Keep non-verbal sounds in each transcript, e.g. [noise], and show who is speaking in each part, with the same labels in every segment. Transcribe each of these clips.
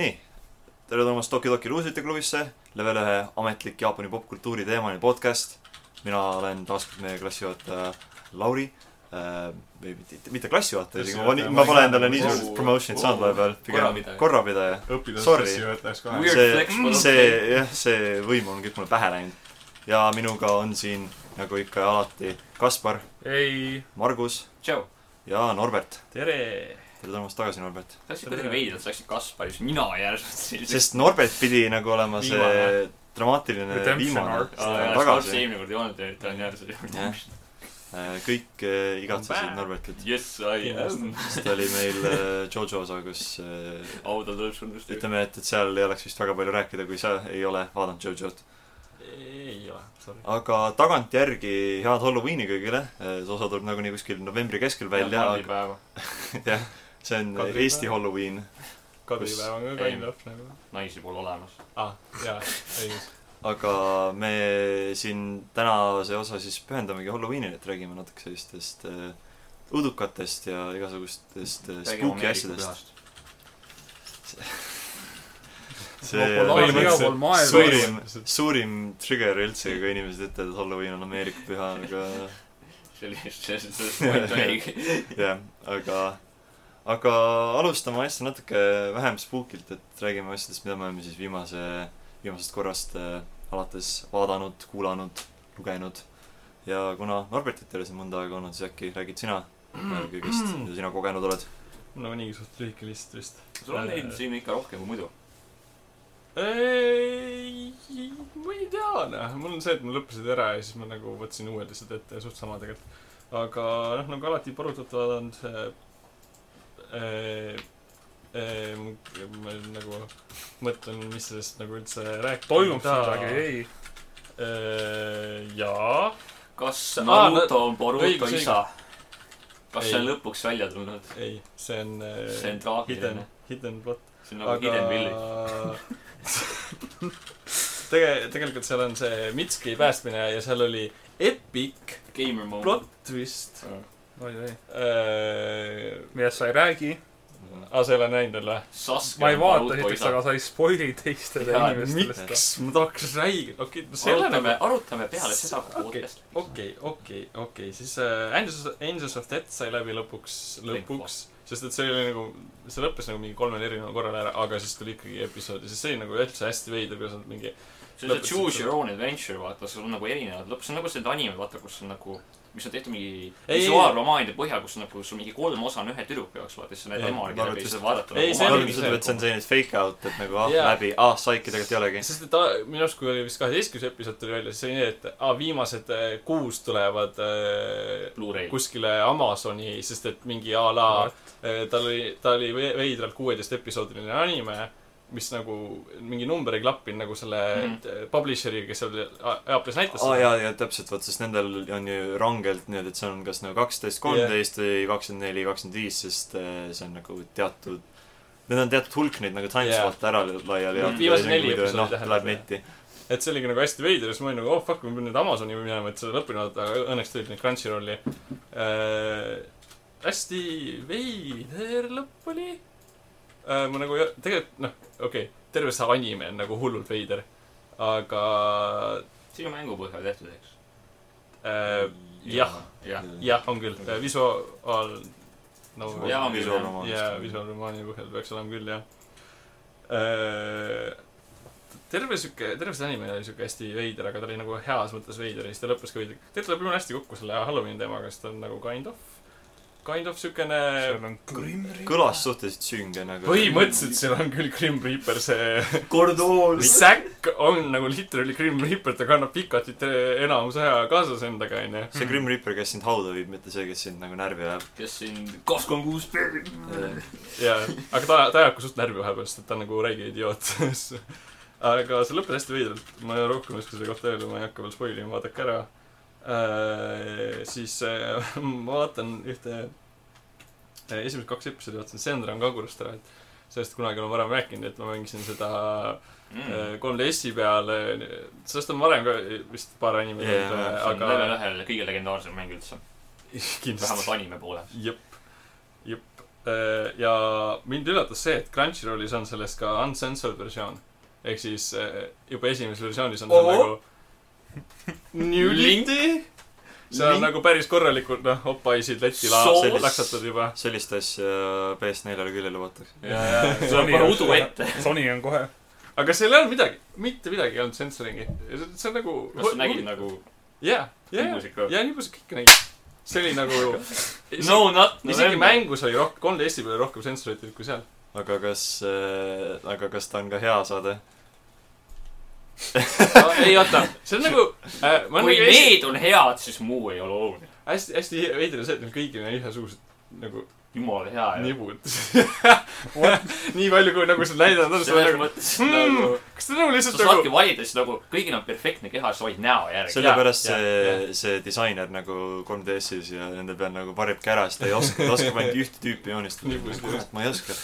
Speaker 1: nii , tere tulemast Toki Toki luusrite klubisse , level ühe ametlik Jaapani popkultuuri teemaline podcast . mina olen taas kord meie klassijuhataja Lauri äh, , või mitte, mitte klassijuhataja , isegi ma,
Speaker 2: Klassijuhataja,
Speaker 1: ma pole
Speaker 2: ma-
Speaker 1: endale nii
Speaker 2: Wow.
Speaker 1: suurt promotion'it saanud vahepeal , pigem
Speaker 3: Korrapidaja.
Speaker 1: korrapidaja .
Speaker 2: õppides
Speaker 1: Sorry.
Speaker 2: klassijuhatajaks kohe
Speaker 3: Weird. .
Speaker 1: see mm,
Speaker 3: flex, palun. ,
Speaker 1: see jah , see võim on kõik mulle pähe läinud . ja minuga on siin nagu ikka alati Kaspar ,
Speaker 4: ei ,
Speaker 1: Margus
Speaker 3: tšau .
Speaker 1: ja Norbert .
Speaker 4: tere .
Speaker 1: tere tulemast tagasi , Norbert .
Speaker 3: sa läksid kuidagi veidralt , sa läksid Kasparis , mina järsult selliseks .
Speaker 1: sest Norbert pidi nagu olema see
Speaker 3: Viimane.
Speaker 1: dramaatiline
Speaker 4: Redemption
Speaker 1: viimane
Speaker 4: arc. .
Speaker 3: Kasparis
Speaker 1: tagasi ,
Speaker 3: eelmine kord ei olnud ja nüüd ta on järsult .
Speaker 1: kõik eh, igatsesid
Speaker 4: back.
Speaker 1: Norbertit .
Speaker 3: Yes I am .
Speaker 1: sest ta oli meil eh, Jojo osa , kus eh,
Speaker 3: auto tõusunud .
Speaker 1: ütleme , et , et seal ei oleks vist väga palju rääkida , kui sa ei ole vaadanud Jojo't .
Speaker 4: ei ole , sorry .
Speaker 1: aga tagantjärgi head Halloweeni kõigile , see osa tuleb nagunii kuskil novembri keskel välja , aga
Speaker 3: päeva .
Speaker 1: jah , see on
Speaker 2: Kadripäev.
Speaker 1: Eesti Halloween ,
Speaker 2: kadripäev on ka
Speaker 3: Ei.
Speaker 2: kind of nagu .
Speaker 3: naisi pole olemas .
Speaker 2: aa , jaa , õigus .
Speaker 1: aga me siin tänase osa siis pühendamegi Halloweenile , et räägime natuke sellistest äh, udukatest ja igasugustest äh, spooky asjadest .. see
Speaker 4: Populaarne
Speaker 1: on
Speaker 4: igal pool maailmas.
Speaker 1: põhimõtteliselt suurim , suurim trigger üldse , kui inimesed ütlevad , et Halloween on Ameerika püha , aga
Speaker 3: sellist , sellist , sellist oligi .
Speaker 1: jah , aga , aga alustame asja natuke vähem spookilt , et räägime asjadest , mida me oleme siis viimase , viimasest korrast äh, alates vaadanud , kuulanud , lugenud . ja kuna Norbertit ei ole siin mõnda aega olnud , siis äkki räägid sina äh, kõigest , mida sina kogenud oled .
Speaker 2: mul on nagu niigi suht lühike list vist .
Speaker 3: sul on neid siin ikka rohkem kui muidu .
Speaker 2: ei , ma ei tea , noh , mul on see , et mul lõppesid ära ja siis ma nagu võtsin uued lihtsalt ette ja suht sama tegelikult . aga noh , nagu alati põrutat vaadanud see äh, äh, ma- ma nagu mõtlen , mis sellest nagu üldse rääkida .
Speaker 4: toimub siin midagi ,? ei .
Speaker 2: Eh, jaa
Speaker 3: kas
Speaker 2: Aa,
Speaker 3: Naruto on Boruto
Speaker 2: õigus, õigus.
Speaker 3: isa ? kas see on
Speaker 2: Ei.
Speaker 3: lõpuks välja tulnud ?
Speaker 2: ei , see on äh,
Speaker 3: See on traagiline.
Speaker 2: hidden , hidden plot
Speaker 3: see on nagu Hidden Village .
Speaker 2: [laughs] tege- , tegelikult seal on see Mitski päästmine ja seal oli epic
Speaker 3: Gamer moment .
Speaker 2: plot twist
Speaker 4: oi-oi .
Speaker 2: äh, .
Speaker 4: millest sa ei räägi .
Speaker 2: aa , Ah, sa ei ole näinud veel või ?
Speaker 3: Sasuke
Speaker 4: ma ei
Speaker 3: on
Speaker 4: vaata
Speaker 3: Boruto
Speaker 4: esiteks ,
Speaker 3: isa .
Speaker 4: aga sa ei spoili teistele
Speaker 3: Jaa,
Speaker 4: inimestele seda .
Speaker 2: miks ? ma tahaks räägida , okei , see ei ole
Speaker 3: arutame
Speaker 2: nagu ,,
Speaker 3: arutame peale seda
Speaker 2: Okei.
Speaker 3: podcast .
Speaker 2: okei , okei , okei , siis äh, Angels , Angels of Death sai läbi lõpuks , lõpuks , sest et see oli nagu , see lõppes nagu mingi kolmel erineval korral ära , aga siis tuli ikkagi episood ja siis see oli nagu üldse hästi veider , kuidas nad mingi
Speaker 3: see on see
Speaker 2: Lõpetasin
Speaker 3: Choose
Speaker 2: selle.
Speaker 3: your own adventure , vaata , sul on nagu erinevad lõpus , see on nagu see anime , vaata , kus on nagu , mis on tehtud mingi
Speaker 2: Ei, ei.
Speaker 3: visuaalromaanide põhjal , kus on nagu , sul mingi kolm osa on ühe tüdruku jaoks , vaata , siis sa näed
Speaker 2: Jah,
Speaker 3: tema
Speaker 1: ma arvan,
Speaker 3: läbi
Speaker 1: et
Speaker 3: ja
Speaker 1: just-
Speaker 3: siis vaadata . nagu
Speaker 2: Ei, see
Speaker 1: ma arvan ,
Speaker 2: oligi
Speaker 1: et see
Speaker 2: see-
Speaker 1: on selline fake out , et nagu ah
Speaker 2: Jaa.
Speaker 1: yeah. läbi , ah saiki tegelikult ei olegi .
Speaker 2: sest et ta minu arust , kui oli vist kaheteistkümnes episood tuli välja , siis oli nii , et aa , viimased eh, kuus tulevad eh,
Speaker 3: Blu-ray .
Speaker 2: kuskile Amazoni , sest et mingi a la , tal oli , ta oli ve- veidralt kuueteist episoodiline anime , mis nagu mingi number ei klappinud nagu selle
Speaker 3: Mhm.
Speaker 2: mm. publisher'iga , kes seal A- Jaapanis näitas
Speaker 1: aa . jaa , jaa täpselt , vot sest nendel on ju rangelt niimoodi , et see on kas nagu kaksteist , kolmteist või kakskümmend neli , kakskümmend viis , sest eh, see on nagu teatud , need on teatud hulk neid nagu
Speaker 2: Jaa.
Speaker 1: timeslotte ära laiali
Speaker 3: Mm.
Speaker 1: jaotatud .
Speaker 2: Viimased neli episoodi
Speaker 1: noh ,
Speaker 2: tähendab,
Speaker 1: läheb
Speaker 2: jah.
Speaker 1: netti .
Speaker 2: et see oligi nagu hästi veider ja siis ma olin nagu oh fuck , ma pean nüüd Amazoni minema , et seda lõpuni vaadata , aga õnneks tulid need Crunchyrolli äh, . hästi veider lõpp oli äh, . ma nagu ei- tegelikult noh , okei okay, , terve see anime on nagu hullult veider , aga
Speaker 3: see on mängu põhjal tehtud , eks .
Speaker 2: äh, jah ,.
Speaker 3: jah .
Speaker 2: jah , on küll äh, , visuaal no, .
Speaker 3: Jaa, on küll,
Speaker 2: jaa , visuaalromaani põhjal peaks olema küll , jah . terve sihuke , terve see anime oli sihuke hästi veider , aga ta oli nagu heas mõttes veider ja siis ta lõppes ka veider . tegelikult tuleb jumala hästi kokku selle Halloweeni teemaga , sest ta on nagu kind of , kind of siukene
Speaker 4: seal on Grim Reaper .
Speaker 1: kõlas suhteliselt sünge nagu .
Speaker 2: põhimõtteliselt seal on küll Grim Reaper , see
Speaker 3: kordool .
Speaker 2: säkk on nagu literally Grim Reaper , ta kannab pikatit enamus aja kaasas endaga , onju .
Speaker 1: see Grim Reaper , kes sind hauda viib , mitte see , kes sind nagu närvi ajab .
Speaker 3: kes siin , kakskümmend kuus . Mm.
Speaker 2: jaa , aga ta , ta ajab ka suht närvi vahepeal , sest et ta on nagu räige idioot . [laughs] aga see lõppes hästi veidralt , ma ei rohkem ei oska selle kohta öelda , ma ei hakka veel spoil ima , vaadake ära . siis äh, [laughs] ma vaatan ühte , esimesed kaks episoodi vaatasin Sendra on Kagurust ära , et sellest kunagi olen varem rääkinud , et ma mängisin seda
Speaker 3: Mm.
Speaker 2: äh, 3DS-i peal , sellest on varem ka vist paar anime
Speaker 1: Jaa,
Speaker 2: olnud ,
Speaker 1: jaa,
Speaker 3: aga .
Speaker 2: aga
Speaker 3: level ühel kõige legendaarsem mäng üldse .
Speaker 2: [laughs] kindlasti
Speaker 3: vähemalt anime poole .
Speaker 2: jep , jep , ja mind üllatas see , et Crunchyrollis on sellest ka uncensored versioon . ehk siis eh, juba esimeses versioonis on ta
Speaker 3: Oo.
Speaker 2: nagu nüliti . seal on
Speaker 1: Link.
Speaker 2: nagu päris korralikult , noh , opaisid letti la-
Speaker 3: Soos.
Speaker 2: laksatud juba .
Speaker 1: sellist asja PS4-le küll ei lubatakse .
Speaker 3: ja , ja , ja sul on kohe udu ette .
Speaker 4: Sony on kohe .
Speaker 2: aga seal ei olnud midagi , mitte midagi ei olnud sensoringi . see on nagu .
Speaker 3: kas sa nägid ? nagu
Speaker 2: jaa , jaa ,
Speaker 3: muusiku ?
Speaker 2: jaa , nii palju sa kõike nägid . see oli nagu .
Speaker 3: [laughs] no not
Speaker 2: isegi
Speaker 3: November .
Speaker 2: mängus oli rohkem , kolm teist peale rohkem sensoreid kui seal .
Speaker 1: aga kas , aga kas ta on ka hea saade ?
Speaker 2: ei oota , see on nagu äh, .
Speaker 3: kui need on head , siis muu ei ole oluline .
Speaker 2: hästi , hästi veider on see , et neil kõigil on ühesugused nagu
Speaker 3: jumala hea
Speaker 2: [laughs]
Speaker 3: ju .
Speaker 2: nibud . nii palju , kui nagu sa näidanud on , sa oled
Speaker 3: selles
Speaker 2: nagu ,
Speaker 3: mõttes
Speaker 2: hmm,
Speaker 3: [laughs] nagu ,
Speaker 2: kas ta nagu
Speaker 3: sa
Speaker 2: lihtsalt
Speaker 3: saadki
Speaker 2: nagu ,
Speaker 3: valida siis nagu , kõigil on perfektne keha , sa valid näo järgi .
Speaker 1: sellepärast
Speaker 2: jaa,
Speaker 1: see , see disainer nagu 3DS-is ja nende peal nagu varjabki ära , sest ta ei oska , ta oskab ainult ühte tüüpi joonistada
Speaker 2: Nii kui . see-
Speaker 1: kurat , ma ei oska .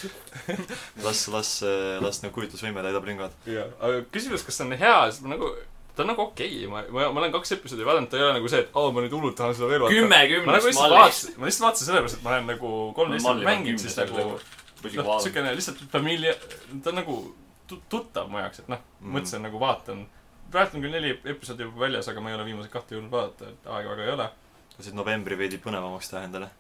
Speaker 1: las , las , las nagu kujutlusvõime täidab lüngad .
Speaker 2: aga küsimus , kas see on hea , siis ma nagu , ta on nagu okei okay. , ma , ma , ma olen kaks episoodi vaadanud , ta ei ole nagu see , et aa oh, , ma nüüd hullult tahan seda veel vaadata .
Speaker 3: kümme
Speaker 2: ma nagu
Speaker 3: kümnest
Speaker 2: lihtsalt vaatasin , ma lihtsalt vaatasin sellepärast , et ma olen nagu kolmteist
Speaker 3: Malli
Speaker 2: aastat mänginud , siis nagu
Speaker 3: mängimise
Speaker 2: noh ,
Speaker 3: vaatasin .
Speaker 2: siukene lihtsalt familia , ta on nagu tu- tuttav mu jaoks , et noh mm. ,
Speaker 1: Mhm.
Speaker 2: mõtlesin nagu vaatan . praegu on küll neli episoodi juba väljas , aga ma ei ole viimaseid kahte jõudnud vaadata , et aega väga ei ole .
Speaker 1: lasid novembri veidi põnevamaks teha endale .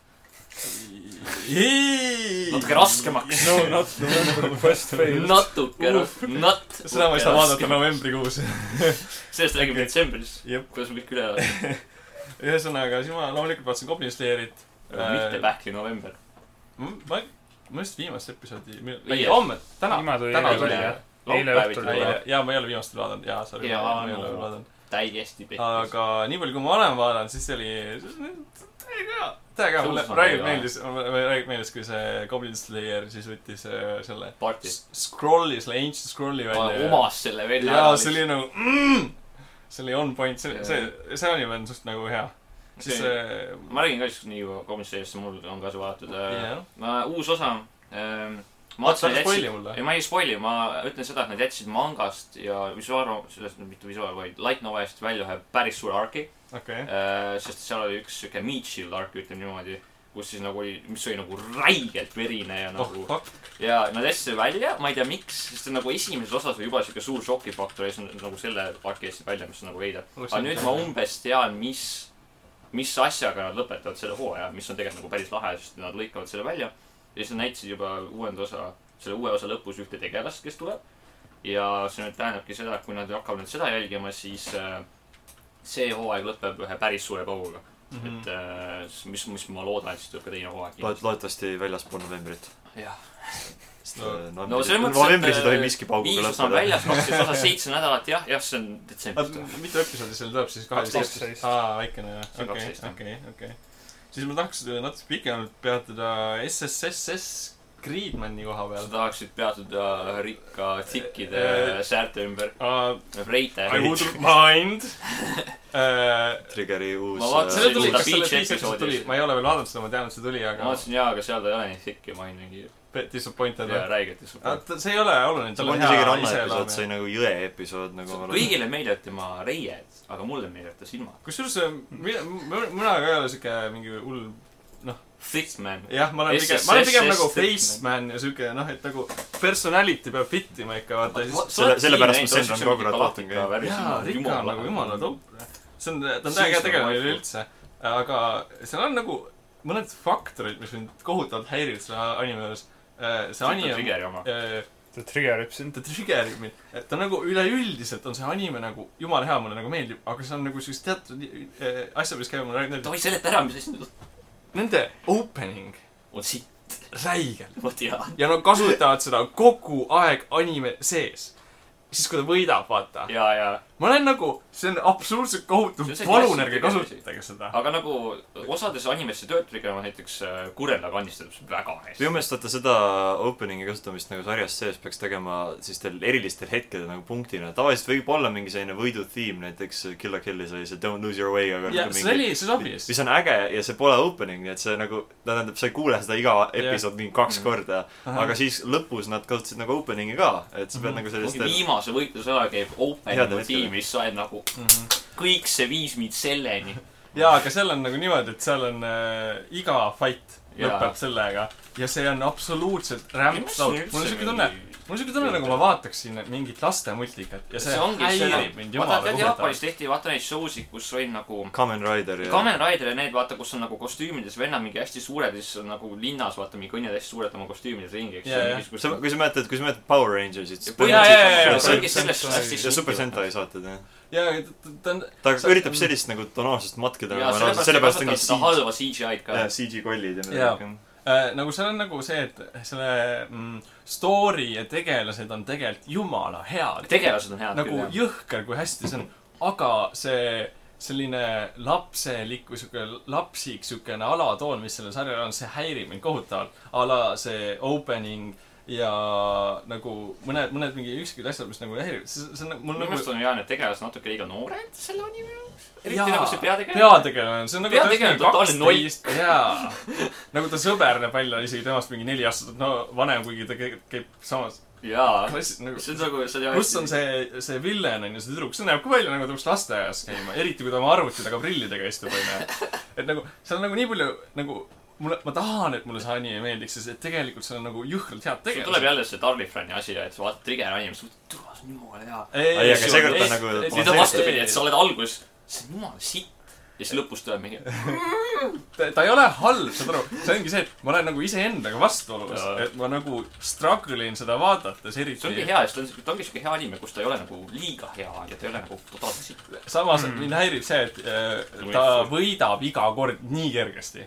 Speaker 3: natuke . raskemaks .
Speaker 4: No not November quest fails .
Speaker 3: natuke raskemaks , nat- .
Speaker 2: seda ma ei saa vaadata . novembrikuus . [laughs]
Speaker 3: sellest räägime detsembris .
Speaker 2: Jep.
Speaker 3: kuidas me kõik üle elame .
Speaker 2: ühesõnaga , siis ma loomulikult vaatasin Goblin Slayerit .
Speaker 3: mitte pähkli november .
Speaker 2: ma , ma just viimast episoodi , ei
Speaker 3: Väljas.
Speaker 2: homme , täna ,
Speaker 4: Niimoodi oli
Speaker 2: täna
Speaker 3: eile
Speaker 2: tuli
Speaker 3: tuli,
Speaker 2: jah
Speaker 3: jah. . laupäev
Speaker 4: õhtul
Speaker 3: tuli
Speaker 4: tuli.
Speaker 2: eile , jaa , ma ei ole viimast veel vaadanud , jaa , sorry ,
Speaker 3: Jaa,
Speaker 2: ma ei
Speaker 3: no.
Speaker 2: ole veel vaadanud .
Speaker 3: täiesti pehmes .
Speaker 2: aga nii palju , kui ma olen vaadanud , siis see oli , täiega hea , täiega hea , mulle
Speaker 3: Tõusma
Speaker 2: räägib
Speaker 3: väga hea.
Speaker 2: meeldis , mulle räägib meeldis , kui see Goblin Slayer siis võttis äh, selle
Speaker 3: party .
Speaker 2: s- scrolli , selle ancient scrolli välja .
Speaker 3: omas selle välja .
Speaker 2: jaa , see oli nagu mm, , see oli on point , see ,
Speaker 3: Jaa.
Speaker 2: see , see anime on suht nagu hea . siis äh,
Speaker 3: See-
Speaker 2: see ,
Speaker 3: ma räägin ka siis nii kui komisjonis , mul on ka see vaadatud
Speaker 2: Jah.
Speaker 3: yeah. . ma , uus osa ähm, . ma
Speaker 2: vaata , sa ei
Speaker 3: vaatasin , et jätsid
Speaker 2: spoili , mulle .
Speaker 3: ei ma ei spoil'i , ma ütlen seda , et nad jätsid mangast ja visuaal , sellest mitte visuaal , vaid light novelist välja ühe päris suure arki
Speaker 2: okei ,
Speaker 3: äh, . sest seal oli üks siuke meat shield ark , ütleme niimoodi , kus siis nagu oli , mis oli nagu räigelt verine ja
Speaker 2: oh
Speaker 3: nagu oh.
Speaker 2: fuck ,
Speaker 3: ja nad jätsid selle välja , ma ei tea miks , sest nagu esimeses osas oli juba siuke suur šokifaktor ja siis nad nagu selle arki jätsid välja , mis on nagu veider . aga nüüd ma umbes tean , mis , mis asjaga nad lõpetavad selle hooaja , mis on tegelikult nagu päris lahe , sest nad lõikavad selle välja . ja siis nad näitasid juba uuenda osa , selle uue osa lõpus ühte tegelast , kes tuleb . ja see nüüd tähendabki seda , et kui nad hakkavad nüüd seda jälgima , siis äh, see hooaeg lõpeb ühe päris suure pauguga mm .
Speaker 2: Mhm.
Speaker 3: -hmm. et äh, s- mis , mis ma loodan , et siis tuleb ka teine hooaeg .
Speaker 1: loodetavasti väljaspool novembrit .
Speaker 3: jah ,
Speaker 1: sest
Speaker 2: No-
Speaker 1: äh,
Speaker 3: no
Speaker 1: novembri-
Speaker 3: selles mõttes ,
Speaker 1: novembris ei tohi miski
Speaker 3: viis
Speaker 1: pauguga
Speaker 3: osa on
Speaker 1: lõppeda .
Speaker 3: väljas , kaksteist osa , seitse nädalat , jah , jah , see on detsembris .
Speaker 2: mitu episoodi seal tuleb siis , kaheksateist ?
Speaker 4: kaksteist .
Speaker 2: aa , väikene jah ,
Speaker 3: See on
Speaker 2: okei ,
Speaker 3: kaksteist, jah.
Speaker 2: okei , okei . siis ma tahaks äh, natuke pikemalt peatuda SSSS Creedmani koha
Speaker 3: sa
Speaker 2: peal .
Speaker 3: tahaksid peatuda ühe rikka tikkide
Speaker 2: Eh,
Speaker 3: säärte ümber ,
Speaker 2: Uh,
Speaker 3: reite
Speaker 2: I . wouldn't
Speaker 3: [laughs]
Speaker 2: mind uh, .
Speaker 1: Triggeri uus
Speaker 3: Ma vaatasin,
Speaker 2: selle
Speaker 1: äh,
Speaker 2: tuli ,
Speaker 3: Kuulda
Speaker 2: kas selle
Speaker 3: Beach
Speaker 2: teise episood
Speaker 3: episoodis.
Speaker 2: tuli , ma ei ole veel vaadanud seda , ma tean , et see tuli ,
Speaker 3: ma
Speaker 2: aga
Speaker 3: vaatasin jaa , aga seal ta ei ole nii tikk ja ma olin mingi
Speaker 2: bit disappointed
Speaker 3: jaa
Speaker 2: yeah. .
Speaker 3: räigelt disappointed .
Speaker 2: see ei ole oluline ,
Speaker 1: see
Speaker 2: tal on
Speaker 1: polnud isegi
Speaker 2: hea
Speaker 1: ranna episood , see
Speaker 2: iseloom .
Speaker 1: oli nagu jõe episood nagu .
Speaker 3: kõigile meeldivad tema reied , aga mulle meeldivad ta silmad .
Speaker 2: kusjuures äh, mina , mina ka ei ole siuke mingi hull ,
Speaker 3: Thick man .
Speaker 2: jah , ma olen pigem ,
Speaker 3: SSS
Speaker 2: ma olen pigem nagu
Speaker 3: statement.
Speaker 2: face man ja siuke noh , et nagu personality peab fit ima ikka vaata siis .
Speaker 1: selle- sellepärast ma Sendron kogu aeg vaatan ka.
Speaker 2: jaa , Rika on nagu jumala . top . see on , ta on täiega
Speaker 3: Siis on
Speaker 2: tegelane
Speaker 3: vaikne.
Speaker 2: üleüldse . aga seal on nagu mõned faktorid , mis mind kohutavalt häirivad selle anime juures . see anime , äh,
Speaker 3: Trigeri oma .
Speaker 2: ta
Speaker 4: see triggerib sind .
Speaker 2: trigerib mind . et ta nagu üleüldiselt on see anime nagu jumala hea , mulle nagu meeldib , aga see on nagu sellist teatud eh, asja , mis käib mulle räägib ,
Speaker 3: tohi seleta ära , mis asi nüüd on.
Speaker 2: nende opening
Speaker 3: on siit ,
Speaker 2: räigelt .
Speaker 3: ma tean .
Speaker 2: ja nad kasutavad seda kogu aeg anime sees . siis , kui ta võidab , vaata .
Speaker 3: jaa , jaa .
Speaker 2: ma olen nagu , see on absoluutselt kohutav
Speaker 3: See on , see
Speaker 2: palun ärge
Speaker 3: klassikaline asi.
Speaker 2: kasutage seda .
Speaker 3: aga nagu osades animesse töötab Trigeri oma näiteks äh, Kurela kannistab seda väga
Speaker 1: minu
Speaker 3: hästi .
Speaker 1: meelest vaata seda opening'i kasutamist nagu sarjas sees peaks tegema sellistel erilistel hetkedel nagu punktina . tavaliselt võib olla mingi selline võidu tiim , näiteks Kill la Killis oli see Don't lose your way , aga
Speaker 2: ja
Speaker 1: nagu
Speaker 2: see oli , see sobis .
Speaker 1: mis on äge ja see pole opening , nii et see nagu , tähendab , sa ei kuule seda iga episood mingi kaks
Speaker 3: Mhm.
Speaker 1: korda . aga siis lõpus nad kasutasid nagu opening'i ka , et sa pead
Speaker 2: Mhm.
Speaker 1: nagu
Speaker 3: mingi
Speaker 1: sellistel
Speaker 3: viimase võitluse ajal käib
Speaker 1: Headel
Speaker 3: open
Speaker 1: hetkedel.
Speaker 3: tiimis , sa oled nagu
Speaker 2: Mhm.
Speaker 3: kõik see viis mind selleni .
Speaker 2: jaa , aga seal on nagu niimoodi , et seal on äh, iga fight
Speaker 3: Jaa.
Speaker 2: lõpeb sellega ja see on absoluutselt rämpsed out . mul on siuke tunne , mul on siuke tunne , nagu ma vaataks siin mingit laste multikat ja see,
Speaker 3: See ongi see- nagu
Speaker 2: häirib mind
Speaker 3: vaata ,
Speaker 2: jumala
Speaker 3: tead
Speaker 2: kohutavalt
Speaker 3: Jaapanis . tehti vaata neid show sid , kus olid nagu
Speaker 1: Kamen Rider ja
Speaker 3: Kamen Rider ja need , vaata , kus on nagu kostüümides vennad mingi hästi suured ja siis on nagu linnas , vaata , mingi kõnnivad hästi suured oma kostüümides ringi , eks
Speaker 2: Jaa, jaa.
Speaker 1: sa ,
Speaker 3: mingisugune-
Speaker 1: kui sa mäletad , kui sa mäletad Power Rangersit , siis
Speaker 3: Jaa, jaa, jaa, jaa,
Speaker 1: see-
Speaker 3: kõigis selles
Speaker 4: Sentai-
Speaker 3: hästi
Speaker 1: ja Super . Sentai saated jah .
Speaker 2: ja , ta ta on ,
Speaker 1: ta
Speaker 2: Sa-
Speaker 1: üritab sellist nagu tonaalsust matkida ,
Speaker 3: ja
Speaker 1: aga noh,
Speaker 3: sellepärast ei
Speaker 1: sellepärast ongi
Speaker 3: kasutata seda
Speaker 1: CG ,
Speaker 3: halva CGI-d ka .
Speaker 1: CG kollid ja
Speaker 2: Jaa.
Speaker 1: midagi .
Speaker 2: äh, nagu seal on nagu see , et selle mm, story ja tegelased on tegelikult jumala head .
Speaker 3: tegelased on head
Speaker 2: nagu
Speaker 3: küll , jah .
Speaker 2: jõhker , kui hästi see on , aga see selline lapselik või siuke lapsik siukene alatoon , mis sellel sarjal on , see häirib mind kohutavalt . a la see opening ja nagu mõned , mõned mingi üksikud asjad , mis nagu häirivad , see , see on mul
Speaker 3: minu meelest
Speaker 2: nagu
Speaker 3: on hea , need tegelased natuke liiga noored selle anime jaoks .
Speaker 2: Jaa.
Speaker 3: eriti nagu see peategelane .
Speaker 2: peategelane , see on nagu
Speaker 3: Peategelane on totaalne noit. .
Speaker 2: jaa . nagu ta sõber näeb välja isegi temast mingi neli aastat no, vanem , kuigi ta käib, käib samas
Speaker 3: jaa .
Speaker 2: klassis nagu
Speaker 3: see on nagu , see on
Speaker 2: pluss on see , see villen on ju , see tüdruk , see näeb ka välja nagu ta peaks lasteaias käima , eriti kui ta oma arvuti taga prillidega istub , onju . et nagu seal on nagu nii palju nagu mulle , ma tahan , et mulle see anime meeldiks , sest et tegelikult seal on nagu jõhkralt head
Speaker 3: sul tuleb
Speaker 2: tegelased .
Speaker 3: jälle see Tarvi Frani asi , et sa vaatad Trigger anime , sa mõtled , tule , see on jumala hea .
Speaker 1: ei , aga seekord ta
Speaker 2: ei,
Speaker 1: nagu
Speaker 2: ei,
Speaker 3: siis
Speaker 2: ta
Speaker 3: on
Speaker 1: balansseerib.
Speaker 3: vastupidi , et sa oled alguses , see on jumala sitt . ja siis lõpus tuleb mingi ,
Speaker 2: ta, ta ei ole halb , saad aru , see ongi see , et ma olen nagu iseendaga vastuolus
Speaker 3: Jaa. ,
Speaker 2: et ma nagu struggle in seda vaadates
Speaker 3: see ongi
Speaker 2: eriti .
Speaker 3: hea , sest ta on siuke , ta ongi siuke hea anime , kus ta ei ole nagu liiga hea ja ta ei ole nagu totaalselt sitt .
Speaker 2: samas mind häirib see , et äh, ta võidab iga kord nii kergesti .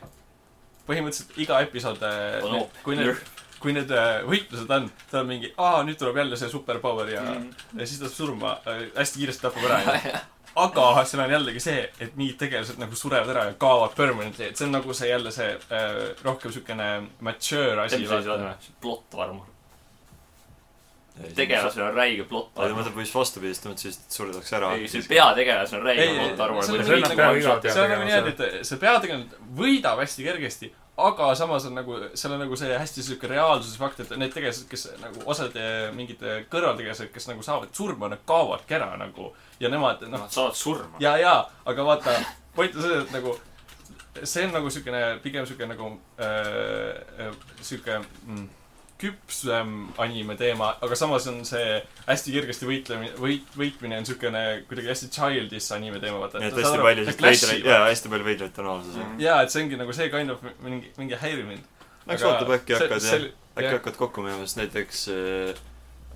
Speaker 2: põhimõtteliselt iga episood
Speaker 3: On op- ,
Speaker 2: kui need , kui need äh, võitlused on , ta on mingi , aa , nüüd tuleb jälle see super power ja ,
Speaker 3: Mm.
Speaker 2: ja siis ta saab surma äh, , hästi kiiresti tapab ära . aga seal on jällegi see , et mingid tegelased nagu surevad ära ja kaovad permanently , et see on nagu see jälle see äh, rohkem siukene mature asi .
Speaker 3: plott armor . tegelasel on räige plott
Speaker 1: aga ta
Speaker 3: armor .
Speaker 1: mõtleb vist vastupidist , ta mõtles lihtsalt , et surdaks ära .
Speaker 3: ei , see peategelasel on
Speaker 2: ei ,
Speaker 3: räige
Speaker 2: ei ,
Speaker 3: plott armor .
Speaker 2: see on
Speaker 4: muidugi
Speaker 2: nagu-
Speaker 4: peab iga
Speaker 2: see on nagu
Speaker 4: tegelane
Speaker 2: niimoodi , et see peategelane võidab hästi kergesti , aga samas on nagu , seal on nagu see hästi sihuke reaalsuse fakt , et need tegelased , kes nagu osad eh, mingid eh, kõrvaltegelased , kes nagu saavad surma , nad kaovadki ära nagu ja nemad noh ,
Speaker 3: Nad saavad surma .
Speaker 2: ja , ja , aga vaata , point on selles , et nagu see on nagu siukene , pigem siuke nagu äh, äh, siuke mm, küpsem anime teema , aga samas on see hästi kergesti võitlemine , võit , võitmine on siukene kuidagi hästi childish anime teema , vaata .
Speaker 1: nii et hästi palju siukseid veidraid , jaa , hästi palju veidraid tonaalsusi .
Speaker 2: jaa , et see ongi nagu see kind of mingi , mingi häirib mind .
Speaker 1: eks ootab , äkki hakkad jah , äkki hakkad kokku minu meelest näiteks äh,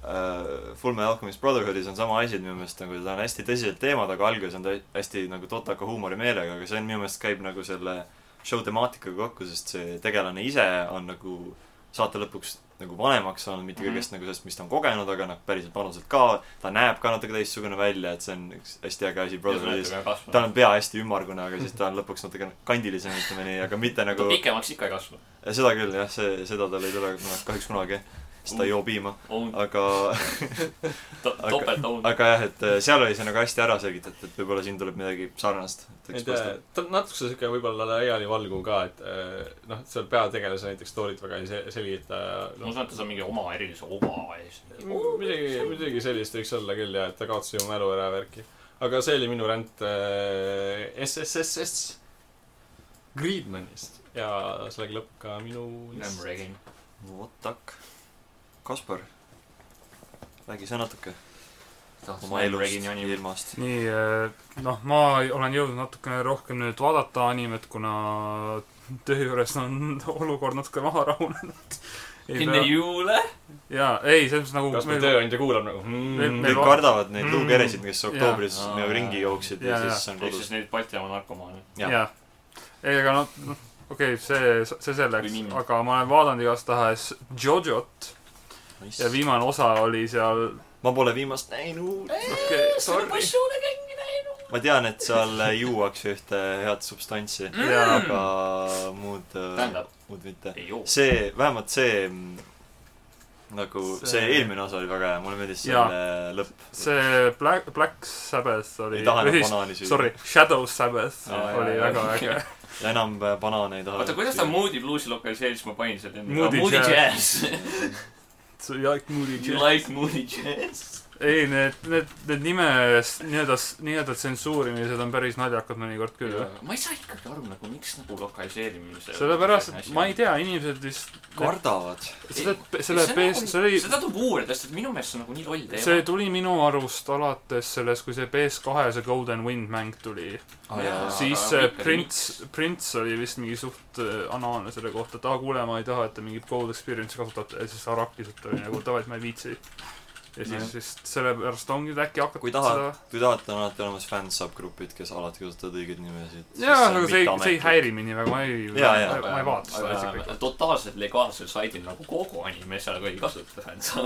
Speaker 1: äh, Fullmetal Alchemist Brotherhoodis on sama asi , et minu meelest nagu ta on hästi tõsiselt teemad , aga alguses on ta hästi nagu totaka huumorimeelega , aga see on minu meelest käib nagu selle show temaatikaga kokku , sest see tegelane ise on nagu saate lõpuks nagu vanemaks saanud , mitte
Speaker 3: Mhm.
Speaker 1: kõigest nagu sellest , mis ta on kogenud , aga noh , päriselt vanuselt ka , ta näeb ka natuke teistsugune välja , et see on üks hästi äge asi Brotherhoodis . tal
Speaker 3: ta
Speaker 1: on pea hästi ümmargune , aga siis ta on lõpuks natuke kandilisem , ütleme nii , aga mitte nagu
Speaker 3: pikemaks ikka ei kasva .
Speaker 1: Ja Eh, seda küll jah , see , seda tal ei tule noh, kahjuks kunagi , sest ta ei joo piima ,
Speaker 3: on
Speaker 1: aga ,
Speaker 5: [laughs]
Speaker 1: aga-
Speaker 3: topelt on .
Speaker 1: aga jah , et seal oli see nagu hästi ära selgitatud , et võib-olla siin tuleb midagi sarnast .
Speaker 2: ei tea , ta on natukese siuke võib-olla laialivalguv ka , et äh, noh , seal peategelase näiteks toolit väga ei se- selgita .
Speaker 3: ma usun , et ta saab mingi oma erilise oma ees .
Speaker 2: Mm, midagi , midagi sellist võiks olla küll ja , et ta kaotas ju mälu ära ja värki . aga see oli minu ränd äh, SSSS Greedmanist ja sellega lõpeb ka minu
Speaker 3: Memory again .
Speaker 1: vot tak . Kaspar , räägi sa natuke oma
Speaker 3: tahad
Speaker 1: elust ,
Speaker 3: Memory again'i
Speaker 1: ilmast .
Speaker 5: nii , noh , ma olen jõudnud natukene rohkem nüüd vaadata animet , kuna töö juures on [laughs] olukord natuke maha rahunenud .
Speaker 3: enne jõule .
Speaker 5: jaa , ei , selles
Speaker 2: kas
Speaker 5: mõttes
Speaker 2: mu
Speaker 5: nagu meil ,
Speaker 2: tööandja kuulab nagu
Speaker 5: meil-
Speaker 1: kõik
Speaker 2: mm,
Speaker 5: va-
Speaker 1: kardavad neid
Speaker 5: Mm.
Speaker 1: luukeresid , kes oktoobris
Speaker 3: Jaa.
Speaker 1: nagu ringi jooksid ja
Speaker 5: Jaa,
Speaker 1: siis on
Speaker 3: ehk
Speaker 1: kodus
Speaker 3: siis . neid Baltimaa narkomaane .
Speaker 1: jah.
Speaker 5: jaa . ei , aga noh , noh , okei okay, , see , see
Speaker 3: Või
Speaker 5: selleks
Speaker 3: nimi. ,
Speaker 5: aga ma olen vaadanud igastahes Jojot ja viimane osa oli seal ,
Speaker 1: ma pole viimast näinud .
Speaker 5: okei , sorry .
Speaker 3: jõule kinni läinud .
Speaker 1: ma tean , et seal juuakse ühte head substantsi ,
Speaker 5: jaa ,
Speaker 1: aga muud ,
Speaker 3: tähendab ,
Speaker 1: muud mitte .
Speaker 3: ei joo .
Speaker 1: see , vähemalt see mm, nagu see, see
Speaker 5: See-
Speaker 1: eelmine osa oli väga hea , mulle meeldis
Speaker 5: Jaa.
Speaker 1: selle lõpp .
Speaker 5: see Black , Black Sabbath oli
Speaker 1: ei taha enam
Speaker 5: ühis- ,
Speaker 1: banaani süüa .
Speaker 5: sorry , Shadow Sabbath
Speaker 1: Aa, jaa,
Speaker 5: oli
Speaker 1: jaa,
Speaker 5: väga
Speaker 3: jaa.
Speaker 5: äge .
Speaker 1: ja enam äh, banaane ei taha .
Speaker 3: oota , kuidas ta Moody Bluesi lokaliseeris , ma panin selle .
Speaker 5: Moody
Speaker 3: Moody Jazz .
Speaker 1: [laughs]
Speaker 5: So you like Moody
Speaker 3: You
Speaker 5: Jazz ?
Speaker 3: like Moody Jazz ?
Speaker 5: ei , need , need , need nime , nii-öelda , nii-öelda tsensuurimised on päris naljakad mõnikord küll .
Speaker 3: ma ei saa ikkagi aru nagu , miks nagu lokaliseerimise .
Speaker 5: sellepärast , et ma ei . tea , inimesed vist ,
Speaker 1: kardavad .
Speaker 5: selle , selle
Speaker 1: nagu
Speaker 3: nagu-
Speaker 5: PS , see oli ,
Speaker 3: seda tuleb uurida , sest et minu meelest see on nagu nii loll
Speaker 5: see
Speaker 3: teema .
Speaker 5: tuli minu arust alates sellest , kui see PS2 see Golden Wind mäng tuli .
Speaker 1: aa
Speaker 3: Jaa.
Speaker 1: jaa .
Speaker 5: siis
Speaker 3: aga
Speaker 5: see
Speaker 3: mitte
Speaker 5: Prince , Prince oli vist mingi suht äh, anaalne selle kohta , et aa , kuule , ma ei taha , et te mingit Gold Experience'i kasutate , ja siis Araki lihtsalt oli nagu davai , et ma ei viitsi . ja siis
Speaker 1: Nojah.
Speaker 5: vist sellepärast ongi et äkki hakatud
Speaker 1: Kui tahad, kui tahate , on alati olemas fänsubgrupid , kes alati kasutavad õigeid nimesid .
Speaker 5: seda jaa , aga see ei , see ei . häiri mind nii väga , ma ei , ma
Speaker 1: Jaa, jaa.
Speaker 5: ei- ma ei vaata seda asja kõik .
Speaker 3: aga totaalselt legaalsel saidil nagu kogu anime seal ka ei kasuta fänsa .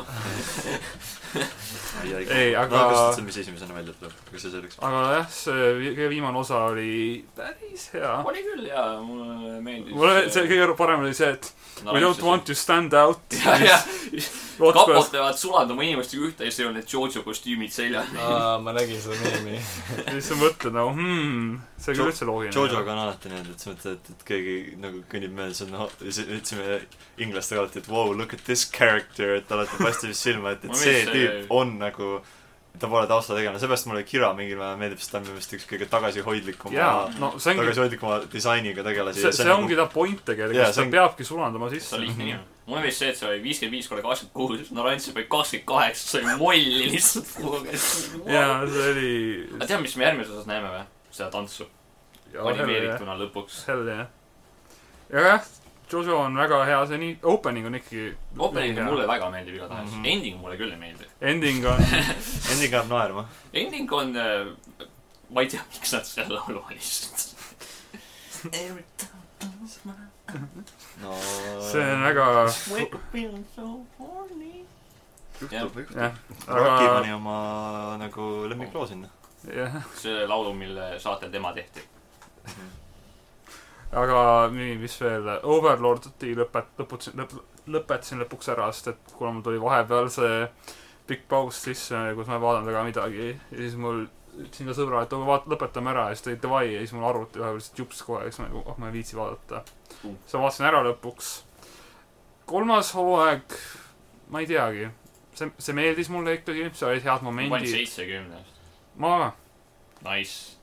Speaker 1: ei ,
Speaker 5: Ei,
Speaker 1: aga .
Speaker 5: aga-
Speaker 1: no kas see , mis esimesena välja tuleb , aga see selleks .
Speaker 5: aga jah , see vi- kõige viimane osa oli päris hea .
Speaker 3: [laughs] oli küll jaa , mulle meeldis .
Speaker 5: mulle see kõige parem oli see , et we don't
Speaker 3: [laughs]
Speaker 5: want to stand out .
Speaker 3: jah , jah , kapod
Speaker 5: Rootsi
Speaker 3: peavad sulanduma inimestega ühte ja siis ei ole need Jojo kostüümid seljas .
Speaker 2: aa , ma nägin seda meemi .
Speaker 5: ja siis sa mõtled nagu hmm , see ei
Speaker 1: Jo-
Speaker 5: ole üldse loogiline .
Speaker 1: Jojoga on alati niimoodi , et sa mõtled , et , et keegi nagu kõnnib mööda , siis on , ütlesime inglastega alati , et wow , look at this character , et alati paistab just silma , et ,
Speaker 5: [laughs]
Speaker 3: Ma
Speaker 1: et see
Speaker 3: mõtlesin, see-
Speaker 5: äh,
Speaker 1: tüüp on nagu , ta pole taustategelane , seepärast mulle Kira mingil määral meeldib , sest ta on minu meelest üks kõige tagasihoidlikuma
Speaker 5: jaa , no see ongi
Speaker 1: tagasihoidlikuma disainiga tegelasi .
Speaker 5: see , see ongi ta point
Speaker 1: nagu- Jaa,
Speaker 5: tegelikult ,
Speaker 1: see
Speaker 5: ta
Speaker 1: on-
Speaker 5: peabki sulanduma
Speaker 3: see
Speaker 5: sisse
Speaker 3: oli . lihtne nimi . mulle meeldis see , et see oli viiskümmend viis korda kakskümmend kuus , Narantsev oli kakskümmend kaheksa , see oli molli lihtsalt kuhu käis .
Speaker 5: [laughs] jaa , see oli .
Speaker 3: aga tead , mis me järgmises osas näeme või ? seda tantsu . animeerituna lõpuks .
Speaker 5: oh, hell jah . aga jah , Jojo on väga hea , see nii , opening on ikkagi .
Speaker 3: Opening mulle . väga meeldib igatahes mm ,
Speaker 1: Mhm.
Speaker 3: -hmm. ending mulle küll ei meeldi .
Speaker 5: Ending
Speaker 1: [laughs]
Speaker 5: on ,
Speaker 1: Ending jääb naerma .
Speaker 3: Ending on äh, , ma ei tea , miks nad selle laulu valisid .
Speaker 1: no
Speaker 5: see on väga ,
Speaker 1: juhtub , juhtub .
Speaker 5: jah ,
Speaker 1: Rocky
Speaker 5: aga
Speaker 1: pani oma nagu lemmikloo sinna .
Speaker 5: jah ,
Speaker 3: see laulu , mille saatel tema tehti .
Speaker 5: aga nii , mis veel , Overlordi lõpet- , lõputasin , lõp- , lõpetasin lõpuks ära , sest et kuna mul tuli vahepeal see pikk paus sisse , kus ma ei vaadanud väga midagi ja siis mul ütlesin ka sõbrale , et vaat- , lõpetame ära ja siis ta oli davai ja siis mul arvuti vahepeal lihtsalt jups kohe ja siis ma nagu , oh ma ei viitsi vaadata .
Speaker 3: Mm.
Speaker 5: siis ma vaatasin ära lõpuks . kolmas hooaeg , ma ei teagi , see , see meeldis mulle ikkagi , seal olid head
Speaker 3: ma panin
Speaker 5: momendid .
Speaker 3: seitsekümnest .
Speaker 5: ma ka ,
Speaker 3: Nice .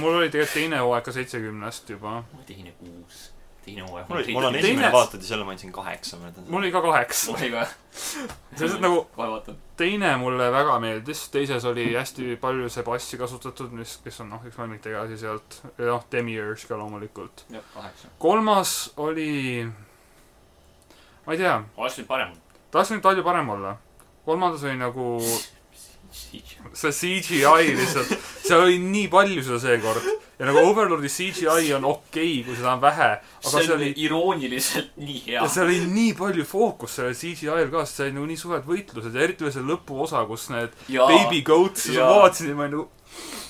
Speaker 5: mul oli tegelikult teine hooaeg ka seitsekümnest juba
Speaker 3: ma teine kuus . teine hooaeg .
Speaker 1: mul oli , mul on
Speaker 5: Teine-
Speaker 1: esimene vaatad ja selle ma andsin kaheksa , ma
Speaker 5: mul
Speaker 1: mäletan .
Speaker 5: oli ka
Speaker 3: [laughs]
Speaker 5: kaheksa .
Speaker 3: mul oli ka .
Speaker 5: See on lihtsalt nagu-
Speaker 3: kohe vaatan .
Speaker 5: teine mulle väga meeldis , teises oli hästi palju see bassi kasutatud , mis , kes on noh , üks lemmiktegelasi sealt , noh , Demiurge ka loomulikult .
Speaker 3: jah , kaheksa .
Speaker 5: kolmas oli , ma ei tea ,
Speaker 3: oleks võinud parem olla .
Speaker 5: ta oleks võinud palju parem olla . kolmandas oli nagu see CGI lihtsalt , seal oli nii palju seda seekord ja nagu Overlordi CGI on okei okay, , kui seda on vähe , aga
Speaker 3: see
Speaker 5: see
Speaker 3: on
Speaker 5: oli
Speaker 3: irooniliselt nii hea
Speaker 5: ja . seal oli nii palju fookust sellel CGI-l ka , sest see oli nagu nii suured võitlused ja eriti veel see lõpuosa , kus need Baby Goats , siis ma
Speaker 3: Jaa.
Speaker 5: vaatasin ja ma nagu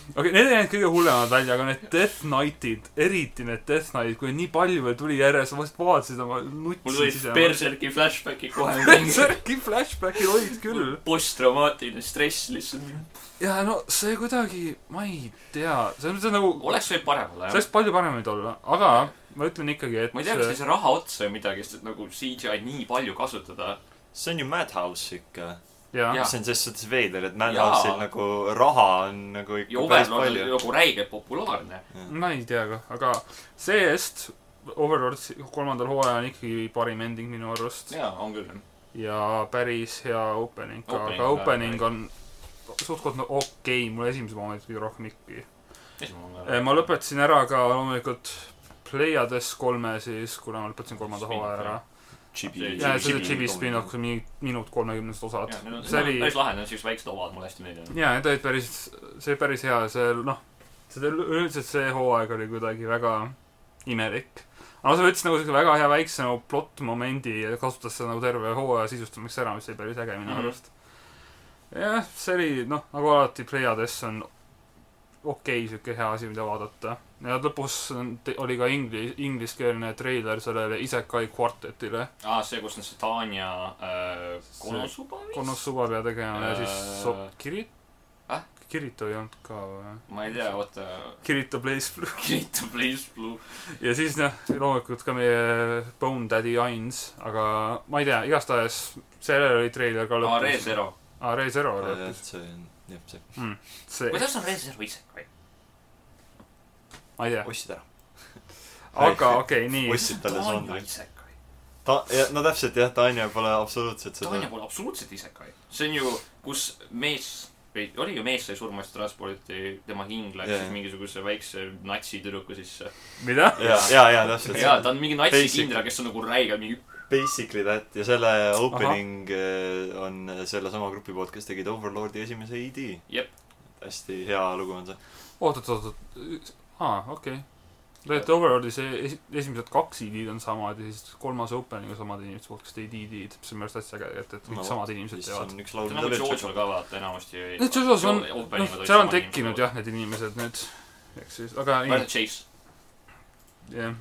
Speaker 5: okei okay, , need ei jäänud kõige hullemad välja , aga need Death Knightid , eriti need Death Knightid , kui nii palju veel tuli järjest , ma lihtsalt vaatasin ja ma
Speaker 3: mul
Speaker 5: nutsin
Speaker 3: tulid . Berserki flashbackid
Speaker 5: [laughs]
Speaker 3: kohe .
Speaker 5: Berserki flashbackid olid küll .
Speaker 3: posttraumaatiline stress lihtsalt .
Speaker 5: ja no see kuidagi , ma ei tea , see on see on nagu ,
Speaker 3: oleks võinud parem olla
Speaker 5: see
Speaker 3: jah .
Speaker 5: oleks palju parem võinud olla , aga ma ütlen ikkagi , et
Speaker 3: ma ei tea , kas neil see raha otsa või midagi , sest et nagu CGI nii palju kasutada .
Speaker 1: see on ju Madhouse ikka .
Speaker 5: jaa ,
Speaker 3: Jaa.
Speaker 1: see on selles suhtes veider , et Madhouse'il
Speaker 3: Jaa.
Speaker 1: nagu raha on nagu
Speaker 3: ja
Speaker 1: ikka päris
Speaker 3: Overlord oli
Speaker 1: palju .
Speaker 3: nagu räigelt populaarne .
Speaker 5: ma ei tea ka , aga see-eest Overlord kolmandal hooajal on ikkagi parim ending minu arust .
Speaker 3: jaa , on küll jah .
Speaker 5: ja päris hea opening ka ,
Speaker 3: Opening
Speaker 5: aga
Speaker 3: on
Speaker 5: opening on suht-koht no, okei okay, , mulle esimesed momendid kõige rohkem ikkagi . Äh, ma . lõpetasin ära ka loomulikult Pleiades kolme siis , kuna ma lõpetasin kolmanda
Speaker 3: Spin-off,
Speaker 5: hooaja ära .
Speaker 1: Chibi .
Speaker 5: ja see oli Chibi spin-off , kus on mingi minut kolmekümnest osad . see
Speaker 3: see oli .
Speaker 5: oli ,
Speaker 3: päris lahe , need on siuksed väiksed ovad , mulle hästi meeldivad .
Speaker 5: jaa , need olid päris , see oli päris hea , see noh , see üldiselt see hooaeg oli kuidagi väga imelik . aga sa võtsid nagu siukse väga hea väikse nagu plott momendi ja kasutas seda nagu terve hooaja sisustamiseks ära , mis oli päris äge minu
Speaker 3: Mhm.
Speaker 5: arust mm. . jah , see oli noh , nagu alati Pleiades on okei okay, siuke hea asi , mida vaadata . ja lõpus on- te- oli ka ingli- , ingliskeelne treiler sellele Isekai kvartetile .
Speaker 3: aa , Ah, see , kus on see Tanja äh, Konosuba vist ?
Speaker 5: Konosuba pea tegema ja siis so,
Speaker 3: Äh.
Speaker 5: Kiri-
Speaker 3: Ah?
Speaker 5: äh? , Kirito ei olnud ka või ?
Speaker 3: ma ei tea , oota .
Speaker 5: Kirito Blaze Blue .
Speaker 3: Kirita Blaze Blue .
Speaker 5: [laughs] ja siis noh , loomulikult ka meie Bone Daddy Ains , aga ma ei tea , igastahes sellel oli treiler ka
Speaker 3: aa ,
Speaker 5: lõpus .
Speaker 3: Re Zero .
Speaker 5: aa , Re Zero oli
Speaker 1: jah ,
Speaker 5: hoopis .
Speaker 1: see on , jah , see .
Speaker 5: see ,
Speaker 3: kuidas on reserv ise ?
Speaker 5: ma ei tea .
Speaker 1: ostsid ära .
Speaker 5: aga okei , nii .
Speaker 1: ostsid talle
Speaker 3: Tanja
Speaker 1: Sondri .
Speaker 3: isekai .
Speaker 1: ta , no täpselt jah , Tanja pole absoluutselt seda
Speaker 3: Tanja . pole absoluutselt isekai . see on ju , kus mees või oli ju mees sai surma , siis transporditi , tema hing läks
Speaker 1: Jaa.
Speaker 3: yeah. mingisuguse väikse natsitüdruku sisse .
Speaker 5: mida ?
Speaker 1: ja , ja , ja täpselt .
Speaker 3: jaa , ta on mingi natsikindral ,
Speaker 1: Basic.
Speaker 3: kes on nagu räige , mingi
Speaker 1: Basically that ja selle opening Aha. on sellesama grupi poolt , kes tegid Overlordi esimese ID .
Speaker 3: Jep. .
Speaker 1: hästi hea lugu on see .
Speaker 5: oot , oot , oot , oot . aa , okei . Let Overlordi see es- , esimesed kaks ID-d on samad ja siis kolmas opening on samad inimesed , kes teid ID-d , see on minu arust hästi äge , et , et
Speaker 1: No
Speaker 5: kõik
Speaker 1: vot,
Speaker 5: samad inimesed
Speaker 1: siis
Speaker 5: teevad .
Speaker 1: on üks
Speaker 3: see
Speaker 1: laul
Speaker 3: on . nagu Jojo'l ka vaata enamasti .
Speaker 5: no Jojo's on , noh , seal on tekkinud . jah , need inimesed nüüd , eks siis , aga nii
Speaker 3: ainult , Chase .
Speaker 5: jah .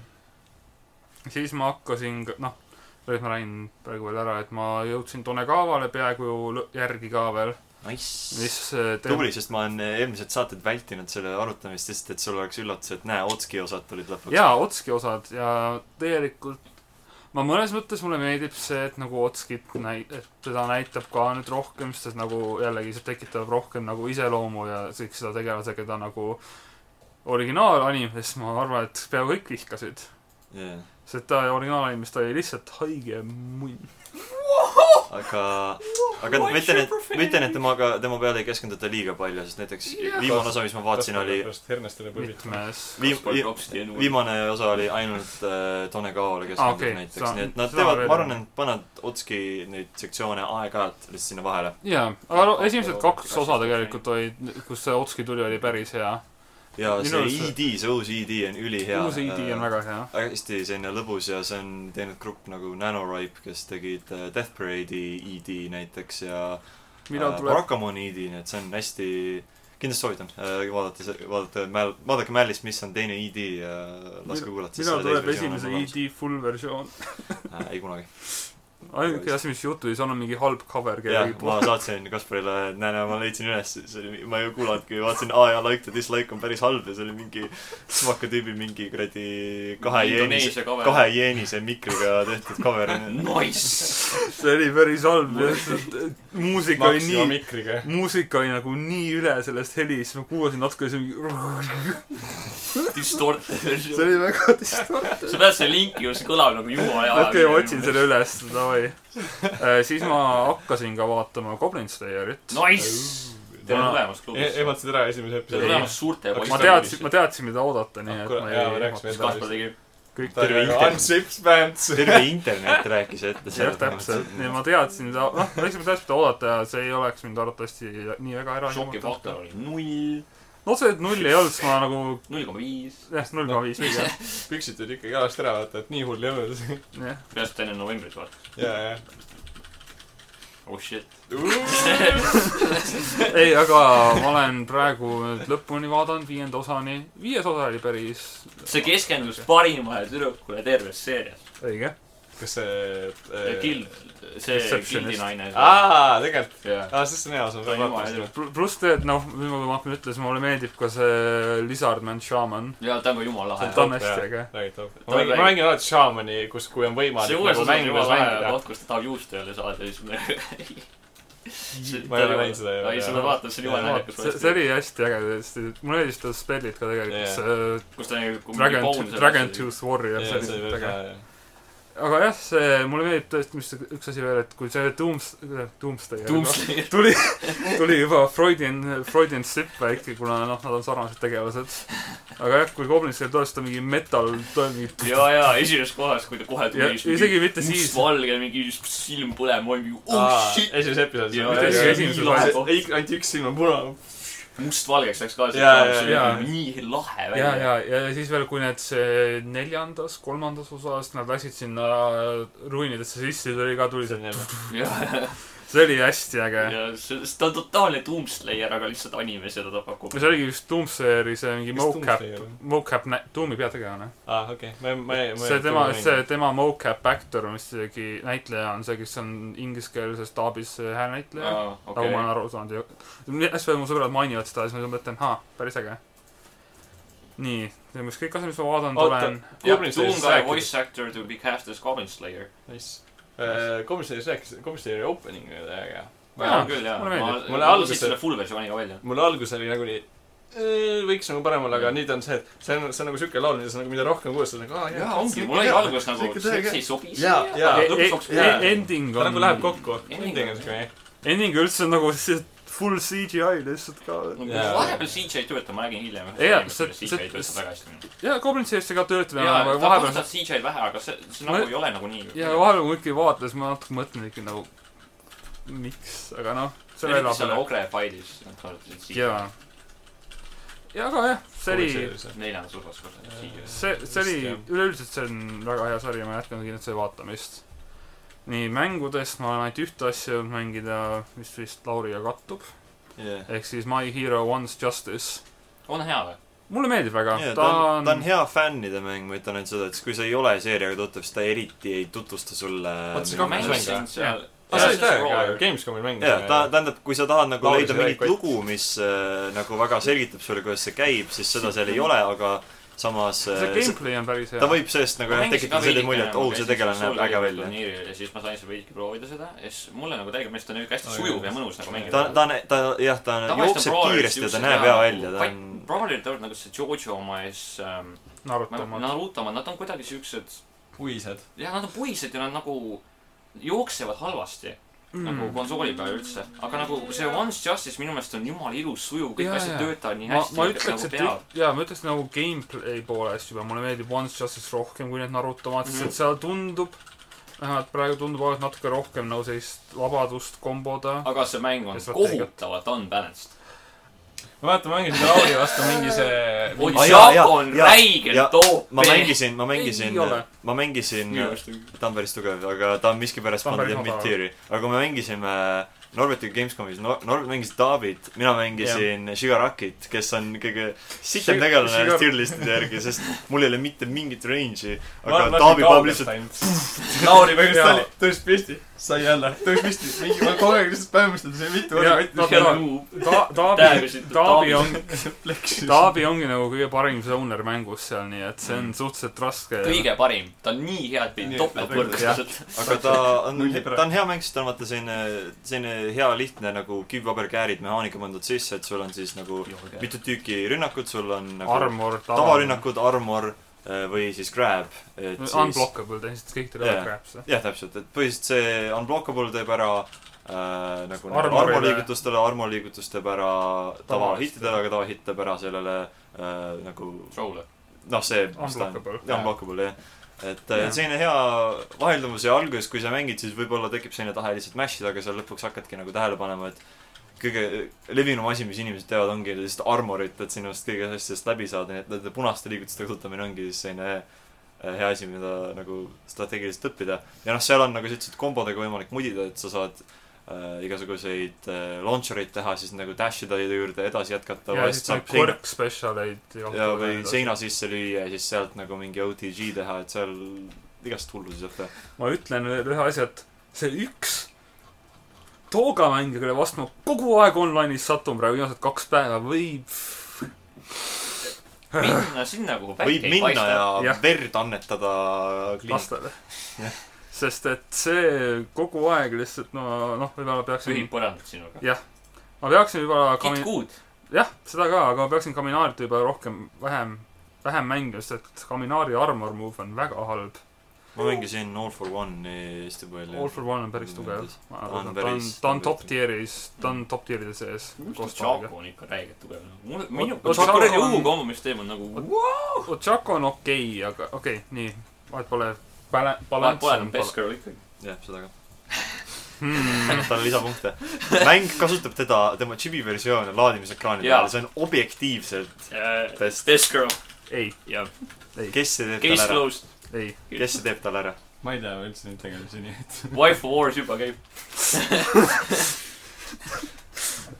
Speaker 5: siis ma hakkasin , noh , tegelikult ma räägin praegu veel ära , et ma jõudsin Tonegavale peaaegu lõ- järgi ka veel , mis
Speaker 1: Nice .
Speaker 5: äh, te-
Speaker 1: tubli , sest ma olen eh, eelmised saated vältinud selle arutamist , sest et sul oleks üllatus , et näe , Otski osad tulid lõpuks .
Speaker 5: jaa , Otski osad ja tegelikult ma mõnes mõttes mulle meeldib see , et nagu Otskit näi- , et teda näitab ka nüüd rohkem , sest nagu jällegi see tekitab rohkem nagu iseloomu ja kõik seda tegelase , keda nagu originaalainimes ma arvan , et peaaegu kõik vihkasid .
Speaker 1: Yeah.
Speaker 5: sest ta originaalainimes ta oli lihtsalt haige munn .
Speaker 1: aga , aga ma ütlen , et , ma ütlen , et temaga , tema peale ei keskenduta liiga palju , sest näiteks
Speaker 5: Jah.
Speaker 1: viimane osa , mis ma vaatasin , oli ,
Speaker 2: hernestele põlvitama .
Speaker 5: mitmes
Speaker 1: viim- ,
Speaker 3: viimane .
Speaker 1: viimane osa oli ainult äh, Tone Kaole keskendunud ah,
Speaker 5: Aa, okei,
Speaker 1: okay. näiteks
Speaker 5: sa- ,
Speaker 1: nii et nad
Speaker 5: seda
Speaker 1: teevad
Speaker 5: veel- ,
Speaker 1: ma arvan , et panevad Otski neid sektsioone aeg-ajalt lihtsalt sinna vahele .
Speaker 5: jaa , aga no esimesed kaks osa tegelikult olid , kus see Otski tuli , oli päris hea .
Speaker 1: ja
Speaker 5: Minu
Speaker 1: see
Speaker 5: arust-
Speaker 1: ID , see uus ID on ülihea . äh,
Speaker 5: uus ID on väga hea .
Speaker 1: hästi selline lõbus ja see on teinud grupp nagu Nanoripe , kes tegid äh, Death Parade'i ID näiteks ja
Speaker 5: millal
Speaker 1: äh,
Speaker 5: tuleb ,
Speaker 1: Rakamoni ID , nii et see on hästi , kindlasti soovitan äh, vaadata , vaadata Mäl- , vaadake Mälist , mis on teine ID ja äh, laske kuulata .
Speaker 5: millal tuleb esimese E ID full versioon ?
Speaker 1: äh, ? ei
Speaker 5: [laughs]
Speaker 1: kunagi .
Speaker 5: ainuke asi , mis juhtus , on mingi halb cover
Speaker 1: jah
Speaker 5: kellegi ,
Speaker 1: ma
Speaker 5: poolt .
Speaker 1: saatsin Kasparile , näe , näe , ma leidsin üles , see oli , ma ei kuulanudki , vaatasin A ja like to dislike on päris halb ja see oli mingi smaka tüübi mingi kuradi kahe jeenise ,
Speaker 3: Indoneesia cover.
Speaker 1: kahe jeenise mikriga tehtud cover .
Speaker 5: [laughs]
Speaker 3: Nice .
Speaker 5: see oli päris halb , muusika oli
Speaker 2: Maxima
Speaker 5: nii ,
Speaker 2: mikriga .
Speaker 5: muusika oli nagu nii üle sellest helist , ma kuulasin natuke , see oli ,
Speaker 3: [laughs] Distorted .
Speaker 5: see oli väga distortne .
Speaker 3: sa pead selle linki just kõlab nagu jumala hea .
Speaker 5: okei , ma otsin . selle üles , davai . siis ma hakkasin ka vaatama Goblin Slayerit .
Speaker 3: Nice . tere
Speaker 5: Ma-
Speaker 3: tulemast klubisse .
Speaker 2: ehmatasid ära esimese
Speaker 3: tere
Speaker 2: episoodi .
Speaker 3: tulemast suurte
Speaker 5: ma teadsin , ma teadsin , mida oodata , nii
Speaker 2: Ah,
Speaker 5: et
Speaker 2: kuule,
Speaker 5: ma
Speaker 2: jaa, me
Speaker 5: ei
Speaker 2: rääkisime
Speaker 3: mis
Speaker 5: ehmatanud.
Speaker 3: Kaspar tegi .
Speaker 5: kõik
Speaker 1: Ta- Terve internet.
Speaker 2: Unsips pants .
Speaker 1: terve internet rääkis ette
Speaker 5: jah , täpselt , nii ma teadsin seda , noh , ma ei saanud täpselt oodata ja see ei oleks mind arvatavasti nii väga ära
Speaker 3: šokifaktor oli null ,
Speaker 5: no see , et null ei olnud , siis ma nagu ,
Speaker 3: null koma viis .
Speaker 5: jah , null koma viis [laughs] viis , jah ,
Speaker 2: püksid olid ikkagi alast ära , vaata , et nii hull ei olnud .
Speaker 5: jah .
Speaker 3: peast enne novembrit vaata .
Speaker 2: ja , ja .
Speaker 3: oh shit .
Speaker 5: ei , aga ma olen praegu nüüd lõpuni vaadanud , viienda osani . viies osa oli päris
Speaker 3: see keskendus parimale tüdrukule terves seerias .
Speaker 5: õige .
Speaker 2: kas see .
Speaker 3: Guild , see
Speaker 5: Receptionist.
Speaker 3: Guildi naine .
Speaker 2: aa , tegelikult .
Speaker 3: jaa .
Speaker 2: aa , sest see on hea osa , ma pean vaatama .
Speaker 5: pluss see , et noh , nüüd ma hakkan ütlema , siis mulle meeldib ka see Lizard Man Shaman .
Speaker 3: jaa , ta on ka jumala
Speaker 5: see
Speaker 3: lahe
Speaker 5: on . ta on hästi äge .
Speaker 2: räägid toob . ma mängin , ma mängin alati šaamani , kus , kui on
Speaker 3: see
Speaker 2: võimalik nagu
Speaker 3: uues osas on
Speaker 2: mängides
Speaker 3: jumala lahe
Speaker 2: mängida .
Speaker 3: koht , kus ta tahab juust jälle saada ja siis me .
Speaker 2: [laughs] ma ei ole näinud seda
Speaker 3: ei , sa pead . vaatama , see on jumala naljakas
Speaker 5: see , see . oli hästi äge tõesti . mulle meeldis ta spellid ka tegelikult , see äh,
Speaker 3: kus ta nagu .
Speaker 5: Dragon , Dragon . Tooth Warrior ,
Speaker 2: jaa ,
Speaker 5: see oli
Speaker 2: see
Speaker 5: lihtsalt
Speaker 2: võib
Speaker 5: äge
Speaker 2: olla .
Speaker 5: aga jah , see , mulle meeldib tõesti , mis see- üks asi veel , et kui see Dooms , Doomsday
Speaker 3: Doomsday.
Speaker 5: tuli , tuli juba Freudian , Freudian sipp väike , kuna noh , nad on sarnased tegelased . aga jah , kui Goblin seal tuleb , siis ta mingi metal toimib .
Speaker 3: ja , ja esimeses kohas , kui ta kohe
Speaker 5: ja
Speaker 3: tuli .
Speaker 5: isegi mitte siis ,
Speaker 3: mustvalge , mingi silm põlema , ma olin mingi oh
Speaker 2: Aa,
Speaker 3: shit .
Speaker 2: esimeses episoodis .
Speaker 3: Jaa,
Speaker 5: mitte isegi
Speaker 3: jaa,
Speaker 5: esimeses
Speaker 3: nii lahe
Speaker 5: osas .
Speaker 3: koht.
Speaker 2: ei , ainult üks silm on punane .
Speaker 3: mustvalgeks läks ka see
Speaker 2: Jaa,
Speaker 3: kraam , see
Speaker 5: jaa,
Speaker 3: oli nii lahe
Speaker 5: ja ,
Speaker 3: välja .
Speaker 5: ja , ja siis veel , kui need see neljandas , kolmandas osas nad läksid sinna ruinidesse sisse , siis oli ka , tuli see ,
Speaker 3: ja ,
Speaker 5: see oli hästi äge .
Speaker 3: ja see , ta on totaalne Doomslayer , aga lihtsalt animes ja ta tapab kogu
Speaker 5: see oligi just Doomsdayeri see mingi
Speaker 2: Kes
Speaker 5: mocap
Speaker 2: Doomsdayer on? ,
Speaker 5: mocap , Doomi peategelane .
Speaker 2: aa , okei , ma , ma , ma .
Speaker 5: see tema , see tema mocap actor , mis isegi näitleja on see , kes on ingliskeelses daabis see
Speaker 2: Ah,
Speaker 5: häälnäitleja .
Speaker 3: Aa,
Speaker 5: nagu
Speaker 3: okei
Speaker 5: ma olen aru saanud ja hästi palju mu sõbrad mainivad seda ja siis ma mõtlen , haa , päris äge . nii , see on vist kõik asjad , mis ma vaadanud
Speaker 2: Oota.
Speaker 5: olen .
Speaker 3: jah ,
Speaker 2: Goblin
Speaker 3: Doom
Speaker 2: Slayer'ist
Speaker 3: guy
Speaker 2: rääkides.
Speaker 3: voice actor to be cast as Goblin Slayer .
Speaker 2: Äh, nice . komisjonis rääkis , komisjoni opening oli väga hea .
Speaker 3: on küll jaa ,
Speaker 5: mulle meeldib.
Speaker 2: Mulle
Speaker 3: ma
Speaker 2: alguses-
Speaker 3: alguses selle full versiooniga välja .
Speaker 2: mul algus oli nagunii "Äh, võiks nagu parem olla , aga nüüd on see , et see on , see on nagu siuke laul , mida sa nagu , mida rohkem kuulad , seda nagu aa jaa .
Speaker 1: Jaa, ongi.
Speaker 3: mul oli
Speaker 1: Jaa,
Speaker 3: alguses nagu ,
Speaker 1: ikka
Speaker 3: see
Speaker 1: täiega-
Speaker 3: see ei sobi
Speaker 1: Jaa,
Speaker 3: siia ,
Speaker 2: jaa.
Speaker 3: aga
Speaker 5: E-
Speaker 3: lõpuks
Speaker 5: e-
Speaker 3: hakkas
Speaker 5: e- ending
Speaker 2: ta
Speaker 5: on
Speaker 2: nagu läheb . kokku .
Speaker 3: Ending
Speaker 2: ending on
Speaker 3: on-
Speaker 2: siuke ,
Speaker 5: ending üldse on nagu see full CGI lihtsalt ka .
Speaker 2: Jaa.
Speaker 3: vahepeal CJ ei tööta , ma nägin hiljem .
Speaker 5: Jaa, see-
Speaker 3: see CJ
Speaker 5: see-
Speaker 3: ei tööta väga hästi .
Speaker 5: ja Goblin Slayers'i ka töötame ,
Speaker 3: jaa ,
Speaker 5: aga
Speaker 3: ta
Speaker 5: vahepeal
Speaker 3: kasutab CJ-d vähe , aga see , see
Speaker 5: Ma-
Speaker 3: nagu ei ole nagu nii .
Speaker 5: ja vahepeal , kui ma ikkagi vaatasin , ma natuke mõtlen ikka nagu , miks , aga noh , selle
Speaker 3: eriti
Speaker 5: elab
Speaker 3: seal
Speaker 5: üle .
Speaker 3: Ogre failis , nad kasutasid CJ-d
Speaker 5: jaa . ja aga jah , see oli ,
Speaker 3: neljandas osas kasutasid CJ-d .
Speaker 5: see , see
Speaker 2: Vist,
Speaker 5: oli
Speaker 2: jah. ,
Speaker 5: üleüldiselt see on väga hea sari , ma jätkan kindlasti selle vaatamist . nii , mängudest ma olen ainult ühte asja jõudnud mängida , mis vist Lauriga kattub ,
Speaker 1: jah .
Speaker 5: ehk siis My Hero One's Justice .
Speaker 3: on hea või ?
Speaker 5: mulle meeldib väga
Speaker 1: jaa ,
Speaker 5: yeah, , ta on ,
Speaker 1: ta on hea fännide mäng , ma ütlen ainult seda , et kui sa ei ole seeriaga tuttav , siis ta eriti ei tutvusta sulle .
Speaker 2: Vaat see
Speaker 3: ma
Speaker 2: ka mängis
Speaker 3: mängisin Nagu seal .
Speaker 2: aa , Ah, see oli täiega , Gamescomi mäng .
Speaker 1: jaa , ta , tähendab , kui sa tahad nagu
Speaker 2: Lauri
Speaker 1: leida
Speaker 2: sai
Speaker 1: mingit
Speaker 2: kott.
Speaker 1: lugu , mis äh, nagu väga selgitab sulle , kuidas see käib , siis seda seal ei ole , aga samas
Speaker 5: see
Speaker 1: äh, see-
Speaker 5: gameplay on päris
Speaker 1: ta
Speaker 5: hea .
Speaker 1: võib sellest nagu jah tekitada sellise mulje , et oh , see tegelane näeb äge välja .
Speaker 3: ja siis ma sain seal veidike proovida seda ja siis mulle nagu täiega meeldis , ta on niuke hästi
Speaker 2: Aa,
Speaker 3: sujuv
Speaker 2: jah.
Speaker 3: ja mõnus nagu mängida .
Speaker 1: ta , ta , ta jah , ta
Speaker 3: Tavaliselt
Speaker 1: jookseb
Speaker 3: on brawlerid
Speaker 1: kiiresti ja ta
Speaker 3: siuksed
Speaker 1: näeb hea
Speaker 3: jaa,
Speaker 1: välja , ta
Speaker 3: vaid
Speaker 1: on
Speaker 3: brawlerid on nagu see Jojo oma ja siis ähm,
Speaker 5: Naruto
Speaker 3: ma-
Speaker 5: oma .
Speaker 3: Naruto omad , nad on kuidagi siuksed ,
Speaker 2: puised .
Speaker 3: jah , nad on puised ja nad nagu jooksevad halvasti mm. nagu konsooli peal üldse . aga nagu see Once Justice minu meelest on jumala ilus , sujuv , kõik
Speaker 5: Jaa,
Speaker 3: asjad
Speaker 5: jaa.
Speaker 3: töötavad nii
Speaker 5: ma ,
Speaker 3: hästi . nagu
Speaker 5: ma ütleks , et ük- jaa , ma ütleks nagu gameplay poolest juba , mulle meeldib One's Justice rohkem kui need Naruto omad , sest
Speaker 3: Mhm.
Speaker 5: et seal tundub , vähemalt praegu tundub olevat natuke rohkem nagu sellist vabadust komboda .
Speaker 3: aga see mäng on
Speaker 5: Ja strateegiat.
Speaker 3: kohutavalt unbalanced .
Speaker 2: ma mäletan , ma mängisin Lauri vastu mingi see mingi...
Speaker 1: Oi, jaa, jaa,
Speaker 3: Otsako on
Speaker 1: jaa, jaa.
Speaker 3: räigelt
Speaker 1: ma
Speaker 3: OP .
Speaker 1: mängisin , ma mängisin
Speaker 5: Ei ole. ,
Speaker 1: ma mängisin , ta on päris tugev , aga ta on miskipärast
Speaker 5: Ta on
Speaker 1: pandud
Speaker 5: päris
Speaker 1: jah
Speaker 5: madal.
Speaker 1: mid-tier'i . aga kui me mängisime Norbertiga Gamescomis , Norbert mängis David , mina mängisin Shigarakit , kes on kõige sitem
Speaker 5: Shi-
Speaker 1: tegelane [laughs]
Speaker 5: Shigar-
Speaker 1: tier-listide järgi , sest mul ei ole mitte mingit range'i ,
Speaker 2: ma
Speaker 1: aga
Speaker 2: arvan, et
Speaker 1: Taavi paneb
Speaker 2: Kaugest
Speaker 1: lihtsalt
Speaker 2: ainult. Lauri mängis
Speaker 5: Jaa.
Speaker 2: tali , tõus püsti , sai jälle , tõus püsti , mingi , ma kogu aeg lihtsalt päevastasin , see mitu
Speaker 5: Jaa,
Speaker 2: korda
Speaker 5: no jaa. Ta- , Taabi , Taabi
Speaker 1: [laughs]
Speaker 5: on ,
Speaker 2: võttis .
Speaker 5: Taabi ongi nagu kõige parim zoner mängus seal , nii et see on suhteliselt raske .
Speaker 3: Mhm. kõige parim , ta on nii hea , et pidi
Speaker 2: Nii,
Speaker 3: [laughs]
Speaker 5: jah.
Speaker 3: topeltvõrdluses .
Speaker 1: aga ta on
Speaker 2: Mulje , praegu.
Speaker 1: ta on hea mäng , sest ta on vaata selline , selline hea lihtne nagu kivi-paber-käärid mehaanika pandud sisse , et sul on siis nagu mitu tüüki rünnakut , sul on nagu
Speaker 5: armor , tavarünnak .
Speaker 1: tavarünnakud , armor eh, või siis grab , et siis
Speaker 5: Unblockable , teised kõik tulevad
Speaker 1: Jaa.
Speaker 5: yeah. crap'se .
Speaker 1: jah , täpselt , et põhiliselt see unblockable teeb ära äh, nagu
Speaker 5: Armorile.
Speaker 1: armoliigutustele , armoliigutus teeb ära tavahittidele , aga tavahitt teeb ära sellele äh, nagu
Speaker 5: [laughs]
Speaker 3: Roller .
Speaker 1: noh , see
Speaker 5: Unblockable.
Speaker 1: jah , unblockable jah . et äh,
Speaker 5: Jah.
Speaker 1: selline hea vahelduvus ja alguses , kui sa mängid , siis võib-olla tekib selline tahe lihtsalt mash ida , aga seal lõpuks hakkadki nagu tähele panema , et kõige levinum asi , mis inimesed teavad , ongi lihtsalt armorit , et sinust kõigest asjadest läbi saada , nii et nende punaste liigutuste kasutamine ongi siis selline äh, hea asi , mida nagu strateegiliselt õppida . ja noh , seal on , nagu sa ütlesid , kombodega võimalik mudida , et sa saad äh, igasuguseid äh, launchereid teha , siis nagu dash ida juurde edasi jätkata .
Speaker 5: ja siis saab quirk specialeid .
Speaker 1: ja või . seina sisse lüüa ja siis sealt nagu mingi OTG teha , et seal igast hullusi saab teha .
Speaker 5: ma ütlen veel ühe asja , et see üks toogamängija , kelle vastu ma kogu aeg online'is satun praegu viimased kaks päeva , võib
Speaker 3: minna sinna , kuhu
Speaker 1: võib
Speaker 3: päike ei
Speaker 1: minna ja,
Speaker 3: paista .
Speaker 1: ja
Speaker 5: Jah.
Speaker 1: verd annetada kliinik- .
Speaker 5: lastele
Speaker 1: Jah. .
Speaker 5: sest et see kogu aeg lihtsalt no , noh , võib-olla peaksin
Speaker 3: pühib , põrandat sinuga .
Speaker 5: ma peaksin võib-olla
Speaker 3: Kit
Speaker 5: kami- ,
Speaker 3: Good .
Speaker 5: jah , seda ka , aga ma peaksin Kaminaari juba rohkem , vähem , vähem mängima , sest et Kaminaari armor move on väga halb .
Speaker 1: ma mängisin All for One'i hästi palju .
Speaker 5: All for One on päris tugev . ta
Speaker 1: Ta on
Speaker 5: on ,
Speaker 1: päris-
Speaker 5: ta on top tier'is , ta on top tier'ide sees .
Speaker 3: Chaco on ikka räigelt tugev . mul , minu ,
Speaker 5: Otsako
Speaker 3: Chaco kuradi
Speaker 5: on-
Speaker 3: õhukombamissüsteem on nagu ,
Speaker 5: Ochako on Oh, okei okay, , aga okei okay, , nii , vahet pole . Pale- ,
Speaker 3: vahet
Speaker 5: balanss
Speaker 3: pole , ta on
Speaker 5: on
Speaker 3: best girl ikkagi .
Speaker 1: jah , seda ka .
Speaker 5: hmm. .
Speaker 1: [laughs] talle lisapunkte . mäng kasutab teda , tema džibi versioone laadimisekraani
Speaker 3: Jaa.
Speaker 1: peal , see on objektiivselt best .
Speaker 3: Best Uh, girl
Speaker 5: ei ,
Speaker 3: ja
Speaker 1: kes see teeb
Speaker 3: case
Speaker 1: talle ära ?
Speaker 3: closed ,
Speaker 5: ei .
Speaker 1: kes see teeb talle ära ?
Speaker 2: ma ei tea üldse neid tegelasi , nii et .
Speaker 3: wife wars juba käib .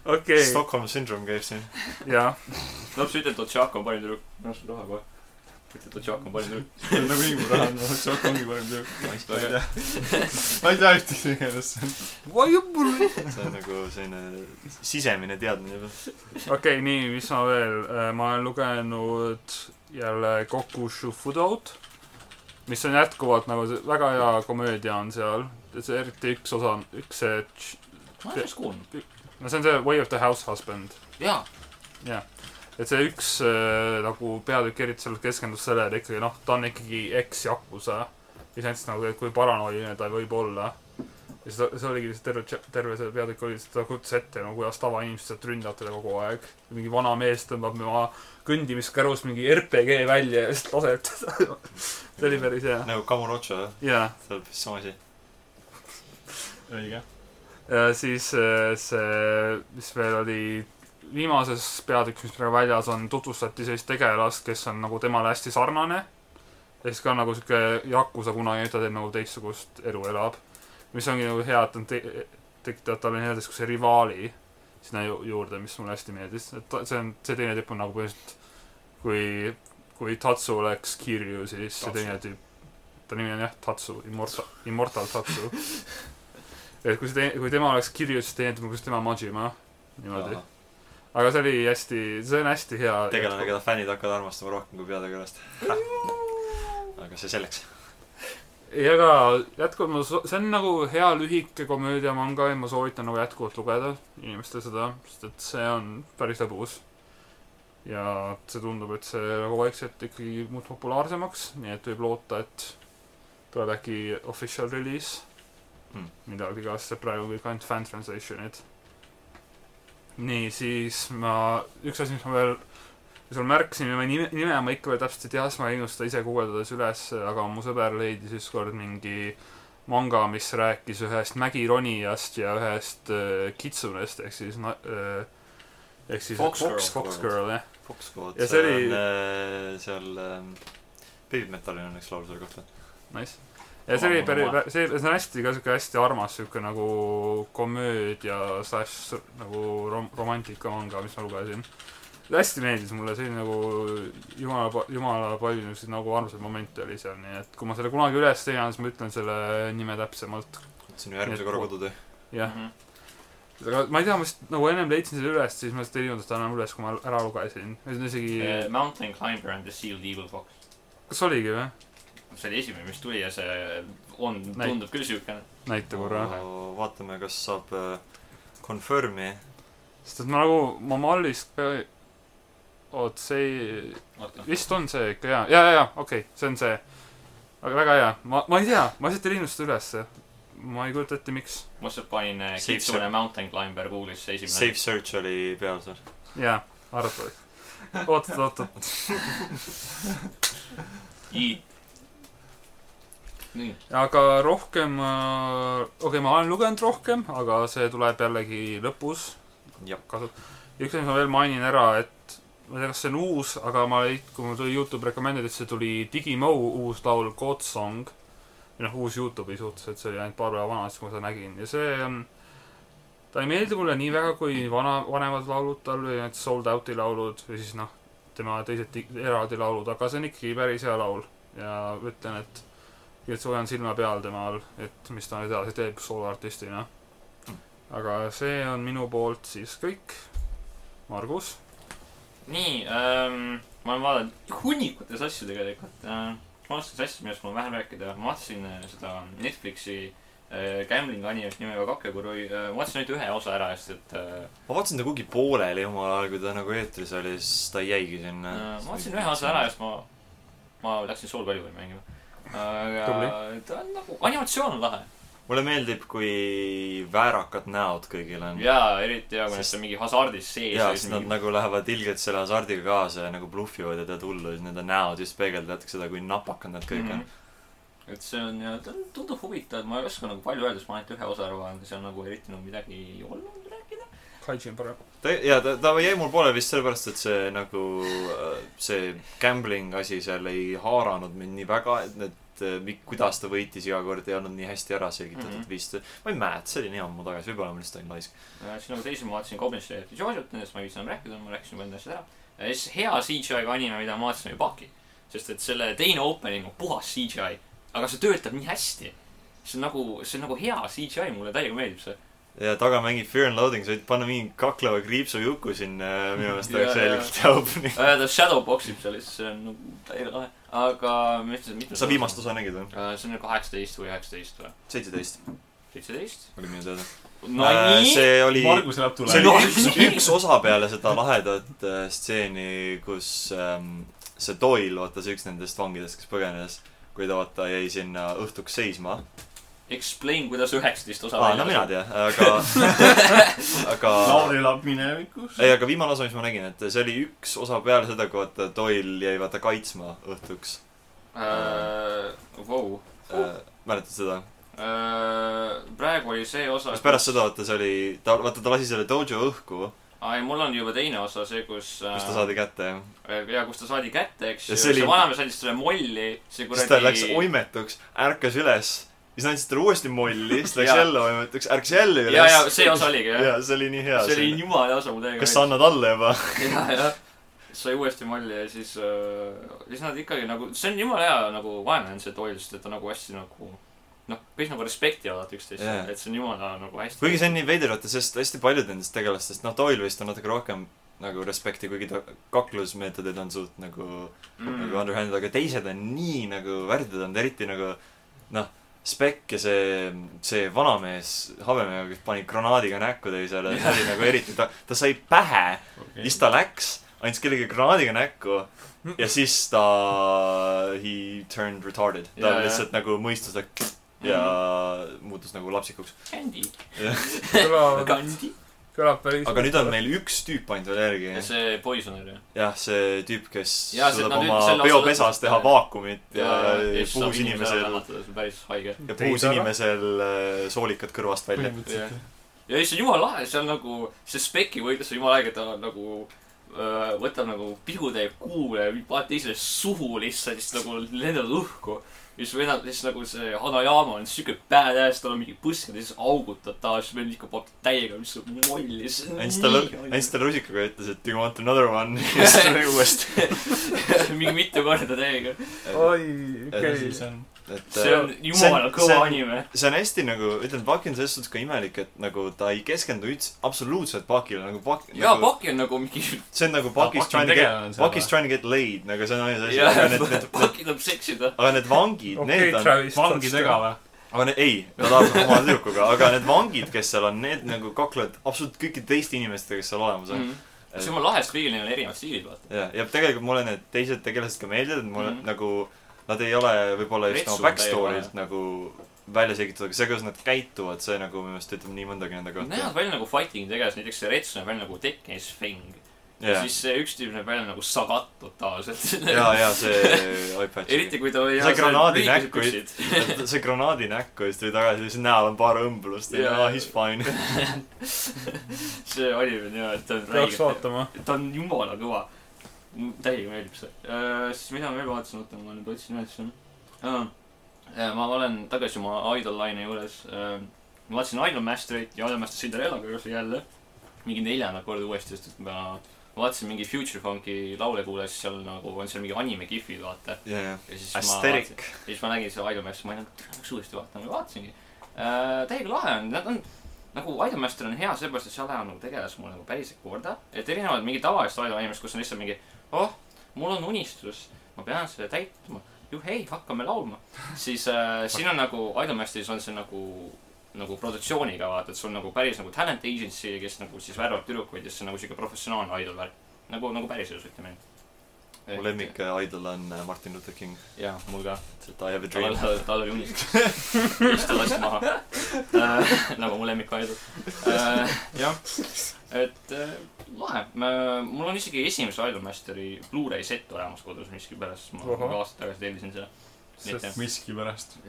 Speaker 5: okei okay. ,
Speaker 1: Stockholm Syndrome käib siin .
Speaker 5: jah .
Speaker 3: no sa Noh, ütled , et Chaco on parim tüdruk . no sul raha kohe . ütled , et Chaco on parim tüdruk .
Speaker 2: nagu nii mul raha on , see ongi parem töö . ma ei
Speaker 3: tea.
Speaker 2: tea , ma ei tea [laughs] ühtegi tegelast .
Speaker 1: see on nagu selline sisemine teadmine juba .
Speaker 5: okei , nii , mis ma veel , ma olen lugenud jälle Koku Shufudo't , mis on jätkuvalt nagu see- väga hea komöödia on seal , see eriti üks osa , üks see Ch-
Speaker 3: ma olen sellest kuulnud .
Speaker 5: no see on see Way of the House Husband .
Speaker 3: jaa ,
Speaker 5: et see üks äh, nagu peatükk eriti seal keskendus sellele ikkagi noh , ta on ikkagi eks-Yakuza . iseenesest nagu , et kui paranoiline ta võib olla . ja seda , see oligi lihtsalt terve , terve see peatükk oli , ta kujutas ette no kuidas tavainimesed sealt ründavad teda kogu aeg . mingi vana mees tõmbab oma kõndimiskärust mingi RPG välja ja siis laseb teda . [laughs] see oli päris hea .
Speaker 1: nagu Kamurocho , jah ,
Speaker 5: jaa ,
Speaker 1: see on sama asi .
Speaker 2: õige .
Speaker 5: siis äh, see , mis veel oli viimases peatükis , mis praegu väljas on , tutvustati sellist tegelast , kes on nagu temale hästi sarnane . ja siis ka nagu sihuke Yakuza kunagi , ta teeb nagu teistsugust elu elab . mis ongi nagu hea , et on te- , tekitavad talle nii-öelda siukse rivaali sinna ju juurde , mis mulle hästi meeldis . et ta- see on , see teine tüüp on nagu põhimõtteliselt , kui , kui Tatsu oleks Kirju , siis see
Speaker 1: Tatsu.
Speaker 5: teine tüüp , ta nimi on jah Tatsu , Immortal , Immortal Tatsu . et kui see teine , kui tema oleks Kirju , siis teine tüüp oleks tema Majima , niimoodi . aga see oli hästi , see on hästi hea .
Speaker 1: tegelane , keda fännid hakkavad armastama rohkem kui peategelast . aga see selleks .
Speaker 5: ja ka jätkuvalt ma , see on nagu hea lühike komöödiamanga ja ma soovitan nagu jätkuvalt lugeda inimestele seda , sest et see on päris lõbus . ja see tundub , et see nagu vaikselt ikkagi muutub populaarsemaks , nii et võib loota , et tuleb äkki official release
Speaker 1: Hmm.
Speaker 5: hmm. . midagi ka , sest praegu kõik ainult fan translation'id . nii , siis ma , üks asi , mis ma veel sul märkasin , ma nime , nime ma ikka veel täpselt ei tea , sest ma ei ennusta ise guugeldades üles , aga mu sõber leidis ükskord mingi manga , mis rääkis ühest mägironijast ja ühest äh, kitsunest ehk siis na- äh, ehk siis
Speaker 3: Fox Girl.
Speaker 5: Fox Girl jah .
Speaker 1: Fox Squad ,
Speaker 5: Ja see
Speaker 1: see
Speaker 5: oli-
Speaker 1: on äh, seal ähm, Baby Metalil on üks laul selle kohta .
Speaker 5: Nice . ja see
Speaker 3: Oma-
Speaker 5: oli
Speaker 3: oma-
Speaker 5: päris
Speaker 3: oma. ,
Speaker 5: see , see on hästi ka siuke hästi armas siuke nagu komöödia slaš nagu rom- , romantika manga , mis ma lugesin . hästi meeldis mulle , see oli nagu jumala , jumala palju niisuguseid nagu armsaid momente oli seal , nii et kui ma selle kunagi üles leian , siis ma ütlen selle nime täpsemalt .
Speaker 1: see on ju järgmise korra kodutöö .
Speaker 5: jah ,
Speaker 3: Mhm.
Speaker 5: aga ma ei tea , ma vist nagu ennem leidsin selle üles , siis ma vist ei jõudnud seda enam üles , kui ma ära lugesin . see on isegi ,
Speaker 3: Uh, Mountain Climber and the Sealed Evil Fox .
Speaker 5: kas oligi või ?
Speaker 3: see oli esimene , mis tuli ja see on ,
Speaker 5: Näi-
Speaker 3: tundub küll siukene .
Speaker 5: näita korra .
Speaker 1: vaatame , kas saab äh, confirm'i .
Speaker 5: sest et ma nagu , ma Mallist ka ei , oot , see ei
Speaker 3: oota ,
Speaker 5: vist on see ikka jaa , jaa , jaa , okei okay, , see on see . aga väga hea , ma , ma ei tea , ma lihtsalt ei linnusta ülesse . ma ei kujuta ette , miks .
Speaker 3: ma lihtsalt panin äh,
Speaker 1: Safe
Speaker 3: Kitsune
Speaker 1: search.
Speaker 3: Mountain Climber Google'isse
Speaker 1: Safe
Speaker 3: esimene .
Speaker 1: search oli peal seal .
Speaker 5: jaa , arvatavasti . oot , oot , oot , oot ,
Speaker 3: nii ,
Speaker 5: aga rohkem , okei okay, , ma olen lugenud rohkem , aga see tuleb jällegi lõpus
Speaker 1: jah ,
Speaker 5: kasut- . ja üks asi ma veel mainin ära , et ma ei tea , kas see on uus , aga ma , kui mul tuli Youtube Recommended'isse tuli Digimo uus laul God Song . või noh , uus Youtube'i suhtes , et see oli ainult paar päeva vana , siis kui ma seda nägin ja see on , ta ei meeldi mulle nii väga kui vana , vanemad laulud tal või need Sold Out'i laulud või siis noh , tema teised ti- eraldi laulud , aga see on ikkagi päris hea laul ja ütlen , et et soojan silma peal temal , et mis ta nüüd edasi teeb sooloartistina . aga see on minu poolt siis kõik . Margus ,
Speaker 3: nii ähm, , ma olen vaadanud hunnikutes asju tegelikult äh, . ma vaatasin asju , millest mul on vähe rääkida . ma vaatasin äh, seda Netflixi äh, gambling animet nimega Kakegurui äh, . ma vaatasin ainult ühe osa ära , sest et äh,
Speaker 1: ma vaatasin ta kuhugi pooleli omal ajal , kui ta nagu eetris oli , siis ta jäigi sinna .
Speaker 3: äh, ma vaatasin ühe osa ära ja siis ma , ma läksin Soul Caliburi mängima .
Speaker 5: Tubli.
Speaker 3: aga ta on nagu , animatsioon on lahe .
Speaker 1: mulle meeldib , kui väärakad näod kõigil on .
Speaker 3: jaa , eriti hea , kui
Speaker 1: Sest-
Speaker 3: nad seal mingi hasardis sees
Speaker 1: ja
Speaker 3: ja
Speaker 1: siis
Speaker 3: siis
Speaker 1: nad
Speaker 3: mingi ,
Speaker 1: nagu lähevad ilgelt selle hasardiga kaasa ja nagu bluffivad ja teevad hullu ja siis nende näod just peegeldavad seda , kui napakad nad
Speaker 3: Mhm.
Speaker 1: kõik on .
Speaker 3: et see on ja ta on- tundub huvitav , ma ei oska nagu palju öelda , sest ma ainult ühe osa ära vaatan , seal nagu eriti nagu midagi ei olnud rääkida .
Speaker 5: Kaiji on
Speaker 1: [laughs]
Speaker 5: parem .
Speaker 1: ta , ja ta , ta jäi mul poole vist sellepärast , et see nagu , see gambling asi seal ei haaranud mind nii väga , et need , kuidas ta võitis iga kord ei olnud nii hästi ära selgitatud mm
Speaker 3: Mhm.
Speaker 1: -hmm. vist . ma ei mäleta , see oli nii ammu tagasi , võib-olla ma lihtsalt olin laisk .
Speaker 3: siis nagu teisi ma vaatasin Goblin Slayerit ja Jojo't , nendest ma ei viitsinud enam rääkida , ma rääkisin juba enda asjad ära . ja siis hea CGI-ga anime , mida ma vaatasin , oli Baki . sest et selle teine opening on puhas CGI , aga see töötab nii hästi . see on nagu , see on nagu hea CGI , mulle täiega meeldib see .
Speaker 1: ja taga mängib Fear and Loading , sa võid panna mingi kakleva kriipsu Juku sinna , minu meelest oleks
Speaker 3: Jaa, jaa.
Speaker 1: selgelt hea opening .
Speaker 3: Äh, ta shadowbox ib seal ja siis see on nagu täiega lahe . aga mis , mitmes
Speaker 1: sa viimast osa nägid või ?
Speaker 3: Äh, see on nüüd kaheksateist või üheksateist või ?
Speaker 1: seitseteist .
Speaker 3: seitseteist .
Speaker 1: oli minu teada .
Speaker 3: no
Speaker 1: Äh,
Speaker 3: nii .
Speaker 1: see oli ,
Speaker 2: Margus elab tule
Speaker 1: see
Speaker 3: No
Speaker 1: oli üks ,
Speaker 3: nii.
Speaker 1: üks osa peale seda lahedat äh, stseeni , kus ähm, see Doyle , vaata see üks nendest vangidest , kes põgenes , kui ta vaata jäi sinna õhtuks seisma .
Speaker 3: Explain , kuidas üheksateist osa
Speaker 1: aa , no mina . tean , aga aga
Speaker 2: Lauri elab minevikus .
Speaker 1: ei , aga viimane osa , mis ma nägin , et see oli üks osa peale seda , kui vaata Doyle jäi vaata kaitsma õhtuks
Speaker 3: Vau .
Speaker 1: äh, . mäletad seda ?
Speaker 3: Äh, praegu oli see osa .
Speaker 1: kas pärast seda , vaata see oli , ta , vaata ta lasi selle dojo õhku ,
Speaker 3: aa , ei , mul on juba teine osa , see , kus .
Speaker 1: kus ta saadi kätte , jah .
Speaker 3: ja kus ta saadi kätte , eks
Speaker 1: Ja
Speaker 3: ju ,
Speaker 1: see oli-
Speaker 3: see vanamees andis talle molli , see
Speaker 1: siis ta läks
Speaker 3: kuradi .
Speaker 1: oimetuks , ärkas üles , siis andsid talle uuesti molli , siis läks
Speaker 3: Jaa.
Speaker 1: jälle oimetuks , ärkas jälle üles .
Speaker 3: ja , ja see osa oligi jah
Speaker 1: ja see oli nii hea .
Speaker 3: see oli jumala osa , ma täiega
Speaker 1: kas sa annad alla juba ? [laughs]
Speaker 3: meeldis. jah , jah . sai uuesti molli ja siis äh, , siis nad ikkagi nagu , see on jumala hea nagu vaenlane see Doyle , sest et ta nagu hästi nagu noh , kõik nagu respekti avavad üksteist
Speaker 1: Jaa.
Speaker 3: yeah. , et see on jumala nagu hästi .
Speaker 1: kuigi see on nii veider , vaata , sest hästi paljud nendest tegelastest , noh , Doyle vist on natuke rohkem nagu respekti , kuigi ta kaklusmeetodid on suht nagu mm. , nagu underhanded , aga teised on nii nagu värdjad olnud , eriti nagu noh , Spec ja see , see vanamees habemega , kes pani granaadiga näkku teisele , see
Speaker 3: [laughs]
Speaker 1: oli nagu eriti , ta , ta sai pähe siis ta läks , andis kellelegi granaadiga näkku ja siis ta , he turned retarded . ta yeah,
Speaker 3: Jaa, Mhm. jah.
Speaker 1: lihtsalt yeah. nagu mõistus ta ja muutus nagu lapsikuks .
Speaker 3: Candy .
Speaker 5: kõlab ,
Speaker 3: Candy .
Speaker 5: kõlab päris .
Speaker 1: aga nüüd on meil üks tüüp ainult veel järgi .
Speaker 3: see Poisoner ju .
Speaker 1: jah , see tüüp , kes
Speaker 3: Jaa, see-
Speaker 1: suudab
Speaker 3: nad
Speaker 1: oma
Speaker 3: nüüd selle osa
Speaker 1: peopesas
Speaker 3: lõpuks-
Speaker 1: teha vaakumit ja,
Speaker 3: ja
Speaker 1: ja
Speaker 3: siis saab
Speaker 1: puhus
Speaker 3: inimese ära
Speaker 1: inimesel ,
Speaker 3: kannatada , see on päris haige .
Speaker 1: ja puhus
Speaker 5: Teid ära.
Speaker 1: inimesel äh, soolikad kõrvast välja .
Speaker 3: ja siis see on jumala lahe , seal nagu see Specki võitlus on jumala äge , ta nagu öö, võtab nagu pihutäie kuule , paneb teisele suhu lihtsalt , siis nagu lendavad õhku . ja siis vennad , siis nagu see Hanayama on siuke badass , tal on mingi põskad ja siis augutab ta , siis vend ikka paneb täiega , mis on molli , see on
Speaker 1: andis talle ,
Speaker 3: [laughs]
Speaker 1: andis talle rusikaga ja ütles , et do you want another one ? ja siis [laughs] tuli uuesti .
Speaker 3: talle mingi mitu korda täiega .
Speaker 5: oi ,
Speaker 1: okei.
Speaker 5: okei .
Speaker 1: et äh,
Speaker 3: see on jumala kõva . anime .
Speaker 1: see on hästi nagu , ütleme , Paki on selles suhtes ka imelik , et nagu ta ei keskendu üldse absoluutselt Pakile , nagu Pak- .
Speaker 3: jaa ,
Speaker 1: nagu,
Speaker 3: Paki on nagu mingi ,
Speaker 1: see on nagu Paki's
Speaker 2: Paki on
Speaker 1: trying to get ,
Speaker 2: tegelane on seal
Speaker 1: Paki's
Speaker 2: või?
Speaker 1: trying to get laid , nagu see on ainus asi ,
Speaker 3: jah
Speaker 1: aga need , need ,
Speaker 3: Paki tahab seksida .
Speaker 1: aga need vangid ,
Speaker 5: okei ,
Speaker 1: need on ,
Speaker 5: Travis .
Speaker 2: vangidega . või ?
Speaker 1: aga need , ei , ta tahab oma tüdrukuga , aga need vangid , kes seal on , need nagu kaklevad absoluutselt kõikide teiste inimestega , kes seal olemas
Speaker 3: Mm.
Speaker 1: on .
Speaker 3: see on jumala lahe , sest kõigil neil on erinevad stiilid , vaata .
Speaker 1: ja , ja tegelikult mulle need teised tegelased ka meeldivad , mulle mm -hmm.
Speaker 3: Mhm.
Speaker 1: nagu Nad ei ole võib-olla just
Speaker 3: Retsu
Speaker 1: nagu
Speaker 3: on
Speaker 1: backstory'lt nagu välja selgitatud , aga see , kuidas nad käituvad , see nagu minu meelest ütleb nii mõndagi nende
Speaker 3: Nad näevad
Speaker 1: kohta .
Speaker 3: välja nagu fighting tegelased , näiteks see Rets näeb välja nagu Tekkenis Feng . siis see üks tüüp näeb välja nagu Sagat totaalselt .
Speaker 1: ja , [laughs] ja see iPad .
Speaker 3: [laughs] eriti kui tal ei
Speaker 1: see granaadi näkku , see granaadi näkku ja siis tuli tagasi , siis näol on paar õmblust ja
Speaker 3: Jaa.
Speaker 1: yeah. he's fine .
Speaker 3: [laughs]
Speaker 1: [laughs]
Speaker 3: see oli veel hea , et ta on
Speaker 5: peaks
Speaker 3: räige .
Speaker 5: vaatama .
Speaker 3: ta on jumala kõva . täiega meeldib see . siis mida ma veel vaatasin , oota ma nüüd otsin üles . Äh, ma olen tagasi oma Idol laine juures . ma vaatasin Idol Masterit ja Idol Master Cinderellaga juures jälle . mingi neljanda korda uuesti , sest et ma vaatasin mingi Future Funki laule kuulas , seal nagu on seal mingi anime kihvid , vaata .
Speaker 1: ja , ja .
Speaker 3: ja siis ma
Speaker 1: Asterik .
Speaker 3: vaatasin , siis ma nägin seda Idolmasterit , ma olin nagu , peaks uuesti vaatama ja vaatasingi äh, . täiega lahe on , nad on nagu Idolmaster on hea sellepärast , et seal lähevad nagu tegelased mulle nagu päriselt korda . et erinevalt mingi tavalisest Idolmasterist , kus on lihtsalt mingi , oh , mul on unistus , ma pean selle täitma . juhei , hakkame laulma . [laughs] siis äh, siin on nagu Idolmasteris on see nagu nagu produktsiooniga vaata , et sul on nagu päris nagu talent agency , kes nagu siis värvab tüdrukuid ja siis see on nagu siuke professionaalne idol värk . nagu , nagu päriselus ütleme nii .
Speaker 1: mu . lemmik idol on äh, Martin Luther King ,
Speaker 3: jaa , mul ka .
Speaker 1: et I have a
Speaker 3: tal
Speaker 1: dream .
Speaker 3: oli , tal oli unistus . siis ta lasti maha äh, . nagu mu lemmik Aidu äh, . jah , et äh, lahe . mul on isegi esimese Idolmasteri Blu-ray set olemas kodus miskipärast . ma
Speaker 5: Ohoh.
Speaker 3: mingi aasta tagasi tellisin selle Sest-
Speaker 2: miskipärast .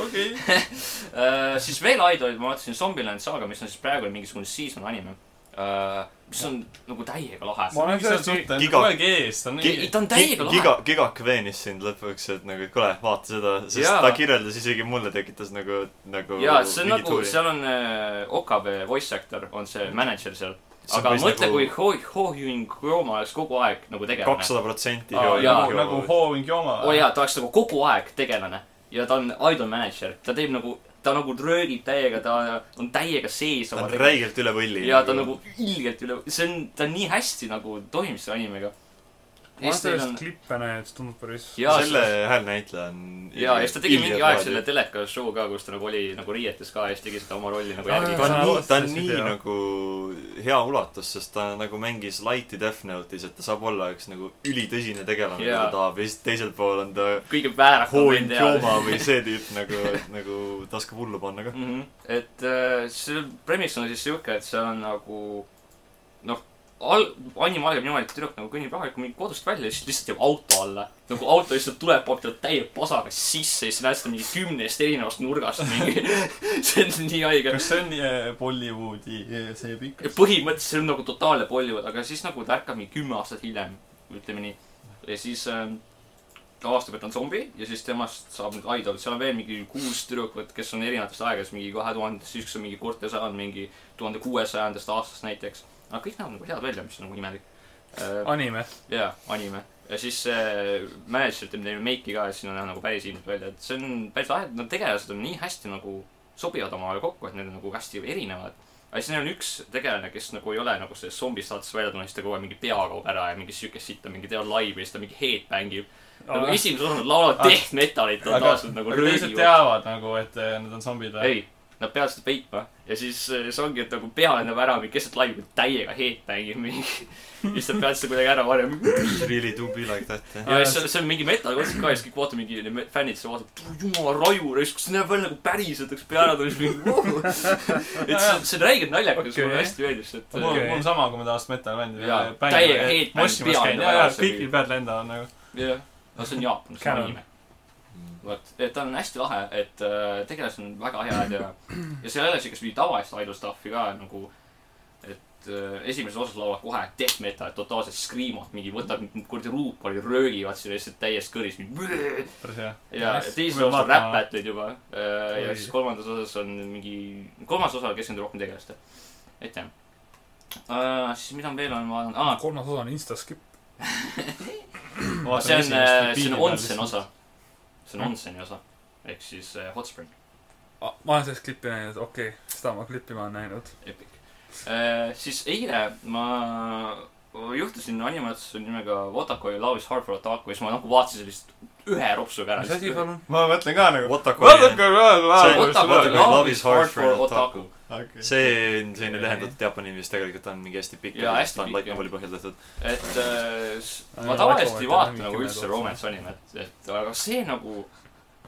Speaker 5: okei .
Speaker 3: äh, . siis veel Idolit ma vaatasin Zombieland Saga , mis on siis praegu mingisugune season anime äh, . mis on nagu täiega lahe .
Speaker 5: ma olen
Speaker 2: mis seal
Speaker 5: sellest
Speaker 2: suhtes , ta on
Speaker 5: nii ,
Speaker 1: Giga-
Speaker 2: kogu aeg ees , ta on
Speaker 1: Gi-
Speaker 2: nii .
Speaker 3: ta on täiega lahe.
Speaker 1: giga , gigak veenis sind lõpuks , et nagu , et kuule , vaata seda , sest
Speaker 3: Jaa.
Speaker 1: yeah. ta kirjeldas isegi mulle , tekitas nagu , nagu
Speaker 3: ja see on
Speaker 1: mingi
Speaker 3: nagu ,
Speaker 1: tuuri.
Speaker 3: seal on äh, Okabe voice actor on see mänedžer seal .
Speaker 1: See on
Speaker 3: aga
Speaker 1: päris
Speaker 3: mõtle
Speaker 1: nagu-
Speaker 3: nagu... , kui Ho- , Ho-Hyun Koma oleks kogu aeg nagu tegelane .
Speaker 1: kakssada protsenti
Speaker 3: Aa,
Speaker 1: Hyo-
Speaker 3: jaa,
Speaker 1: Hyo-
Speaker 2: nagu , nagu Hooving Joma .
Speaker 3: oo jaa , ta oleks nagu kogu aeg tegelane ja ta on idol manager , ta teeb nagu , ta nagu röögib täiega , ta on täiega sees
Speaker 1: ta
Speaker 3: oma
Speaker 1: on nagu. räigelt üle võlli .
Speaker 3: nagu ja ta on nagu ilgelt üle , see on , ta on nii hästi nagu toimib selle nagu animega .
Speaker 5: ma olen
Speaker 3: Eestil on
Speaker 5: sellest klippe näinud , see tundub päris .
Speaker 3: Jaa,
Speaker 1: selle
Speaker 3: sest-
Speaker 1: häälnäitleja on .
Speaker 3: ja siis ta tegi mingi aeg selle teleka show ka , kus ta nagu oli nagu riietes ka ja siis tegi seda oma rolli nagu
Speaker 5: Aa,
Speaker 1: ta
Speaker 3: järgi ka .
Speaker 1: on
Speaker 5: Saan aru,
Speaker 1: nii , ta on
Speaker 5: sellest
Speaker 1: nii
Speaker 5: video.
Speaker 1: nagu hea ulatus , sest ta nagu mängis Lighty Death Note'is , et ta saab olla üks nagu ülitõsine tegelane , kui ta
Speaker 3: Jaa.
Speaker 1: tahab ja siis teisel pool on ta
Speaker 3: kõige väärakam
Speaker 1: Hoin
Speaker 3: vend
Speaker 1: Jooma või see tüüp nagu , nagu ta oskab hullu panna ka .
Speaker 3: mm . -hmm. et äh, see premise on siis sihuke , et seal on nagu noh , al- , anime algab niimoodi , et tüdruk nagu kõnnib rahulikult mingi kodust välja ja siis lihtsalt jääb auto alla . nagu auto lihtsalt tuleb , paneb talle täie pasaga sisse ja siis näed seda mingi kümnest erinevast nurgast mingi . [laughs] see on nii haige .
Speaker 2: kas see on eh, Bollywoodi eh, see pikk ?
Speaker 3: põhimõtteliselt see on nagu totaalne Bollywood , aga siis nagu ta ärkab mingi kümme aastat hiljem , ütleme nii . ja siis ähm, ta avastab , et ta on zombi ja siis temast saab nüüd idol , seal on veel mingi kuus tüdrukut , kes on erinevatest aegadest , mingi kahe tuhandest , siis üks on mingi Cortesa on mingi tuhande kuuesajandast aastast näiteks . aga kõik näevad nagu head välja , mis on nagu imelik äh, .
Speaker 5: anime .
Speaker 3: jaa , anime . ja siis see manager teeb neile meiki ka , et siin on jah, nagu päris ilmselt välja , et see on päris lahe , et nad tegelased on nii hästi nagu sobivad omavahel kokku , et need on nagu hästi erinevad . aga siis neil on üks tegelane , kes nagu ei ole nagu sellest zombi staatust välja tulnud , siis ta kogu aeg mingi pea kaob ära ja mingi siuke sitt on mingi , teevad laivi ja siis ta mingi headbängib . nagu esimeses osas nad laulavad
Speaker 2: Aga-
Speaker 3: death metalit
Speaker 2: aga-
Speaker 3: totaalselt nagu .
Speaker 2: aga teised teavad nagu , et eh, nad on zombid või ?
Speaker 3: ei , nad peavad seda peitma ja siis eh, see ongi , et nagu pea lendab ära mingi keset laivi , täiega headbängib mingi . [laughs] ja siis nad peavad seda kuidagi ära varjama .
Speaker 1: Really do be like that , jah .
Speaker 3: ja siis seal , seal on mingi metallkontsert ka ja siis kõik vaatavad mingi need fännid , siis vaatavad , jumala raju , kas see näeb välja nagu päriselt , üks pea ära tuli , siis mingi vau . et see , see on räigelt naljakas okay. ,
Speaker 5: Okei.
Speaker 3: mulle hästi meeldis , et
Speaker 2: mul
Speaker 3: okay.
Speaker 2: on , mul on sama , kui ma tahaks metal-bändi
Speaker 3: Jaa, täiega headbänd peal on
Speaker 2: jaa , jaa ,
Speaker 3: vaja, see oli-
Speaker 2: kõigil pead lendavad nagu .
Speaker 3: jah , no see on Jaapan , see on
Speaker 5: Canon.
Speaker 3: anime . vot , et ta on hästi lahe , et äh, tegelased on väga head ja , ja seal ei ole siukest mingit tavalist idle stuff'i ka nagu , et äh, esimeses osas laulavad kohe death metal , totaalsed scream'ad , mingi võtavad mingi kuradi ruupori , röögivad selle lihtsalt täies kõris , mingi
Speaker 2: päris hea .
Speaker 3: ja
Speaker 2: Hästi,
Speaker 3: teises
Speaker 2: ma
Speaker 3: osas on
Speaker 2: vaatan-
Speaker 3: Rap Battle'id juba äh, ja
Speaker 5: Oi.
Speaker 3: siis kolmandas osas on mingi , kolmas osa keskendub rohkem tegelastele , et jah uh, . siis mida ma veel olen vaadanud ah, ,
Speaker 5: kolmas osa on Instaskip .
Speaker 3: see on , see on Onsen osa . see on Onseni osa ehk siis äh, Hot Spring ,
Speaker 5: Ah, ma olen sellest klippi näinud , okei okay. , seda ma klippi ma olen näinud .
Speaker 3: epic uh, . siis eile ma juhtusin animatsiooni nimega Wotakoi Love is hard for otaku ja siis ma nagu vaatasin sellist ühe ropsuga ära .
Speaker 5: mis asi palun ?
Speaker 2: ma mõtlen ka nagu .
Speaker 1: Otaku on-
Speaker 2: vaadake , vaadake ,
Speaker 3: Wotakoi
Speaker 1: Otakoi
Speaker 3: Love is hard for otaku .
Speaker 2: vaadake .
Speaker 1: see on selline lühendatud jaapani nimi , mis tegelikult on mingi hästi pikk
Speaker 3: Jaa, hästi
Speaker 1: ta on
Speaker 3: pikk,
Speaker 1: Lightning Bolti põhjal tehtud .
Speaker 3: et äh, s-
Speaker 5: Aga
Speaker 3: ma
Speaker 5: no
Speaker 3: tavaliselt
Speaker 5: Lego
Speaker 3: ei
Speaker 5: vaata
Speaker 3: vaata
Speaker 5: mingi
Speaker 3: nagu
Speaker 5: kümme
Speaker 3: üldse
Speaker 5: tuhat.
Speaker 3: romance animet , et aga see nagu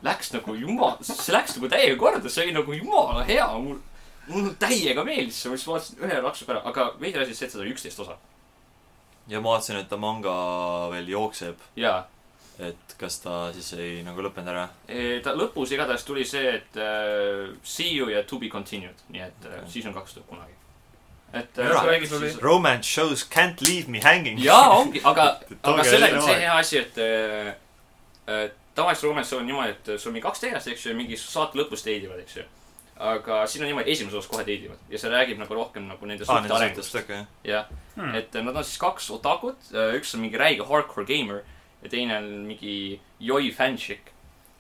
Speaker 3: läks nagu jumal , see läks nagu täiega korda , see oli nagu jumala hea , mul , mul täiega meeldis see , ma siis vaatasin ühe laksuga ära , aga veider asi on see , et seda oli üksteist osa .
Speaker 1: ja ma vaatasin , et ta manga veel jookseb ,
Speaker 3: jaa ,
Speaker 1: et kas ta siis ei nagu lõppenud ära .
Speaker 3: ta lõpus igatahes tuli see , et äh, see you ja to be continued , nii et äh,
Speaker 1: Okei.
Speaker 3: season kaks tuleb kunagi . et
Speaker 5: Jaa,
Speaker 3: äh, räägib
Speaker 5: tuli.
Speaker 3: siis
Speaker 1: Romance shows can't leave me hanging .
Speaker 3: jaa , ongi ,
Speaker 1: [laughs]
Speaker 3: aga
Speaker 1: Et- et ,
Speaker 3: aga
Speaker 1: olge
Speaker 3: sellega on
Speaker 1: erinev
Speaker 3: see
Speaker 1: aeg.
Speaker 3: hea asi , et äh, äh, tavaliselt romanis on niimoodi , et sul on mingi kaks tegelast , eks ju , ja mingi saate lõpus teidivad , eks ju . aga siin on niimoodi , esimeses osas kohe teidivad ja see räägib nagu rohkem nagu nende
Speaker 1: aa ,
Speaker 3: suhte
Speaker 1: Ah, nende suhtest ,
Speaker 3: arengust .
Speaker 1: okei .
Speaker 3: jah ,
Speaker 5: Hmm.
Speaker 3: et äh, nad on siis kaks otakut , üks on mingi räige hardcore gamer ja teine on mingi joi fännšik .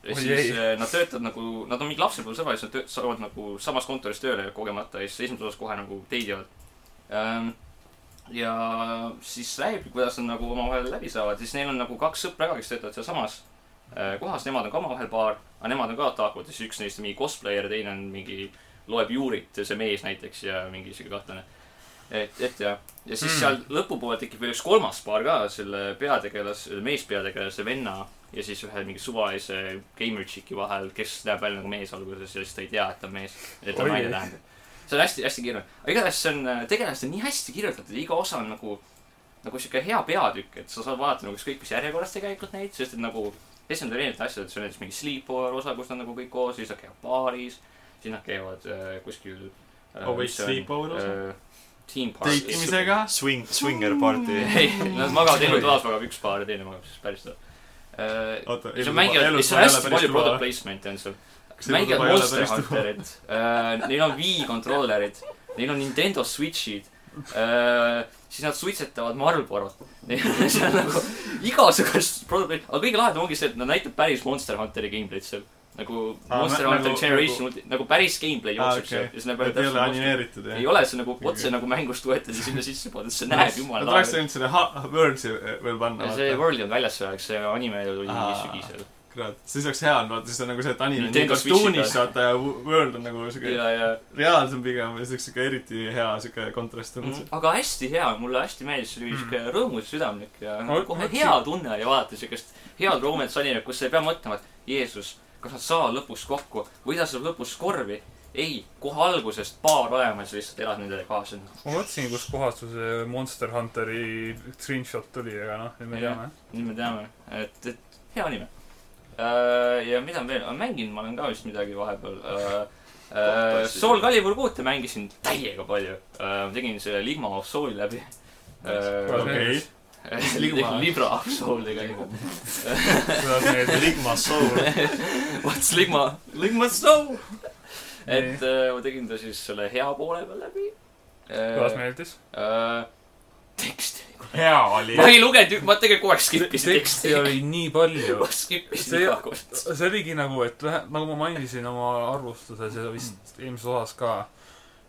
Speaker 3: ja
Speaker 5: Oi
Speaker 3: siis
Speaker 5: ei.
Speaker 3: äh, nad töötavad nagu , nad on mingi lapsepõlvesõbrad , siis nad töö- saavad nagu samas kontoris tööle kogemata ja siis esimeses osas kohe nagu teidivad Ähm, ja siis räägib , kuidas nad nagu omavahel läbi saavad , siis neil on nagu kaks sõpra ka , kes töötavad sealsamas äh, kohas , nemad on ka omavahel paar , aga nemad on ka otakud , siis üks neist on mingi cosplayer , teine on mingi , loeb juurit , see mees näiteks ja mingi sihuke kahtlane . et , et ja , ja siis mm.
Speaker 5: Mm.
Speaker 3: seal lõpupoole tekib veel üks kolmas paar ka , selle peategelase , meespeategelase venna ja siis ühe mingi suvalise gamer chick'i vahel , kes näeb välja nagu mees alguses ja siis ta ei tea , et ta on mees , et ta on
Speaker 5: Oi.
Speaker 3: naine tähendab . see on hästi , hästi kirjutatud . aga igatahes see on , tegelased on nii hästi kirjutatud ja iga osa on nagu , nagu sihuke hea peatükk , et sa saad vaadata nagu ükskõik mis järjekorras tegelikult neid , sest et nagu esimesed erinevad asjad , see on näiteks mingi sleepover osa , kus nad nagu kõik koos , siis nad käivad baaris , siis nad käivad äh, kuskil äh,
Speaker 2: Oh, wait, sleepover osa?
Speaker 3: äh, ? Team party .
Speaker 2: teitmisega .
Speaker 1: Swing , swinger party .
Speaker 3: [laughs] ei , nad magavad elu toas , magab üks paar ja teine magab siis päris toas äh, .
Speaker 2: oota ,
Speaker 3: ja seal mängivad , seal on hästi palju product placement'i on seal . mängivad Monster . Hunterit , neil on Wii kontrollerid , neil on Nintendo Switch'id , siis nad suitsetavad [laughs] Marlborot . seal on nagu igasugust , aga kõige lahedam ongi see , et nad näitavad päris Monster Hunteri gameplay'd seal . nagu
Speaker 4: Aa,
Speaker 3: Monster
Speaker 4: mä-
Speaker 3: Hunter
Speaker 4: nagu-
Speaker 3: Generation nagu, nagu päris gameplay
Speaker 4: Aa,
Speaker 3: jookseb
Speaker 4: okei.
Speaker 3: seal ja see näeb
Speaker 4: et ei ole
Speaker 3: välja .
Speaker 4: animeeritud
Speaker 3: ei
Speaker 4: jah ?
Speaker 3: ole , see on nagu otse
Speaker 4: Okei.
Speaker 3: nagu mängust võetud ja sinna sisse pandud , see näeb jumala
Speaker 4: Nad oleks võinud selle ha- Worlds'i veel panna ,
Speaker 3: see
Speaker 4: vaata .
Speaker 3: World ei olnud väljas see aeg , see anime oli mingi
Speaker 4: Aa.
Speaker 3: sügisel .
Speaker 4: kurat , siis oleks hea olnud , vaata , siis on nagu see , et anime on nii
Speaker 3: Nintendo Switchi
Speaker 4: kartuunis ,
Speaker 3: peal.
Speaker 4: vaata , ja World on nagu siuke
Speaker 3: ja , ja
Speaker 4: reaalsem pigem ja siukse ka eriti hea siuke kontrast on
Speaker 3: Mhm. aga hästi hea , mulle hästi meeldis , see oli siuke rõõmus , südamlik ja
Speaker 4: Mhm.
Speaker 3: nagu
Speaker 4: Ma-
Speaker 3: kohe
Speaker 4: ma-
Speaker 3: hea tunne oli vaadata siukest head Romance animet , kus sa ei pea mõtlema , et Jeesus , kas nad saavad lõpus kokku või ta saab lõpus korvi . ei , kohe algusest paar olema ja sa lihtsalt elad nendele kaasa .
Speaker 5: ma mõtlesin , kus kohast see Monster Hunteri screenshot tuli , aga noh , nüüd me
Speaker 3: Jah.
Speaker 5: teame .
Speaker 3: nüüd me teame , et , et hea anime . ja mida veel , mänginud ma olen ka vist midagi vahepeal .
Speaker 1: Kohtuasju.
Speaker 3: Soul Calibur kuute mängisin täiega palju . tegin selle Ligma of Soul'i läbi . Äh,
Speaker 4: okei . Ligma?
Speaker 3: [laughs] Libra of Soul tegelikult .
Speaker 5: kuidas need ,
Speaker 1: Ligma
Speaker 3: [laughs]
Speaker 1: soul .
Speaker 3: What's Ligma ? Ligma Snow ! et äh, ma tegin ta siis selle hea poole peal läbi
Speaker 5: kuidas
Speaker 3: äh, .
Speaker 5: meeldis ?
Speaker 3: Äh, teksti .
Speaker 4: hea oli
Speaker 3: ma ei lugenud , ma tegelikult kogu aeg skippisin teksti
Speaker 5: teksti . oli nii palju
Speaker 3: ma . skippisin
Speaker 5: See-
Speaker 3: iga kord .
Speaker 5: see oligi nagu , et lähe- nagu ma mainisin oma arvustuses ja vist eelmises osas ka ,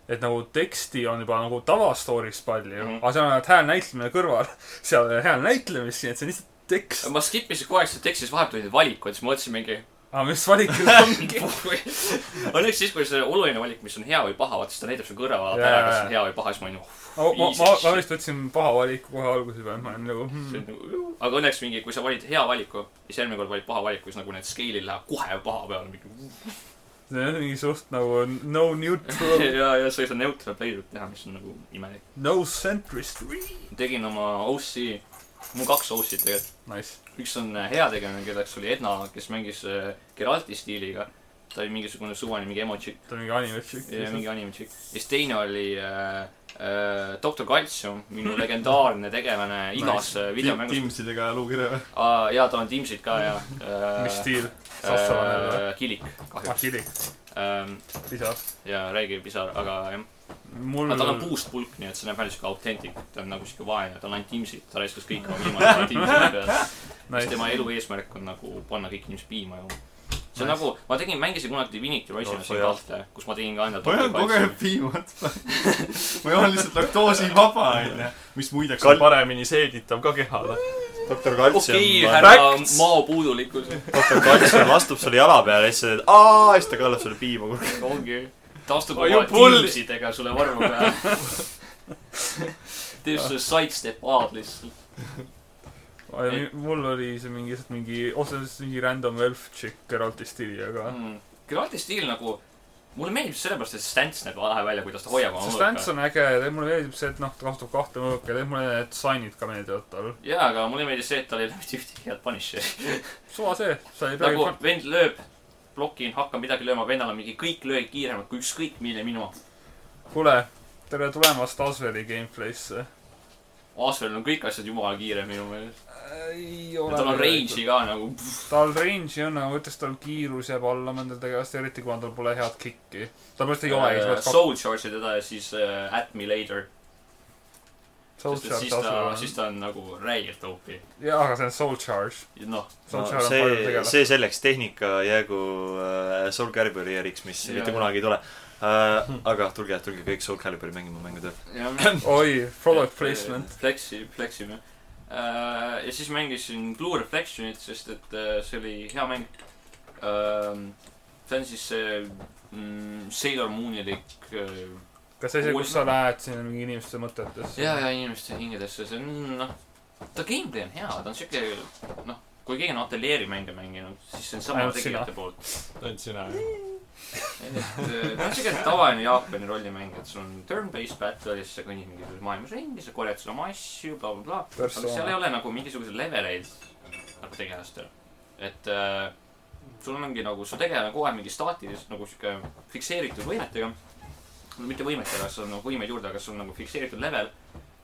Speaker 5: et nagu teksti on juba nagu tavastooriks palju mm ,
Speaker 3: Mhm.
Speaker 5: -hmm. aga seal on ainult hääl näitlemine kõrval . [laughs] seal ei ole hääl näitlemist , nii et see on lihtsalt tekst .
Speaker 3: ma skippisin kogu aeg seda teksti , siis vahepeal tulid valikud , siis ma mõtlesin mingi . [laughs]
Speaker 5: aga mis valik [laughs] seal on ?
Speaker 3: õnneks siis , kui see oluline valik , mis on hea või paha , vaata siis ta näitab sulle kõrval
Speaker 5: Jaa,
Speaker 3: ära ,
Speaker 5: jaa,
Speaker 3: kas see
Speaker 5: jaa.
Speaker 3: on hea või paha , siis ma olin oh .
Speaker 5: ma , ma , ma , ma vist võtsin paha valiku kohe alguse peale , ma olin nagu
Speaker 3: see
Speaker 5: hmm.
Speaker 3: on . nagu , aga õnneks mingi , kui sa valid hea valiku , siis järgmine kord valid paha valiku , siis nagu need scale'id lähevad kohe paha peale mingi .
Speaker 5: see on mingi suht nagu no
Speaker 3: [laughs]
Speaker 5: neutral , [laughs]
Speaker 3: ja , ja sa ei saa neutral play'd teha , mis on nagu imelik .
Speaker 5: no centrist .
Speaker 3: tegin oma OC , mul kaks OC-d tegelikult .
Speaker 5: Nice .
Speaker 3: üks on heategelane , kelleks oli Edna , kes mängis äh, Geralti stiiliga . ta oli mingisugune suvaline mingi emotšik
Speaker 5: ta on mingi anime tšikk .
Speaker 3: ja mingi animatšik . ja siis teine oli äh, äh, Doctor Calcium , minu legendaarne tegelane igas nice. videomängus .
Speaker 4: Teamsidega luukirja või ?
Speaker 3: ja ta on Teamsid ka ja äh, .
Speaker 5: mis stiil ? sassalane või ?
Speaker 3: äh, ? Kilik
Speaker 5: ah ,
Speaker 3: kahjuks
Speaker 5: kirik ,
Speaker 3: ähm, .
Speaker 5: lisas .
Speaker 3: ja räägib pisar , aga jah .
Speaker 5: mul
Speaker 3: aga Ah, tal on puust pulk , nii et see näeb välja siuke autentik , ta on nagu siuke vaene , tal on ainult Teamsid , ta raiskas kõik oma viimased Teamsid peale . siis
Speaker 5: nice.
Speaker 3: tema elu eesmärk on nagu panna kõik inimesed piima jooma . see
Speaker 5: Nice.
Speaker 3: on nagu , ma tegin , mängisin kunagi Divinity
Speaker 1: Oh,
Speaker 3: Orisinasi
Speaker 1: sa jah.
Speaker 3: kahte , kus ma tegin ka enda
Speaker 4: ma joon kogu aeg piimat . ma joon lihtsalt laktoosivaba onju . mis muideks
Speaker 1: Kal-
Speaker 4: on paremini seeditav ka kehale .
Speaker 1: doktor
Speaker 3: okei ,
Speaker 1: Kaltsium ,
Speaker 3: härra maopuudulikkus ,
Speaker 1: doktor Kaltsium astub sulle jala peale ja siis sa teed aa ja siis ta kallab sulle piima kurku .
Speaker 3: ongi . ta astub
Speaker 4: Are you
Speaker 3: oma
Speaker 4: bully?
Speaker 3: Teamsidega sulle varmu peale . teeb sulle sidestep A-d lihtsalt .
Speaker 5: Ei, mul oli see mingi , lihtsalt mingi , otseselt mingi random elf chick Geralti stiili , aga mm.
Speaker 3: Geralti stiil nagu , mulle meeldib sellepärast , et stants näeb lahe välja , kuidas ta hoiab
Speaker 5: see
Speaker 3: oma
Speaker 5: stance . on äge ja mulle meeldib see , et noh , ta kasutab kahte mõõka ja teeb mulle need sign'id ka meeldivad tal .
Speaker 3: jaa , aga mulle meeldis see , et tal ei ole [laughs] mitte ühtegi head punish'i .
Speaker 5: suva see , sa ei peagi
Speaker 3: nagu
Speaker 5: nagu... ,
Speaker 3: vend lööb , blokin , hakkan midagi lööma , vendal on mingi kõik löögid kiiremad kui ükskõik milline minu .
Speaker 5: kuule , tere tulemast Asveri gameplay'sse .
Speaker 3: Asvel on kõik asjad jumala kiire minu meelest .
Speaker 5: ei
Speaker 3: tal on range'i ka nagu .
Speaker 5: tal range'i on , aga ma ütleks , tal kiirus jääb alla mõndade tegelaste , eriti kuna tal pole head kick'i . tal pärast
Speaker 3: Äh,
Speaker 5: ei ole , siis pead
Speaker 3: Soul charge'i teda ja siis uh, at me later .
Speaker 5: soul
Speaker 3: sest et
Speaker 5: charge
Speaker 3: siis ta ,
Speaker 5: Asveri
Speaker 3: siis
Speaker 5: on .
Speaker 3: ta on nagu räigelt OP .
Speaker 5: jaa , aga see on soul charge .
Speaker 3: noh ,
Speaker 5: soul
Speaker 1: No,
Speaker 5: charge on palju
Speaker 1: see ,
Speaker 5: tegelasi .
Speaker 1: see selleks , tehnika jäägu äh, Soul Caliburi eriks , mis
Speaker 3: Jaa.
Speaker 1: mitte kunagi ei tule äh, . aga tulge , tulge kõik Soul Caliburi mängima mängude .
Speaker 3: [laughs] jah .
Speaker 5: oi , product placement .
Speaker 3: Flexi , fleksime . ja siis mängisin Blue Reflectionit , sest et äh, see oli hea mäng . see on siis see mm, Sailor Moonilik äh,
Speaker 5: kas see see , kus sa lähed sinna mingi inimeste mõtetesse ?
Speaker 3: ja , ja inimeste hingedesse , see on noh , ta gameplay on hea , ta on siuke noh , kui keegi on ateljeeri mänge mänginud , siis see on sama
Speaker 5: Ainult sina.
Speaker 3: tegijate
Speaker 5: [laughs]
Speaker 3: poolt .
Speaker 2: ainult sina .
Speaker 3: et äh, ta on siuke tavaline Jaapani rollimäng , et sul on turn-based battle ja siis sa kõnnid mingis maailmas ringi , sa korjad seal oma asju , blablabla . aga seal ei
Speaker 5: persona .
Speaker 3: ole nagu mingisuguseid leveleid nagu tegelastel . et äh, sul ongi nagu , su tegelane on kogu aeg mingi staatilis nagu sihuke fikseeritud võimetega . no mitte võimetega , sul on nagu võimeid juurde , aga sul on nagu fikseeritud level .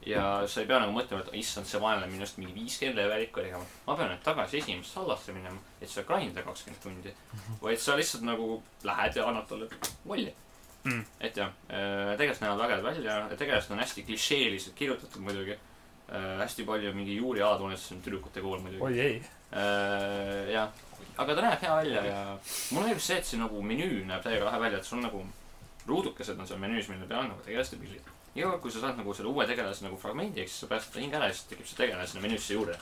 Speaker 3: ja sa ei pea nagu mõtlema , et issand , see vaenlane on minust mingi viiskümmend levelit korjama . ma pean nüüd tagasi esimesse sallasse minema , et seal grind ida kakskümmend tundi . vaid sa lihtsalt nagu lähed ja annad talle mulje
Speaker 5: Mm.
Speaker 3: äh, et jah , tegelased näevad väga head välja , tegelased on hästi klišeeliselt kirjutatud muidugi . äh, hästi palju mingi juuri alatoonis , see on tüdrukute kool muidugi .
Speaker 5: oi ei .
Speaker 3: äh, . jah , aga ta näeb hea välja ja mulle meeldib see , et see nagu menüü näeb täiega lahe välja , et sul on nagu ruudukesed on seal menüüs , mille peal on nagu tegelaste pildid . iga kord , kui sa saad nagu selle uue tegelase nagu fragmendi , eks sa päästad ta hinge ära ja siis tekib see tegelane sinna menüüsse juurde .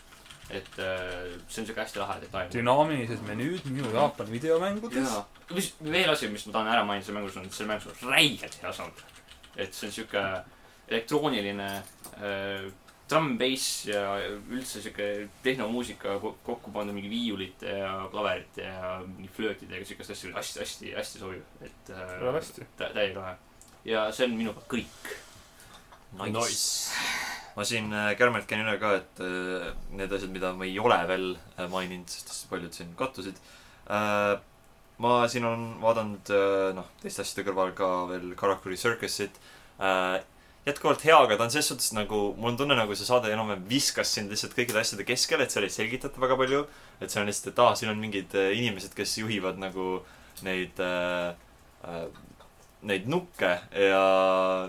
Speaker 3: et äh, see on siuke hästi lahe detail .
Speaker 5: dünaamilised menüüd minu Jaapani videomängudes .
Speaker 3: jaa , mis veel asi , mis ma tahan ära mainida selle mängus on , et selle mängus on räigelt hea soundtrack . et see on siuke elektrooniline äh, trumm-bass ja üldse siuke tehnomuusika ko- kokku pandud mingi viiulite ja klaverite ja mingi flöötidega siukest asja , hästi , hästi , hästi sobiv , et
Speaker 5: kõlab
Speaker 3: äh,
Speaker 5: hästi .
Speaker 3: tä- täiega lahe . ja see on minu poolt kõik .
Speaker 1: nice, nice. . ma siin äh, kärmelt käin üle ka , et äh, need asjad , mida ma ei ole veel äh, maininud , sest hästi paljud siin kattusid . ma siin olen vaadanud äh, noh , teiste asjade kõrval ka veel Karakuri Circus'it . Äh, jätkuvalt hea , aga ta on ses suhtes nagu , mul on tunne , nagu see saade enam-vähem viskas sind lihtsalt kõikide asjade keskele , et seal ei selgitata väga palju . et see on lihtsalt , et aa , siin on mingid äh, inimesed , kes juhivad nagu neid äh, äh, neid nukke ja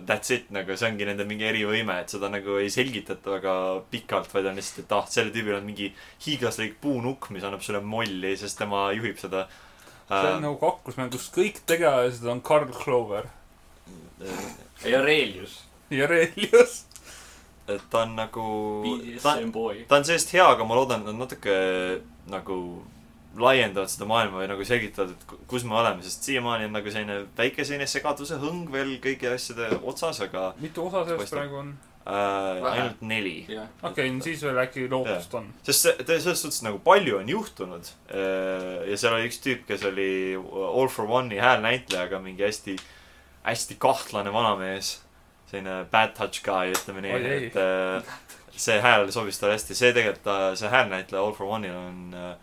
Speaker 1: that's it , nagu see ongi nende mingi erivõime , et seda nagu ei selgitata väga pikalt , vaid on lihtsalt , et ah , sellel tüübil on mingi hiiglaslik puunukk , mis annab sulle molli , sest tema juhib seda
Speaker 5: see on . nagu kaklusmäng , kus kõik tegelased on Karl Clover
Speaker 1: Äh,
Speaker 5: nagu
Speaker 3: ja Relius ,
Speaker 5: ja Relius .
Speaker 1: et ta on nagu , ta ,
Speaker 3: BDSM boy .
Speaker 1: ta on sellest hea , aga ma loodan , et nad natuke nagu laiendavad seda maailma või nagu selgitavad , et ku- kus me oleme , sest siiamaani on nagu selline väike selline segaduse hõng veel kõigi asjade otsas , aga
Speaker 5: mitu osa sellest
Speaker 1: Paistab.
Speaker 5: praegu on ?
Speaker 1: äh,
Speaker 3: Vähe.
Speaker 1: ainult neli
Speaker 3: jah ,
Speaker 5: okei , siis veel äkki lootust on .
Speaker 1: sest see , ta selles suhtes nagu palju on juhtunud . ja seal oli üks tüüp , kes oli All for One'i häälnäitlejaga mingi hästi , hästi kahtlane vanamees . selline bad touch guy , ütleme nii
Speaker 5: Oi ei. ,
Speaker 1: et äh, see hääl sobis talle hästi . see tegelikult , see häälnäitleja All for One'il on äh, ,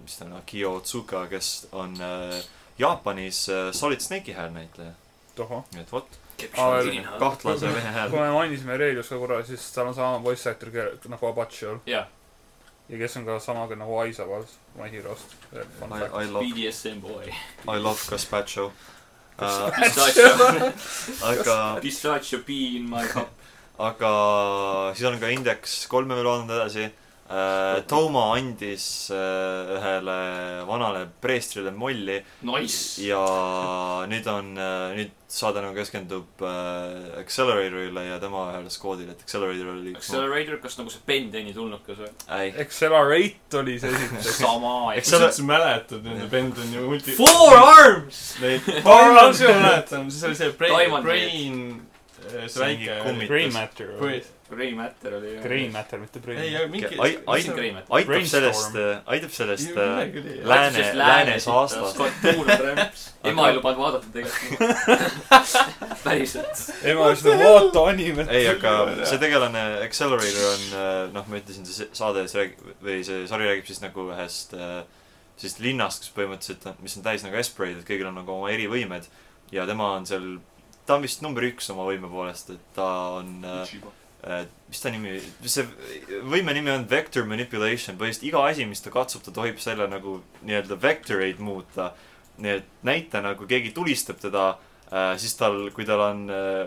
Speaker 1: mis ta on , Akio Otsuka , kes on äh, Jaapanis äh, Solid Snake'i häälnäitleja .
Speaker 5: tohoh .
Speaker 1: nii et vot ,
Speaker 5: Aa, veel
Speaker 3: jah ,
Speaker 1: kahtlase mehe hääl
Speaker 5: kui . me mainisime Relius ka korra , siis tal on sama voice actor kelle- nagu Abachiol ja kes on ka sama nagu Aisaval , My Hero'st .
Speaker 1: I , I love ,
Speaker 3: BDSM boy .
Speaker 1: I love Gaspacho uh, . aga
Speaker 3: Pistachio pea in my cup .
Speaker 1: aga siis on ka Index kolme veel vaadanud edasi . Toma andis äh, ühele vanale preestrile molli
Speaker 3: Nice .
Speaker 1: ja nüüd on , nüüd saade nagu keskendub äh, Acceleratorile ja tema ühele skoodile , et Accelerator oli üks .
Speaker 3: Accelerator , kas nagu see Bendeni tulnukas või ?
Speaker 1: ei ,
Speaker 5: Accelerate oli see esiteks .
Speaker 1: [laughs]
Speaker 3: sama
Speaker 1: Eks-
Speaker 3: eks .
Speaker 2: sa üldse mäletad nende Bendoni multi- .
Speaker 3: Four arms .
Speaker 2: Neid
Speaker 5: Palun
Speaker 2: palun
Speaker 5: sulle!
Speaker 2: mäletan , siis oli see Brain ,
Speaker 3: Diamond
Speaker 2: Brain , see
Speaker 1: See on mingi
Speaker 2: väike .
Speaker 1: kummi-
Speaker 5: Green Matter .
Speaker 3: Grey Matter oli ju .
Speaker 5: Green Matter , mitte
Speaker 2: ei ,
Speaker 5: Brain .
Speaker 2: aga mingi .
Speaker 1: Ai- ai-
Speaker 3: mis on Grey Matter ?
Speaker 1: aitab
Speaker 5: Brainstorm.
Speaker 1: sellest , aitab sellest äh,
Speaker 2: Läbi
Speaker 1: lääne , läänes aastast .
Speaker 3: Scott [laughs] Tuurand rämps . ema ei lubanud vaadata tegelikult . päriselt .
Speaker 5: ema ütles , et vaata animet .
Speaker 1: ei , aga see tegelane Accelerator on , noh , ma ütlesin , see saade siis räägib , või see sari räägib siis nagu ühest äh, siis linnast , kus põhimõtteliselt on , mis on täis nagu Esperid , et kõigil on nagu oma erivõimed . ja tema on seal , ta on vist number üks oma võime poolest , et ta on äh, , äh, mis ta nimi , see võime nimi on Vector Manipulation , põhimõtteliselt iga asi , mis ta katsub , ta tohib selle nagu nii-öelda vectoreid muuta . nii et näitena , kui keegi tulistab teda äh, , siis tal , kui tal on äh,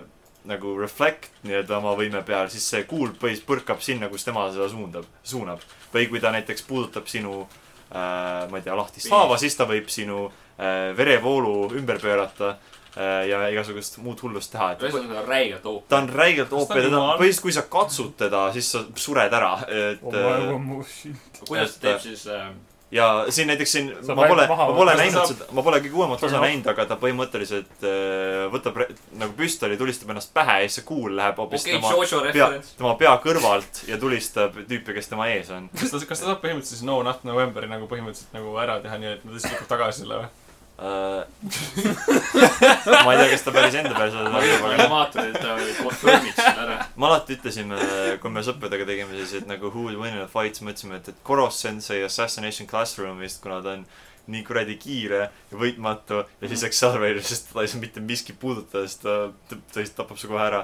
Speaker 1: nagu reflect nii-öelda oma võime peal , siis see kuul põhis põrkab sinna , kus tema seda suundab , suunab . või kui ta näiteks puudutab sinu äh, , ma ei tea , lahtist haava , siis ta võib sinu äh, verevoolu ümber pöörata äh, ja igasugust muud hullust teha , et
Speaker 3: ühesõnaga ta on räigelt hoop .
Speaker 1: ta on räigelt
Speaker 2: Kas
Speaker 1: OP ,
Speaker 2: ta
Speaker 1: teda ,
Speaker 2: jumal?
Speaker 1: põhimõtteliselt kui sa katsud teda , siis sa sured ära , et
Speaker 5: oma
Speaker 1: äh,
Speaker 5: emotion .
Speaker 3: kuidas ta
Speaker 1: et-
Speaker 3: teeb siis äh,
Speaker 1: ja siin näiteks siin
Speaker 5: Saab
Speaker 1: ma pole ,
Speaker 5: ainult maha
Speaker 1: ma pole
Speaker 5: võtta.
Speaker 1: näinud
Speaker 2: Saab-
Speaker 1: seda , ma pole kõige uuemat
Speaker 5: Turn
Speaker 1: osa
Speaker 5: off.
Speaker 1: näinud , aga ta põhimõtteliselt äh, võtab re- nagu püstoli , tulistab ennast pähe ja siis see kuul läheb hoopis
Speaker 3: okei ,
Speaker 1: tema ,
Speaker 3: Jojo
Speaker 1: pea ,
Speaker 3: referents .
Speaker 1: tema pea kõrvalt ja tulistab tüüpi , kes tema ees on
Speaker 2: kas ta , kas ta saab põhimõtteliselt siis No Not Novemberi nagu põhimõtteliselt nagu ära teha , nii et nad lihtsalt lükkavad tagasi selle või ? [laughs]
Speaker 1: äh, . [laughs] ma ei tea , kas ta päris enda peal seda
Speaker 3: ma
Speaker 1: teeb ,
Speaker 3: kirjutan
Speaker 1: aga
Speaker 3: animaatorile , et ta konfirmib äh, selle ära .
Speaker 1: me alati ütlesime , kui me sõpradega tegime selliseid nagu who will win in a fight , siis mõtlesime , et , et Koros Sensei Assassination Classroomist , kuna ta on nii kuradi kiire ja võitmatu ja
Speaker 5: Mm.
Speaker 1: siis Accelerator , sest teda ei saa mitte miski puudutada , sest ta , ta ta lihtsalt tapab su kohe ära .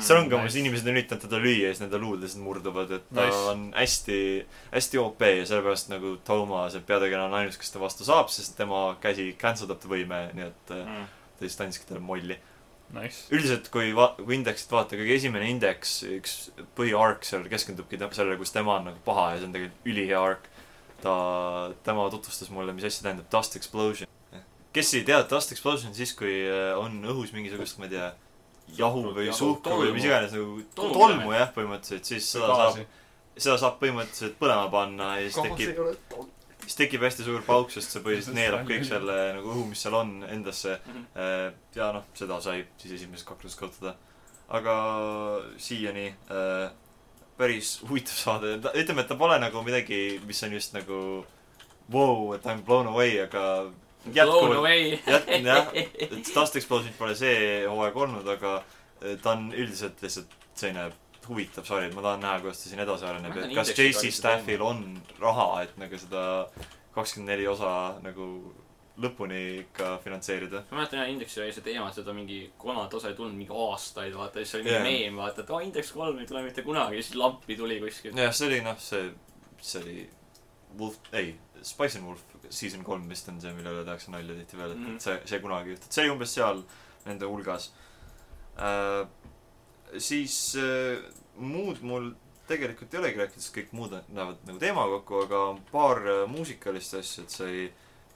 Speaker 1: seal on ka umbes
Speaker 5: Mm, nice.
Speaker 1: inimesed on üritanud teda lüüa ja siis nende luud lihtsalt murduvad , et ta
Speaker 5: Nice.
Speaker 1: on hästi , hästi OP ja sellepärast nagu Toma , see peategelane on ainus , kes ta vastu saab , sest tema käsi cancel dab ta võime , nii et äh,
Speaker 3: Mm.
Speaker 1: ta lihtsalt andiski talle molli .
Speaker 5: Nice .
Speaker 1: üldiselt , kui va- , kui indeksit vaadata , kõige esimene indeks , üks põhiark seal keskendubki tä- sellele , kus tema on nagu paha ja see on tegelikult ülihea ark . ta , tema tutvustas mulle , mis asja tähendab dust explosion . kes ei tea , dust explosion on siis , kui äh, on õhus mingisugust , ma ei tea , jahu või
Speaker 3: Jahu,
Speaker 1: suhku või mis
Speaker 3: tolmu.
Speaker 1: iganes nagu
Speaker 3: Tolmu
Speaker 1: tolmu
Speaker 3: midagi.
Speaker 1: jah , põhimõtteliselt , siis seda saab , seda saab põhimõtteliselt põlema panna ja siis tekib siis tekib hästi suur pauk , sest see põhiliselt neelab kõik selle nagu õhu , mis seal on , endasse . ja noh , seda sai siis esimeses kakluses kasutada . aga siiani äh, päris huvitav saade , ütleme , et ta pole nagu midagi , mis on just nagu vau , et I m blown away , aga
Speaker 3: Blown
Speaker 1: jätkuvalt ,
Speaker 3: away .
Speaker 1: jätkuvalt jah , et Dust Explosion pole see hooaeg olnud , aga äh, ta on üldiselt lihtsalt selline huvitav sari , et ma tahan näha , kuidas ta siin edasi areneb ,
Speaker 3: Ma
Speaker 1: et
Speaker 3: tahan
Speaker 1: kas
Speaker 3: indeksit
Speaker 1: JC
Speaker 3: valida
Speaker 1: Staffil on raha , et nagu seda kakskümmend neli osa nagu lõpuni ikka finantseerida .
Speaker 3: ma mäletan jah , Indeksil oli see teema , seda mingi kolmandat osa ei tulnud mingi aastaid , vaata , siis oli
Speaker 1: Jah.
Speaker 3: mingi meem , vaata , et aa , Indeks kolm ei tule mitte kunagi , siis lampi tuli kuskilt .
Speaker 1: jah , see oli noh , see , see oli Wolf , ei , Spice and Wolf season kolm vist on see , mille üle tehakse nalja tihtipeale , et
Speaker 3: Mhm.
Speaker 1: et see , see kunagi ei juhtu , et see oli umbes seal nende hulgas äh, . siis äh, muud mul tegelikult ei olegi rääkida , sest kõik muud on- lähevad nagu teemaga kokku , aga on paar äh, muusikalist asja , et sai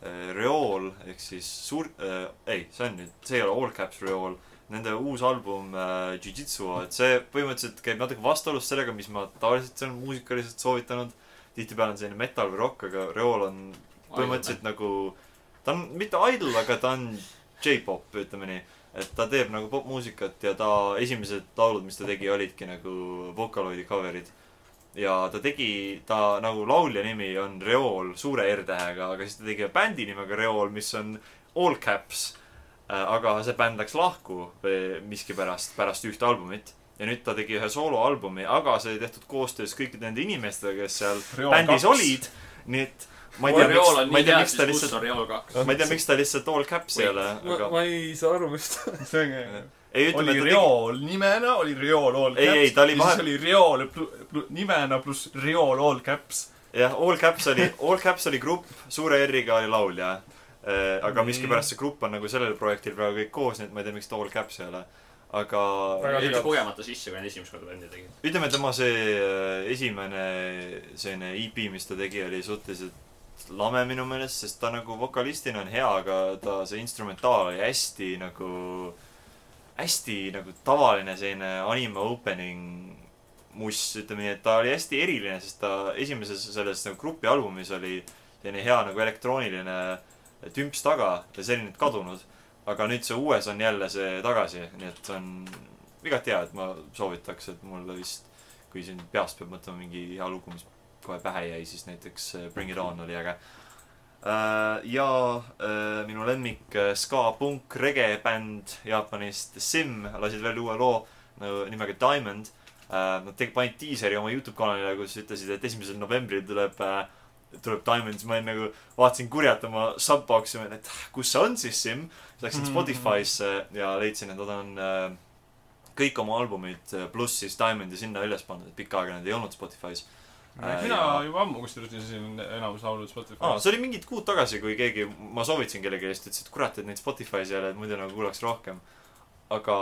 Speaker 1: äh, Reool ehk siis suur äh, , ei , see on nüüd , see ei ole All Caps Reool , nende uus album äh, Jujitsu , et see põhimõtteliselt käib natuke vastuolus sellega , mis ma tavaliselt olen muusikaliselt soovitanud . tihtipeale on selline metal või rock , aga Reool on põhimõtteliselt nagu , ta on mitte idol , aga ta on J-pop , ütleme nii . et ta teeb nagu popmuusikat ja ta esimesed laulud , mis ta tegi , olidki nagu Vocaloidi cover'id . ja ta tegi , ta nagu laulja nimi on Reool suure R-tähega , aga siis ta tegi bändi nimega Reool , mis on all caps . aga see bänd läks lahku või miskipärast , pärast ühte albumit ja nüüd ta tegi ühe sooloalbumi , aga see oli tehtud koostöös kõikide nende inimestega , kes seal bändis . olid , nii et ma ei tea ,
Speaker 3: Reool
Speaker 1: miks ,
Speaker 3: on
Speaker 1: ma
Speaker 3: nii
Speaker 1: ei tea ,
Speaker 3: hea ,
Speaker 1: miks ta
Speaker 3: siis kus
Speaker 1: lihtsalt ,
Speaker 3: on Reool kaks ?
Speaker 1: ma ei tea , miks ta lihtsalt all caps ei ole ,
Speaker 5: ma ,
Speaker 1: aga
Speaker 5: ma ei saa aru , mis ta .
Speaker 4: see on ka
Speaker 1: ei ütleme ,
Speaker 4: oli
Speaker 1: et ta
Speaker 4: reool nimena , oli reool all
Speaker 1: Ei,
Speaker 4: caps .
Speaker 1: ei, ta oli vahe-
Speaker 4: siis oli reool plu- plu- nimena pluss reool all caps .
Speaker 1: tegi , jah , all caps oli , all caps oli grupp , suure R-iga oli laulja . aga
Speaker 3: Mm.
Speaker 5: Nii.
Speaker 1: miskipärast see grupp on nagu sellel projektil praegu kõik koos , nii et ma ei tea , miks ta all caps ei ole . aga
Speaker 5: Väga
Speaker 3: jäeti
Speaker 5: segadus.
Speaker 3: kogemata sisse , kui nad esimest korda bändi tegid .
Speaker 1: ütleme , tema see äh, esimene selline EP , mis ta tegi , oli suhteliselt lame minu meelest , sest ta nagu vokalistina on hea , aga ta , see instrumentaal oli hästi nagu , hästi nagu tavaline selline anime opening muss , ütleme nii , et ta oli hästi eriline , sest ta esimeses selles nagu grupi albumis oli selline hea nagu elektrooniline tümps taga ja see oli nüüd kadunud . aga nüüd see uues on jälle see tagasi , nii et see on igati hea , et ma soovitaks , et mulle vist , kui siin peast peab mõtlema mingi hea lugu , mis kohe pähe jäi , siis näiteks äh, Bring It On oli äge . ja äh, minu lemmik äh, ska punk rege bänd Jaapanist Sim lasid välja uue loo nagu nimega Diamond . Nad tegid , panid diiseri oma Youtube kanalile , kus ütlesid , et esimesel novembril tuleb , tuleb Diamond , siis ma olin nagu , vaatasin kurjalt oma subbox'i , ma olin , et "Ah, kus see on siis Sim . siis läksin Spotify'sse ja leidsin , et nad on äh, kõik oma albumid äh, pluss siis Diamondi sinna üles pannud , et pikka aega need ei olnud Spotify's .
Speaker 2: Äh,
Speaker 4: Äh,
Speaker 2: mina juba ammu kusjuures lisasin enamus laulud
Speaker 1: aa ,
Speaker 2: Spotify'sse .
Speaker 1: see oli mingid kuud tagasi , kui keegi , ma soovitasin kellelegi ja siis ta ütles , et kurat , et neid Spotify's ei ole , et muidu nagu kuulaks rohkem . aga ,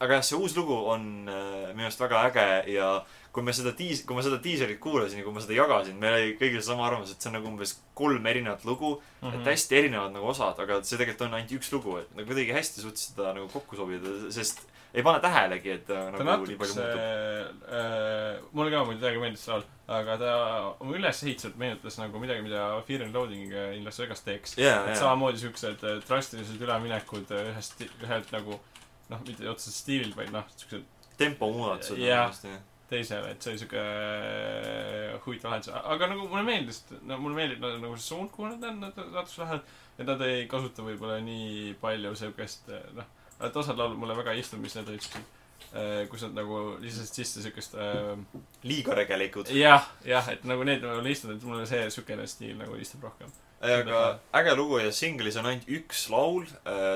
Speaker 1: aga jah , see uus lugu on äh, minu arust väga äge ja kui me seda diis- , kui ma seda diiselit kuulasin ja kui ma seda jagasin , meil oli kõigil sama arvamus , et see on nagu umbes kolm erinevat lugu mm ,
Speaker 2: Mhm.
Speaker 1: -hmm. et hästi erinevad nagu osad , aga see tegelikult on ainult üks lugu , et nagu kuidagi hästi suutsid seda nagu kokku sobida , sest ei pane tähelegi , et ta
Speaker 2: ta
Speaker 1: nagu nii palju
Speaker 2: natukese äh,
Speaker 1: muutub .,
Speaker 2: mulle ka muidu täiega meeldis see laul , aga ta oma ülesehituselt meenutas nagu midagi , mida Fear and Loading äh, in Las Vegas teeks .
Speaker 1: jaa ,
Speaker 2: et
Speaker 1: jaa .
Speaker 2: samamoodi siuksed äh, drastilised üleminekud äh, ühest , ühelt nagu noh , mitte otseselt stiililt , vaid noh , siuksed
Speaker 1: tempo muudatused
Speaker 2: Jah.
Speaker 1: hästi jah .
Speaker 2: teisele , et see oli siuke äh, huvitav lahendus , aga nagu mulle meeldis , no mulle meeldib nagu nagu see suund , kuhu nad on , nad natuke lähevad . ja nad ei kasuta võib-olla nii palju siukest äh, noh , et osad laulud mulle väga ei istu , mis need olid siuksed äh, kus nad nagu lisasid sisse siukest äh,
Speaker 1: liiga regelikud .
Speaker 2: jah , jah , et nagu need mulle ei istunud , et mulle see siukene stiil nagu istub rohkem .
Speaker 1: aga äge lugu ja singlis on ainult üks laul .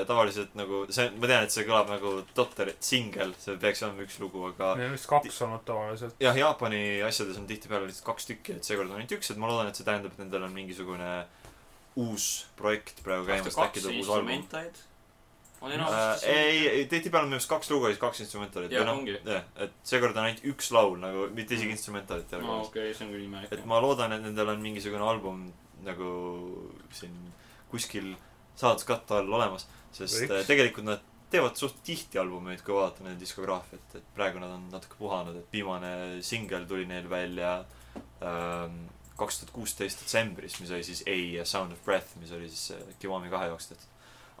Speaker 1: tavaliselt nagu see , ma tean , et see kõlab nagu totter , et singel , see peaks olema üks lugu , aga
Speaker 5: Neil on vist kaks olnud tavaliselt .
Speaker 1: jah , Jaapani asjades on tihtipeale lihtsalt kaks tükki , et seekord on ainult üks , et ma loodan , et see tähendab , et nendel on mingisugune uus projekt praegu käimas ,
Speaker 3: kaks
Speaker 1: äkki tuleb uus album .
Speaker 3: instrumentaid . on
Speaker 1: äh,
Speaker 3: enamus .
Speaker 1: ei , ei , tihtipeale on minu arust kaks lugu ja siis kaks instrumentaali .
Speaker 3: Jah, ongi.
Speaker 1: noh, jah , et seekord on ainult üks laul nagu , mitte isegi instrumentaalit ei ole
Speaker 3: aa ,
Speaker 1: no. .
Speaker 3: okei , see on küll imelik .
Speaker 1: et ma loodan , et nendel on mingisugune album nagu siin kuskil saladuskatte all olemas , sest
Speaker 5: Võiks.
Speaker 1: Võiks. tegelikult nad teevad suht tihti albumeid , kui vaadata nende diskograafiat , et praegu nad on natuke puhanud , et viimane singel tuli neil välja ähm, kaks tuhat kuusteist detsembris , mis oli siis A ja Sound of Breath , mis oli siis äh, Kiwami kahe jaoks tehtud .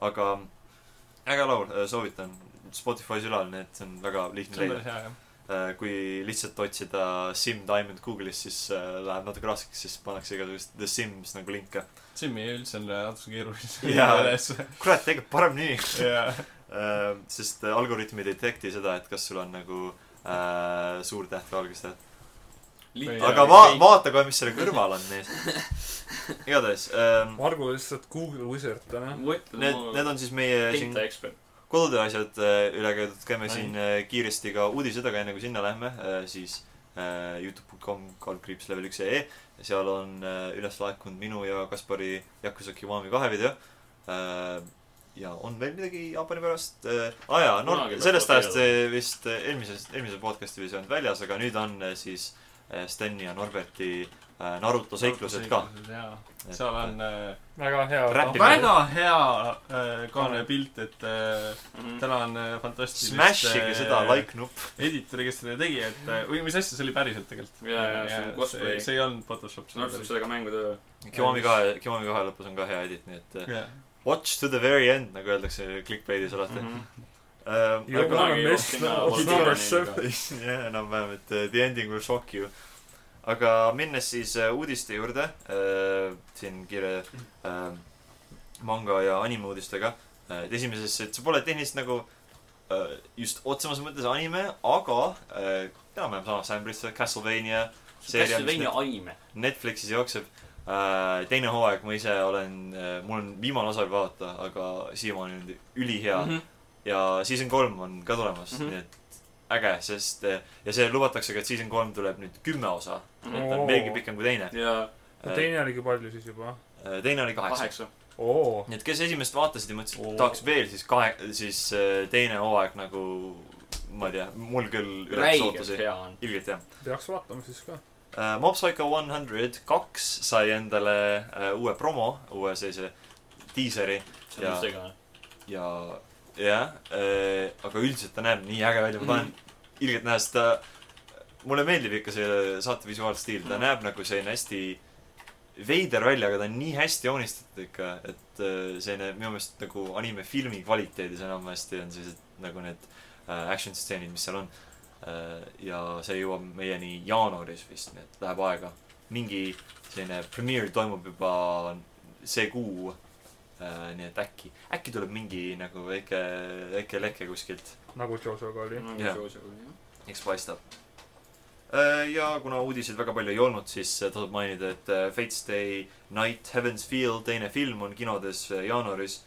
Speaker 1: aga äge laul , soovitan . Spotify's ülal , nii et see on väga lihtne
Speaker 2: see on
Speaker 1: leida
Speaker 2: päris hea jah .
Speaker 1: Äh, kui lihtsalt otsida Sim Diamond Google'is , siis äh, läheb natuke raskeks , siis pannakse igasuguseid The Sims nagu linke .
Speaker 2: Simmi üldse on äh, natuke keerulisem . [laughs]
Speaker 1: Jaa. kurat , tegelikult parem nii .
Speaker 2: jaa .
Speaker 1: sest äh, algoritm ei detect'i seda , et kas sul on nagu äh, suur täht või algus täht .
Speaker 2: Ei,
Speaker 1: aga va- , vaata kohe , mis selle kõrval on neis .
Speaker 2: [laughs]
Speaker 1: igatahes ähm, ,
Speaker 5: Margo lihtsalt Google wizard täna .
Speaker 1: need , need on siis meie siin
Speaker 3: tinta ekspert .
Speaker 1: kodutööasjad äh, üle käidud , käime
Speaker 4: Ai.
Speaker 1: siin äh, kiiresti ka uudised , aga enne kui sinna lähme , siis äh, Youtube.com kaldkriips level üks ee , seal on äh, üles laekunud minu ja Kaspari Yakuza Kiwami kahe video äh, . ja on veel midagi Jaapani pärast äh, . aa jaa , no
Speaker 3: Kunagi peab
Speaker 1: sellest
Speaker 3: seda
Speaker 1: ajast äh, vist äh, eelmises , eelmise podcast'i ei olnud väljas , aga nüüd on äh, siis äh, Steni ja Norberti äh, Naruto seiklused ka ..
Speaker 2: jaa , seal on äh,
Speaker 5: väga hea .
Speaker 1: Räpi-
Speaker 2: väga hea äh, kaane pilt , et äh,
Speaker 3: Mhm.
Speaker 2: täna on äh, fantastiline .
Speaker 4: äh,
Speaker 1: Smashige seda
Speaker 2: äh,
Speaker 1: like nuppu .
Speaker 2: editori , kes selle tegi , et äh, või mis asja see oli päriselt tegelikult .
Speaker 3: Jaa, jaa, see on cosplay.
Speaker 2: see ei olnud Photoshop .
Speaker 3: nartsub sellega mängu töö .
Speaker 1: Kiwami kahe , Kiwami kahe lõpus on ka hea edit , nii et äh,
Speaker 2: jah ,
Speaker 1: Watch to the very end , nagu öeldakse clickbait'is alati mm . -hmm. aga ,
Speaker 5: You wanna
Speaker 3: Mhm. kunagi
Speaker 5: miss
Speaker 3: jooksin ka
Speaker 5: what's
Speaker 3: otsa
Speaker 5: not
Speaker 3: kinni
Speaker 5: a surface .
Speaker 1: [laughs] jah , enam-vähem , et uh, the ending will shock you . aga minnes siis uh, uudiste juurde uh, , siin kiire uh, manga ja anime uudistega uh, . et esimeses , et see pole tehniliselt nagu uh, just otsemas mõttes anime , aga uh, enam-vähem samas ämbrisse , Castlevania seeria , mis
Speaker 3: Castlevania anime .
Speaker 1: Netflixis jookseb äh, teine hooaeg , ma ise olen , mul on viimane osa juba vaadata , aga siiamaani on ülihea mm .
Speaker 3: Mhm.
Speaker 1: -hmm. ja season kolm on ka tulemas mm ,
Speaker 3: Mhm.
Speaker 1: -hmm. nii et äge , sest äh, ja see lubatakse ka , et season kolm tuleb nüüd kümme osa . et ta on
Speaker 5: Oo.
Speaker 1: veelgi pikem kui teine .
Speaker 3: Mhm. ja
Speaker 5: teine oligi palju siis juba .
Speaker 1: teine oli kaheksa .
Speaker 3: kaheksa .
Speaker 5: oo .
Speaker 1: nii et kes esimest vaatasid ja mõtlesid ,
Speaker 5: Oo.
Speaker 1: et tahaks veel , siis kahe , siis äh, teine hooaeg nagu , ma ei tea , mul küll ületas
Speaker 3: räigelt
Speaker 1: ootusi .
Speaker 3: hea on .
Speaker 1: ilgelt jah .
Speaker 5: peaks vaatama siis ka .
Speaker 1: Äh, Mob Psycho 100 kaks sai endale äh, uue promo , uue sellise diiseri
Speaker 3: see on
Speaker 1: Jaa.
Speaker 3: üldse segane .
Speaker 1: ja jah äh, , aga üldiselt ta näeb nii äge välja , ma tahan ilgelt näha , sest ta , mulle meeldib ikka see saate visuaalstiil , ta
Speaker 3: Mhm.
Speaker 1: näeb nagu selline hästi veider välja , aga ta on nii hästi joonistatud ikka , et äh, selline minu meelest nagu animefilmi kvaliteedis enamasti on sellised nagu need äh, action stseenid , mis seal on . ja see jõuab meieni jaanuaris vist , nii et läheb aega . mingi selline premiere toimub juba see kuu . nii et äkki , äkki tuleb mingi nagu väike , väike leke kuskilt ,
Speaker 5: nagu Jojoga oli .
Speaker 1: Jaa. eks paistab . ja kuna uudiseid väga palju ei olnud , siis äh, tasub mainida , et äh, Fate's Day Night Heaven's Feel teine film on kinodes äh, jaanuaris .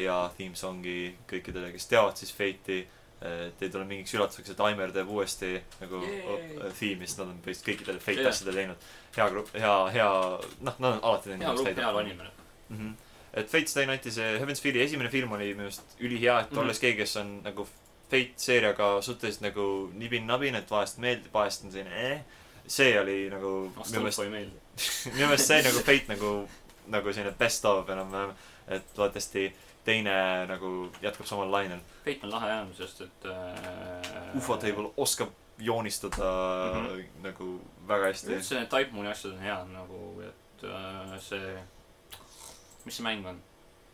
Speaker 1: ja theme song'i kõikidele , kes teavad siis Fate'i , teil tuleb mingiks üllatuseks , et Aimer teeb uuesti nagu
Speaker 3: Yay!
Speaker 1: o- theme'i , sest nad on vist kõikidele Fate
Speaker 3: Jah.
Speaker 1: yeah. asjadele teinud . hea grupp , hea , hea , noh , nad on alati teinud .
Speaker 3: hea grupp , hea animene .
Speaker 1: mm . -hmm. et Fate Stay Nighti see Heaven's Feeli esimene film oli minu arust ülihea , et
Speaker 3: Mhm.
Speaker 1: olles keegi , kes on nagu Fate seeriaga suhteliselt nagu nibin-nabin , et vahest meeldib , vahest on selline eh. see oli nagu minu meelest ,
Speaker 3: Astolfo ei meeldi .
Speaker 1: [laughs] minu meelest sai nagu Fate nagu , nagu selline best of enam-vähem . et loodetavasti teine nagu jätkab samal lainel .
Speaker 3: Peit on lahe jah , sest et äh,
Speaker 1: Ufo Table oskab joonistada mm -hmm. nagu väga hästi .
Speaker 3: üldse need Type Mooni asjad on head nagu , et äh, see , mis see mäng on ?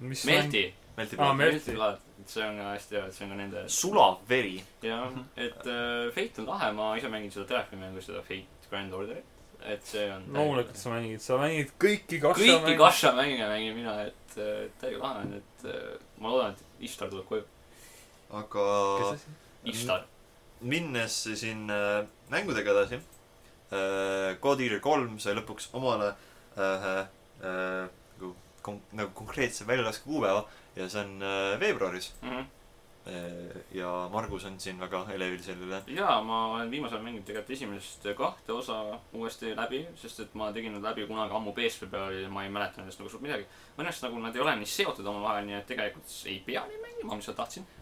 Speaker 5: mis
Speaker 3: Melti .
Speaker 1: meeldib
Speaker 5: Aa,
Speaker 1: ah, .
Speaker 5: me- Melti.
Speaker 3: see on ka hästi hea , et see on ka nende
Speaker 1: sulav veri .
Speaker 3: jah , et äh, Fate on lahe , ma ise mängin seda telefonimängu , seda Fate Grand Orderit , et see on
Speaker 5: loomulikult sa mängid , sa mängid kõiki kasse .
Speaker 3: kõiki . Kasha mänge mängin mina , et äh, täiega lahe on , et äh, ma loodan , et Ishtar tuleb koju .
Speaker 1: aga .
Speaker 3: Ishtar .
Speaker 1: minnes siin äh, mängudega edasi äh, , Code Eater kolm sai lõpuks omale ühe äh, äh, nagu kon- , nagu konkreetse väljalaske kuupäeva ja see on äh, veebruaris . ja Margus on siin väga elevil selle üle .
Speaker 3: jaa , ma olen viimasel ajal mänginud tegelikult esimesest kahte osa uuesti läbi , sest et ma tegin nad läbi kunagi ammu PSP peal ja ma ei mäleta nendest nagu suurt midagi . Õnneks nagu nad ei ole nii seotud omavahel , nii et tegelikult s- ei pea nii mängima , mis ma tahtsin .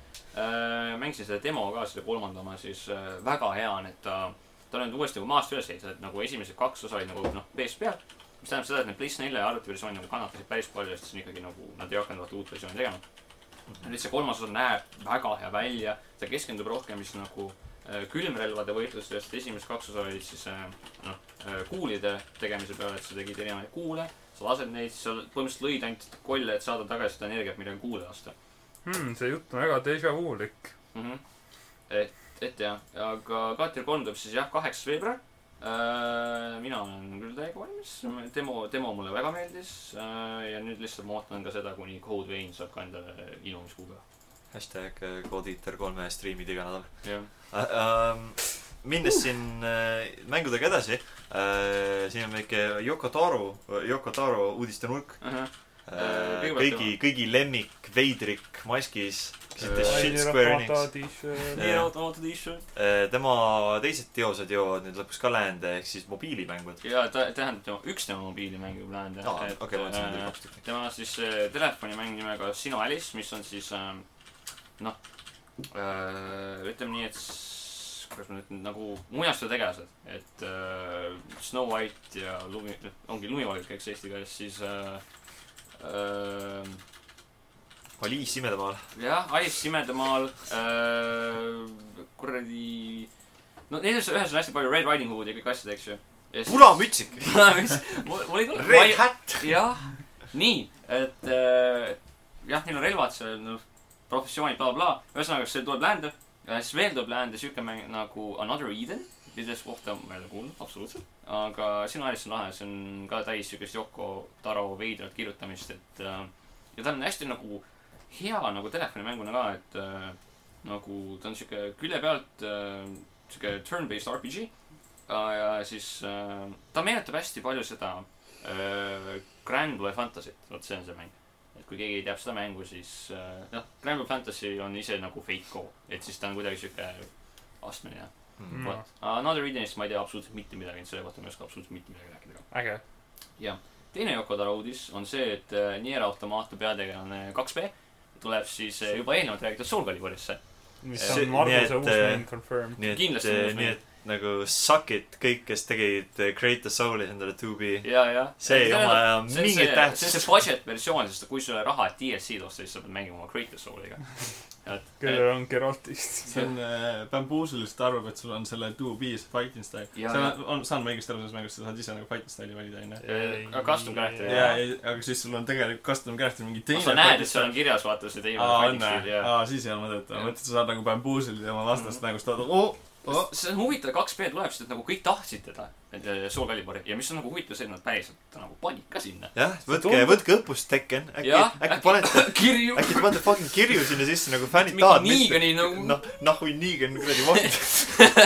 Speaker 3: mängisin selle demo ka , selle kolmanda oma , siis äh, väga hea on , et ta , ta on nüüd uuesti nagu maast üles ehitatud , et nagu esimesed kaks osa olid nagu noh , PSP-l . mis tähendab seda , et need PlayStation 4 arvutiversioon nagu kannatasid päris palju , sest siis on ikkagi nagu nad ei hakanud vaata uut versiooni tegema . nüüd see kolmas osa näeb väga hea välja , ta keskendub rohkem siis nagu äh, külmrelvade võitlustest , esimesed kaks osa olid siis äh, noh , kuulide tegemise peale , et sa tegid erinevaid kuule , sa lased neid , sa põhimõtteliselt lõid ainult kolle , et saada tagasi seda energiat , millega kuule lasta
Speaker 5: hmm, . see jutt on väga déjà vu-lik .
Speaker 3: mm .
Speaker 1: Mhm.
Speaker 3: -hmm. et , et jah , aga Katel kolm tuleb siis jah , kaheksas veebruar . mina olen küll täiega valmis , demo , demo mulle väga meeldis äh, ja nüüd lihtsalt ma ootan ka seda , kuni Code Vein saab ka endale ilmumiskuuga .
Speaker 1: hashtag Codeiater kolme striimid iga nädal .
Speaker 3: jah ,
Speaker 1: Ähm, minnes siin äh, mängudega edasi äh, , siin on väike Yoko Taro , Yoko Taro uudistenurk
Speaker 3: Äh,
Speaker 1: äh, .
Speaker 3: kõigepealt
Speaker 1: kõigi , kõigi lemmik , veidrik maskis , kes ütles
Speaker 5: Ai,
Speaker 1: shit
Speaker 5: nii
Speaker 1: Square
Speaker 5: rahva
Speaker 1: Enix .
Speaker 5: taadis, äh,
Speaker 3: nii oodatud t-shirt .
Speaker 1: Äh, tema teised teosed jõuavad nüüd lõpuks ka läände ehk siis mobiilimängud .
Speaker 3: ja ta tähendab tema , üks tema mobiilimäng juba läinud
Speaker 1: aa , okei , ma
Speaker 3: äh,
Speaker 1: mõtlesin , et oli kaks tükki .
Speaker 3: tema on siis äh, telefonimäng nimega Sinu Alice , mis on siis ähm, noh äh, , ütleme nii , et s- kuidas ma nüüd ütlen , nagu muinasjutu tegelased , et äh, Snow White ja lumi , ongi lumivalge , eks eesti keeles , siis äh, äh,
Speaker 1: Aliis Imedemaal .
Speaker 3: jah , Alice Imedemaal äh, , kuradi , no neil on seal ühesõnaga hästi palju Red Riding Hood'i ja kõik asjad , eks ju . [laughs]
Speaker 1: punamütsik .
Speaker 3: mul mul ei tule .
Speaker 1: Red Hat .
Speaker 3: jah , nii , et äh, jah , neil on relvad seal , noh , professioonid bla, , blablabla . ühesõnaga , see tuleb läände , siis veel tuleb läände siuke mäng nagu Another Eden , millest kohta ma ei ole kuulnud absoluutselt . aga sinu ajalist on lahe , see on ka täis siukest Yoko Taro veidrat kirjutamist , et äh, ja ta on hästi nagu hea nagu telefonimänguna ka , et äh, nagu ta on siuke külje pealt äh, siuke turn-based RPG äh, ja siis äh, ta meenutab hästi palju seda äh, Grand Blue Fantasy't , vot see on see mäng . et kui keegi ei teab seda mängu , siis äh, noh , Grand Blue Fantasy on ise nagu fake go , et siis ta on kuidagi siuke astmeline
Speaker 5: Mm.
Speaker 3: mm. . Another Edenist ma ei tea absoluutselt mitte midagi , selle kohta ma ei oska absoluutselt mitte midagi rääkida ka .
Speaker 5: äge .
Speaker 3: teine Yoko Taro uudis on see , et äh, Nier Automata peategelane 2B tuleb siis äh, juba eelnevalt räägitud Soul Caliburisse .
Speaker 5: mis
Speaker 1: See-
Speaker 5: on Marguse
Speaker 1: nii et,
Speaker 5: uus
Speaker 1: äh,
Speaker 5: mäng confirmed .
Speaker 1: nii et
Speaker 3: Kindlasti on , uus
Speaker 1: nii
Speaker 3: mäng.
Speaker 1: et nagu suck it kõik , kes tegid äh, Create a Soul'i endale 2B .
Speaker 3: ja , ja .
Speaker 1: see ei oma enam mingit
Speaker 3: see on see
Speaker 1: tähtsust .
Speaker 3: budget versioon , sest kui sul ei ole raha DLC-d osta , siis sa pead mängima oma Creative Souliga . et ,
Speaker 5: Äh.
Speaker 3: et
Speaker 5: kellel on Geraltist .
Speaker 4: see on äh, bambuusil , sest ta arvab , et sul on selle two piece fighting style . see
Speaker 3: Jaa,
Speaker 4: on , on , saan ma õigesti aru selles mängus , sa saad ise nagu fighting style'i valida , onju .
Speaker 3: äh, custom character
Speaker 4: jaa ,
Speaker 3: jah .
Speaker 4: ei , aga siis sul on tegelikult custom character mingi teine .
Speaker 3: Oh, sa näed , et seal on kirjas , vaata see teine
Speaker 4: aa , on
Speaker 3: fighting
Speaker 4: või
Speaker 3: stiil , ja .
Speaker 4: aa , siis ei ole mõtet ,
Speaker 3: Jah.
Speaker 4: ma mõtlesin , et sa saad nagu bambuusil ja oma
Speaker 3: Mhm.
Speaker 4: vastast nagu seda , oo , oo .
Speaker 3: see on huvitav , kaks B tuleb , sest et nagu kõik tahtsid teda , Soul Caliburi ja mis on nagu huvitav , see , et nad päriselt ta nagu panid ka sinna .
Speaker 1: jah , võtke
Speaker 5: tundub- ,
Speaker 1: võtke õppust , Tekken . äkki
Speaker 3: Jah, ,
Speaker 1: äkki
Speaker 3: äkki-
Speaker 1: panete ,
Speaker 3: [laughs] kirju .
Speaker 1: äkki te panete fucking kirju sinna sisse nagu fännid
Speaker 3: Mingi
Speaker 1: tahavad .
Speaker 3: Neegani nagu-
Speaker 1: [laughs]
Speaker 3: [laughs]
Speaker 1: noh , nahui Negan kuradi vahend .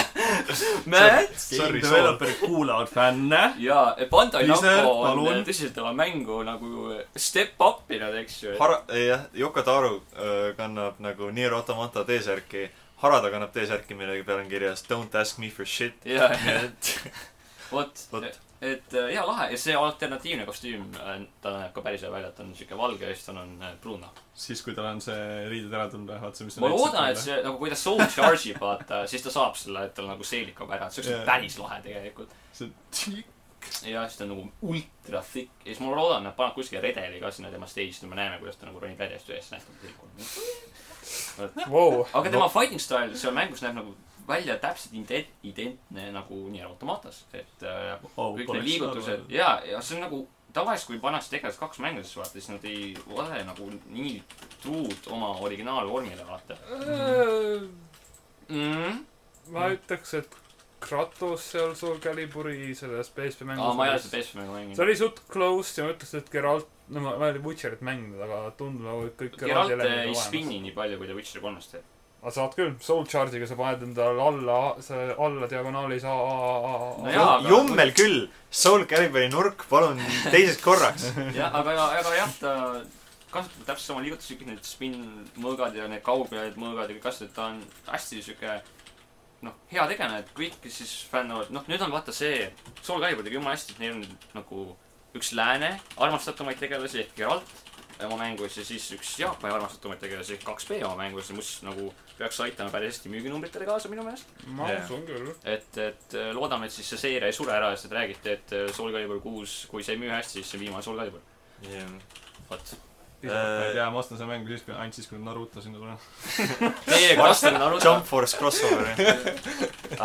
Speaker 3: Mäed .
Speaker 4: Game
Speaker 1: Sorry, soul.
Speaker 4: developer , kuula out fänne .
Speaker 3: ja Bandai
Speaker 4: Blizzard,
Speaker 3: Namco on
Speaker 4: palun.
Speaker 3: tõsiselt oma mängu nagu step up inud , eks ju . [laughs]
Speaker 1: Hara- , eh, jah , Yoko Taro öö, kannab nagu Nier Automata T-särki . Harada kannab T-särki , mille peal on kirjas Don't ask me for shit . [laughs]
Speaker 3: ja , ja , vot
Speaker 1: Vot. ,
Speaker 3: et äh, hea lahe ja see alternatiivne kostüüm , ta näeb ka päris hea välja , et ta on siuke valge ja siis tal on äh, pruun nahk .
Speaker 4: siis , kui tal on see riided ära tulnud , vaata see , mis
Speaker 3: ma loodan , et . see nagu , kui ta soul charge ib , vaata , siis ta saab selle , et tal nagu seelik kaob ära , et see oleks
Speaker 4: Jaa.
Speaker 3: yeah. päris lahe tegelikult .
Speaker 2: [laughs]
Speaker 4: see
Speaker 3: ja siis ta on nagu ultra thick ja siis ma loodan , et nad panevad kuskile redeli ka sinna tema stage'ist ja me näeme , kuidas ta nagu ronib järjest üles , nähtavalt .
Speaker 5: Vau ,
Speaker 3: aga tema fighting style seal mängus näeb nagu välja täpselt ident- , identne nagu nii automatas , et äh,
Speaker 4: oh,
Speaker 3: kõik need liigutused . ja , ja see on nagu tavaliselt , kui vanasti tegelased kaks mängu siis vaata , siis nad ei ole nagu nii truud oma originaalvormile , vaata mm. .
Speaker 5: Äh, ma ütleks , et Kratos seal Soul Caliburi selles PSP mängus
Speaker 3: aa , ma ei ole seda PSP mängu
Speaker 5: see
Speaker 3: mänginud .
Speaker 5: oli suht close ja ma ütleks , et Geralt , no ma , ma ei ole Witcherit mänginud , aga tundub nagu et kõik
Speaker 3: Geralt äh,
Speaker 5: elemendid
Speaker 3: ei
Speaker 5: on
Speaker 3: spinni nii palju , kui ta Witcher kolmes [laughs] teeb .
Speaker 5: aga saad küll , Soul Charge'iga sa paned endale alla , selle alla diagonaalis A , A ,
Speaker 3: No
Speaker 5: A , A , A .
Speaker 3: jaa, aga-
Speaker 1: jummel küll , Soul Caliburi nurk , palun teiseks korraks .
Speaker 3: jah , aga , aga jah , ta , kasutab täpselt sama liigutusi , kõik need spin-mõõgad ja need kaugpealed mõõgad ja kõik asjad , ta on hästi sihuke noh , hea tegelane , et kõik , kes siis fännavad , noh , nüüd on vaata see , Soul Calibur tegi jumala hästi , et neil on nagu üks lääne armastatumaid tegelasi ehk Geralt oma mängus ja siis üks Jaapani armastatumaid tegelasi ehk 2B oma mängus , mis nagu peaks aitama päris hästi müüginumbritele kaasa minu meelest .
Speaker 5: ma
Speaker 1: Jah.
Speaker 5: usun küll .
Speaker 3: et , et äh, loodame , et siis see seeria ei sure ära ja siis te räägite , et äh, Soul Calibur kuus , kui see ei müü hästi , siis see on viimane Soul Calibur .
Speaker 1: jah .
Speaker 3: vot .
Speaker 2: ma ei tea , ma ostan selle mängu siis , kui , ainult siis , kui Naruto sinna tuleb .
Speaker 3: Teiega vastan
Speaker 1: Jump
Speaker 3: aru .
Speaker 1: Force crossover , jah .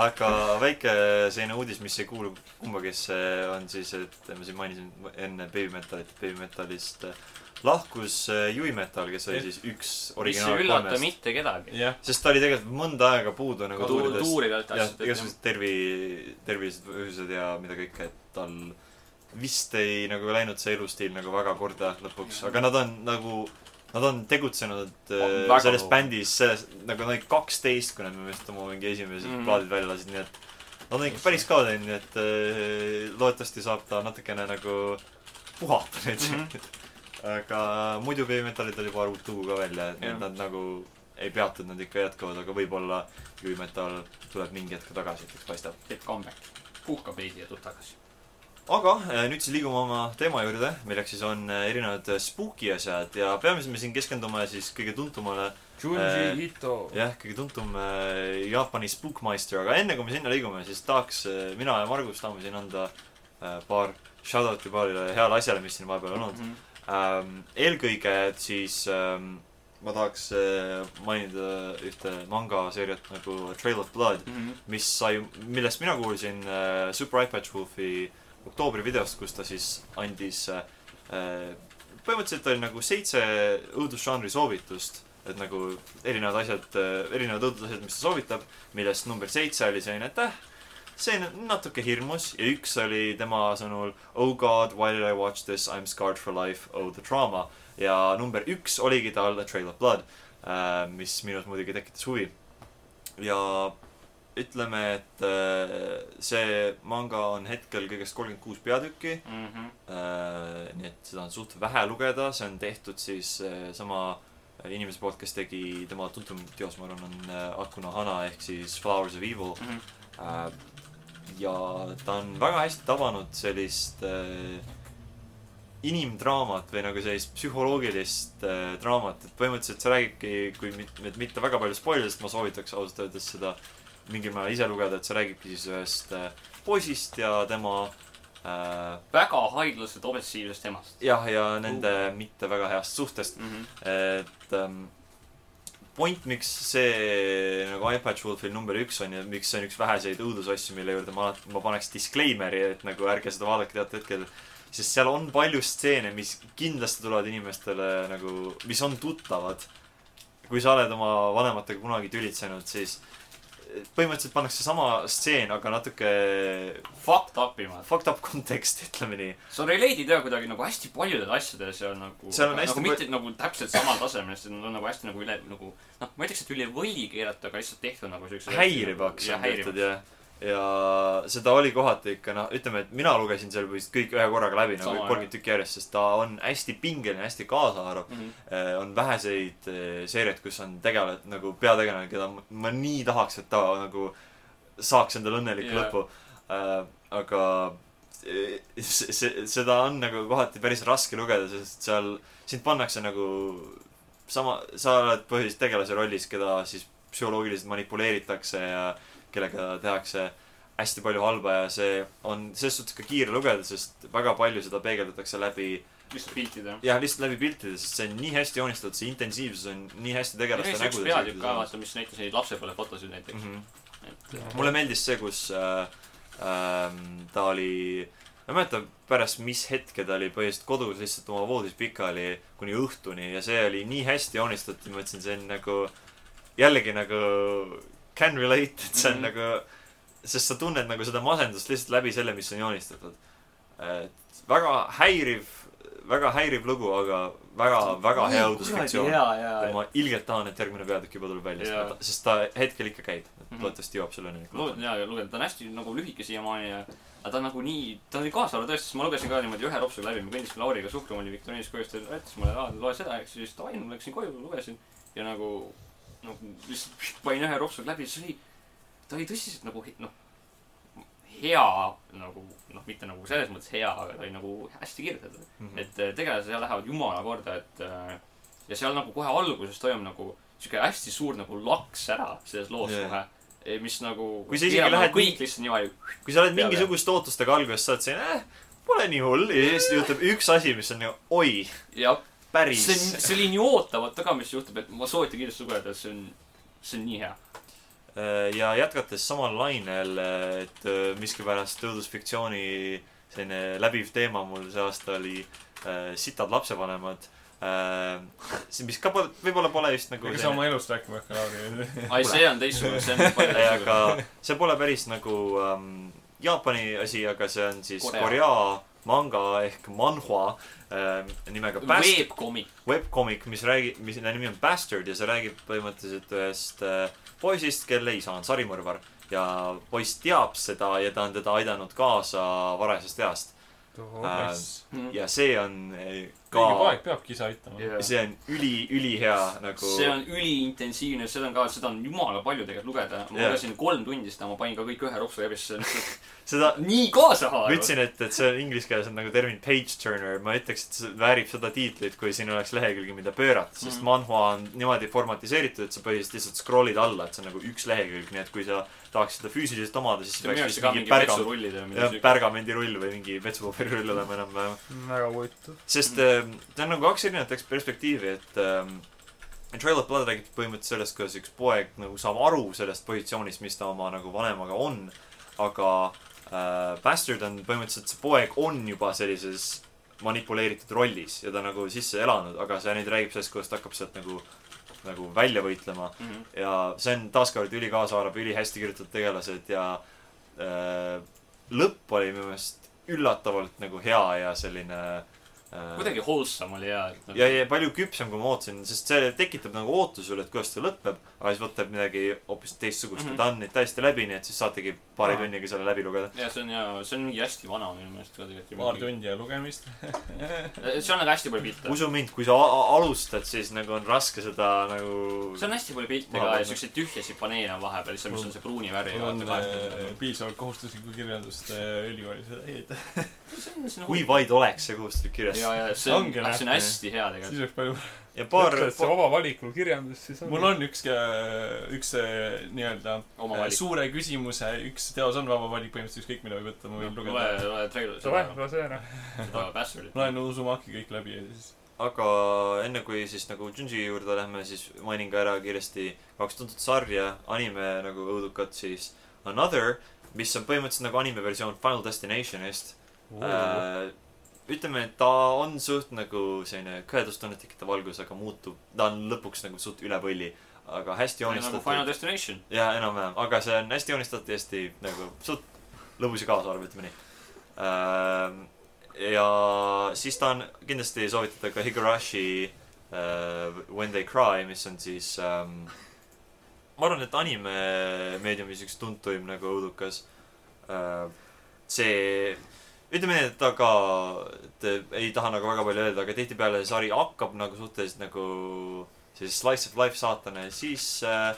Speaker 1: aga väike selline uudis , mis ei kuulu kumbagisse , on siis , et ma siin mainisin enne Baby Metalit , Baby Metalist eh, lahkus äh, Yui Metal , kes oli siis üks
Speaker 3: mis ei
Speaker 1: originaal
Speaker 3: üllata
Speaker 1: kolmest .
Speaker 3: mitte kedagi .
Speaker 2: jah ,
Speaker 1: sest ta oli tegelikult mõnda aega puudu nagu tuuridest .
Speaker 3: tuuridelt
Speaker 1: jah ,
Speaker 3: asjadest .
Speaker 1: igasugused tervi , tervised , põhjused ja mida kõike , et tal vist ei nagu läinud see elustiil nagu väga korda lõpuks , aga nad on nagu , nad on tegutsenud
Speaker 3: On
Speaker 1: äh,
Speaker 3: väga
Speaker 1: selles
Speaker 3: kaua.
Speaker 1: bändis , selles , nagu nad olid kaksteist , kui nad minu meelest oma mingi esimesed mm
Speaker 3: Mhm.
Speaker 1: -hmm. plaadid välja lasid , nii et nad on ikka päris kaua teinud , nii et äh, loodetavasti saab ta natukene nagu puhata neid mm .
Speaker 3: Mhm.
Speaker 1: -hmm. aga muidu B-metallid oli paar uut lugu ka välja , et
Speaker 3: Jah.
Speaker 1: need nad nagu ei peatunud , nad ikka jätkavad , aga võib-olla Jüri Metal tuleb mingi hetk tagasi , et eks paistab .
Speaker 3: teeb comeback . puhkab veidi ja tuleb tagasi .
Speaker 1: aga eh, nüüd siis liigume oma teema juurde , milleks siis on eh, erinevad eh, spooky asjad ja peamiselt me siin keskendume siis kõige tuntumale , Eh,
Speaker 5: Junji Ito .
Speaker 1: jah , kõige tuntum eh, Jaapani spookmeister , aga enne kui me sinna liigume , siis tahaks eh, mina ja Margus tahame siin anda eh, paar shout-out'i paarile heale asjale , mis siin vahepeal on olnud .
Speaker 3: Mhm,
Speaker 1: ähm, . eelkõige siis ähm, ma tahaks äh, mainida ühte mangaseeriat nagu Trail of Blood ,
Speaker 3: mhm,
Speaker 1: mis sai , millest mina kuulsin äh, Super iPad Wolfi oktoobri videost , kus ta siis andis äh, äh, põhimõtteliselt oli nagu seitse õudusžanri soovitust , et nagu erinevad asjad äh, , erinevad õudusasjad , mis ta soovitab , millest number seitse oli selline , et äh , see on natuke hirmus ja üks oli tema sõnul Oh god , why did I watch this , I am scarred for life , oh the trauma . ja number üks oligi tal A Trail of Blood , mis minus muidugi tekitas huvi . ja ütleme , et äh, see manga on hetkel kõigest kolmkümmend kuus peatükki .
Speaker 3: mhm,
Speaker 1: nii et seda on suht vähe lugeda , see on tehtud siis äh, sama inimese poolt , kes tegi tema tuntum teos , ma arvan , on äh, Akuna Hana ehk siis Flowers of Evil .
Speaker 3: mhm.
Speaker 1: Äh, ja ta on väga hästi tabanud sellist äh, inimdraamat või nagu sellist psühholoogilist äh, draamat , et põhimõtteliselt see räägibki , kui mitte , mitte väga palju spoilida , sest ma soovitaks ausalt öeldes seda mingil määral ise lugeda , et see räägibki siis ühest äh, poisist ja tema äh,
Speaker 3: väga haiglaselt obsessiivsest emast .
Speaker 1: jah , ja nende mitte väga heast suhtest ,
Speaker 3: Mhm.
Speaker 1: et ähm, point , miks see nagu iPad Wolfil number üks on ja miks see on üks väheseid õudusasju , mille juurde ma alati , ma paneks disclaimer'i , et nagu ärge seda vaadake teatud hetkel . sest seal on palju stseene , mis kindlasti tulevad inimestele nagu , mis on tuttavad . kui sa oled oma vanematega kunagi tülitsenud , siis põhimõtteliselt pannakse sama stseen , aga natuke
Speaker 3: Fucked up imad .
Speaker 1: fucked up konteksti , ütleme nii .
Speaker 3: sa relate'id jah kuidagi nagu hästi paljudes asjades ja nagu .
Speaker 1: Seal on hästi
Speaker 3: nagu
Speaker 1: pal-
Speaker 3: mitte nagu täpselt samal tasemel , sest nad on nagu hästi nagu üle nagu noh , ma ei ütleks , et üle võli keerata , aga lihtsalt tehtud nagu siukse .
Speaker 1: häirivaks
Speaker 3: jah ,
Speaker 1: on tehtud
Speaker 3: häirivaks .
Speaker 1: jah . ja seda oli kohati ikka noh , ütleme , et mina lugesin selle vist kõik ühe korraga läbi nagu
Speaker 3: Sama, jah.
Speaker 1: kolmkümmend tükki järjest , sest ta on hästi pingeline , hästi kaasaarv .
Speaker 3: Mhm,
Speaker 1: Äh, on väheseid eh, seeriaid , kus on tegelane nagu peategelane , keda ma- ma nii tahaks , et ta nagu saaks endale õnneliku
Speaker 3: Jaa.
Speaker 1: yeah. lõpu . aga eh, se- se- seda on nagu kohati päris raske lugeda , sest seal sind pannakse nagu sama , sa oled põhiliselt tegelase rollis , keda siis psühholoogiliselt manipuleeritakse ja kellega tehakse hästi palju halba ja see on selles suhtes ka kiire lugeda , sest väga palju seda peegeldatakse läbi ,
Speaker 3: lihtsalt piltid jah .
Speaker 1: jah , lihtsalt läbi piltide , sest see on nii hästi joonistatud , see intensiivsus on nii hästi tegelaste
Speaker 3: üks
Speaker 1: nägudes .
Speaker 3: peatükk ka vaata , mis näitas neid lapsepõlve fotosid näiteks .
Speaker 1: -hmm.
Speaker 3: et
Speaker 1: mulle meeldis see , kus äh, ähm, ta oli , ma ei mäleta pärast mis hetke ta oli põhiliselt kodus lihtsalt oma voodis pikali kuni õhtuni ja see oli nii hästi joonistatud , ma mõtlesin , see on nagu jällegi nagu can relate , et see on mm -hmm.
Speaker 3: Mhm.
Speaker 1: nagu , sest sa tunned nagu seda masendust lihtsalt läbi selle , mis on joonistatud . et väga häiriv , väga häiriv lugu , aga väga , väga hea õudusfiktsioon .
Speaker 3: jaa , jaa ,
Speaker 1: ja ma ilgelt tahan , et järgmine peatükk juba tuleb välja
Speaker 3: Jaa. ,
Speaker 1: sest ta hetkel ikka käib . et
Speaker 3: Mhm.
Speaker 1: loodetavasti jõuab selleni .
Speaker 3: lugenud jaa , lugenud , ta on hästi nagu lühike siiamaani ja aga ta on nagu nii , ta oli kaasaarv tõesti , sest ma lugesin ka niimoodi ühe ropsuga läbi , ma kõndisime Lauriga suhtlema , oli viktoriinis koju , siis ta rääkis mulle , aa loe seda , eks ju , siis davai , ma läksin koju , lugesin ja nagu , nagu lihtsalt panin ühe ropsuga läbi , siis oli , ta oli tõsiselt nagu he- noh , hea nagu noh , mitte nagu selles mõttes hea , aga ta oli nagu hästi kirjutatud .
Speaker 1: et
Speaker 3: et eh, tegelased seal lähevad jumala korda , et eh, ja seal nagu kohe alguses toimub nagu sihuke hästi suur nagu laks ära selles loos
Speaker 1: Jaa.
Speaker 3: yeah. kohe , mis nagu .
Speaker 1: Kui sa isegi lähed
Speaker 3: kõik lihtsalt niimoodi .
Speaker 1: kui sa oled
Speaker 3: peale.
Speaker 1: mingisuguste ootustega alguses , sa oled siin , eh , pole nii hull ja siis juhtub üks asi , mis on nagu oi ,
Speaker 3: jah ,
Speaker 1: päris
Speaker 3: see on , see oli nii ootamatu ka , mis juhtub , et ma soovitan kindlasti lugeda , see on , see on nii hea .
Speaker 1: Äh, ja jätkates samal lainel , et äh, miskipärast õudusfiktsiooni selline läbiv teema mul see aasta oli äh, sitad lapsevanemad . see , mis ka pole , võib-olla pole just nagu
Speaker 2: ega
Speaker 1: selline-
Speaker 2: sa oma elust rääkima ei hakka ,
Speaker 3: [laughs]
Speaker 2: Lauri .
Speaker 3: ai , see on teistsugune , [laughs] see on palju
Speaker 1: Ei,
Speaker 3: teistsugune .
Speaker 1: aga see pole päris nagu ähm, Jaapani asi , aga see on siis
Speaker 3: Korea.
Speaker 1: Korea, Korea manga ehk manhua äh, nimega Bast- ,
Speaker 3: veebkomik ,
Speaker 1: webcomic , mis räägib , mis selle nimi on Bastard ja see räägib põhimõtteliselt ühest äh, poisist , kelle isa on sarimõrvar . ja poiss teab seda ja ta on teda aidanud kaasa varasest east .
Speaker 3: Hmm.
Speaker 1: ja see on äh,
Speaker 2: õige
Speaker 1: ka ,
Speaker 2: poeg peabki ise aitama .
Speaker 1: see on üli , ülihea nagu .
Speaker 3: see on üliintensiivne , seda on ka , seda on jumala palju tegelikult lugeda . ma
Speaker 1: Jaa.
Speaker 3: lugesin kolm tundi seda , ma panin ka kõik ühe ropsu läbi , sest see on lihtsalt
Speaker 1: seda ,
Speaker 3: nii kaasahaarav
Speaker 1: ma . ütlesin , et , et see on inglise keeles on nagu termin page turner , ma ütleks , et see väärib seda tiitlit , kui siin oleks lehekülgi , mida pöörata , sest
Speaker 3: Mhm.
Speaker 1: manhua on niimoodi formatiseeritud , et sa põhiliselt lihtsalt scroll'id alla , et see on nagu üks lehekülg , nii et kui sa tahaks seda füüsiliselt omada , siis
Speaker 3: see on minu
Speaker 1: peaks
Speaker 3: jaoks
Speaker 1: vist
Speaker 3: ka
Speaker 1: mingi
Speaker 3: mingi
Speaker 1: pärgam- ,
Speaker 3: vetsurullid ja mingi
Speaker 1: jah ,
Speaker 3: siuke .
Speaker 1: pärgamendirull või mingi vetsupaberirull olema enam-vähem .
Speaker 5: väga huvitav .
Speaker 1: sest ähm, ta on nagu kaks erinevat eks- perspektiivi , et ähm, Trail of Blood räägib põhimõtteliselt sellest , kuidas üks poeg nagu saab aru sellest positsioonist , mis ta oma nagu vanemaga on , aga äh, Bastard on põhimõtteliselt , see poeg on juba sellises manipuleeritud rollis ja ta nagu sisse elanud , aga see nüüd räägib sellest , kuidas ta hakkab sealt nagu , nagu välja võitlema
Speaker 3: Mhm.
Speaker 1: ja see on taaskord ülikaasaaarv , ülihästi kirjutatud tegelased ja äh, lõpp oli minu meelest üllatavalt nagu hea ja selline äh,
Speaker 3: kuidagi wholesome oli jaa .
Speaker 1: ja , ja palju küpsem , kui ma ootasin , sest see tekitab nagu ootuse üle , et kuidas see lõpeb , aga siis võtab midagi hoopis teistsugust mm
Speaker 3: Mhm.
Speaker 1: -hmm. ja ta on nüüd täiesti läbi , nii et siis saategi paari
Speaker 3: Aa.
Speaker 1: tunniga selle läbi lugeda .
Speaker 3: ja see on jaa , see on mingi hästi vana minu meelest ka tegelikult .
Speaker 2: paar . tundi ja lugemist .
Speaker 3: see on nagu hästi palju pilte .
Speaker 1: usu mind , kui sa a- a- alustad , siis nagu on raske seda nagu
Speaker 3: see on hästi palju pilte
Speaker 1: Ma
Speaker 3: ka
Speaker 1: arvan,
Speaker 3: ja siukseid tühjasid paneele on vahepeal , lihtsalt mis on see pruuni värvi .
Speaker 2: on äh, piisavalt kohustuslikku kirjeldust äh, ülikoolis . siis
Speaker 1: kui vaid oleks see kohustuslik kirjas .
Speaker 3: nagu- ja , ja see on ,
Speaker 2: Ongi
Speaker 3: see on
Speaker 2: nähtav.
Speaker 3: hästi hea tegelikult .
Speaker 2: oleks palju .
Speaker 1: ja paar
Speaker 5: ütled , see oma valikul kirjandus siis on .
Speaker 2: mul on üks , üks äh, nii-öelda
Speaker 3: oma
Speaker 2: äh,
Speaker 3: valik .
Speaker 2: suure küsimuse , üks teos on vaba valik , põhimõtteliselt ükskõik mida võib võtta , ma võin
Speaker 3: loe
Speaker 2: lugeda .,
Speaker 3: loe Trailer ,
Speaker 5: Davai ,
Speaker 3: seda ,
Speaker 5: lase ära .
Speaker 3: seda Bastardi .
Speaker 2: loen Uzumaki kõik läbi ja siis .
Speaker 1: aga enne kui siis nagu Junji juurde lähme , siis mainin ka ära kiiresti kaks tuntud sarja , anime nagu õudukat siis Another , mis on põhimõtteliselt nagu anime versioon Final Destinationist .
Speaker 2: Nagu
Speaker 1: äh, . ütleme , et ta on suht nagu selline kõhedustunnet tekitav algus , aga muutub , ta on lõpuks nagu suht üle põlli , aga hästi
Speaker 3: nagu Final
Speaker 1: joonistatud .
Speaker 3: Destination .
Speaker 1: jaa , enam-vähem , aga see on hästi joonistatud , hästi nagu suht lõbus ja kaasaarv , ütleme nii äh, . ja siis ta on , kindlasti soovitada ka Higurashi äh, When They Cry , mis on siis ähm, ma arvan , et anime meediumis üks tuntuim nagu õudukas äh, . see , ütleme nii , et ta ka , et ei taha nagu väga palju öelda , aga tihtipeale see sari hakkab nagu suhteliselt nagu siis slice of life saatana ja siis äh,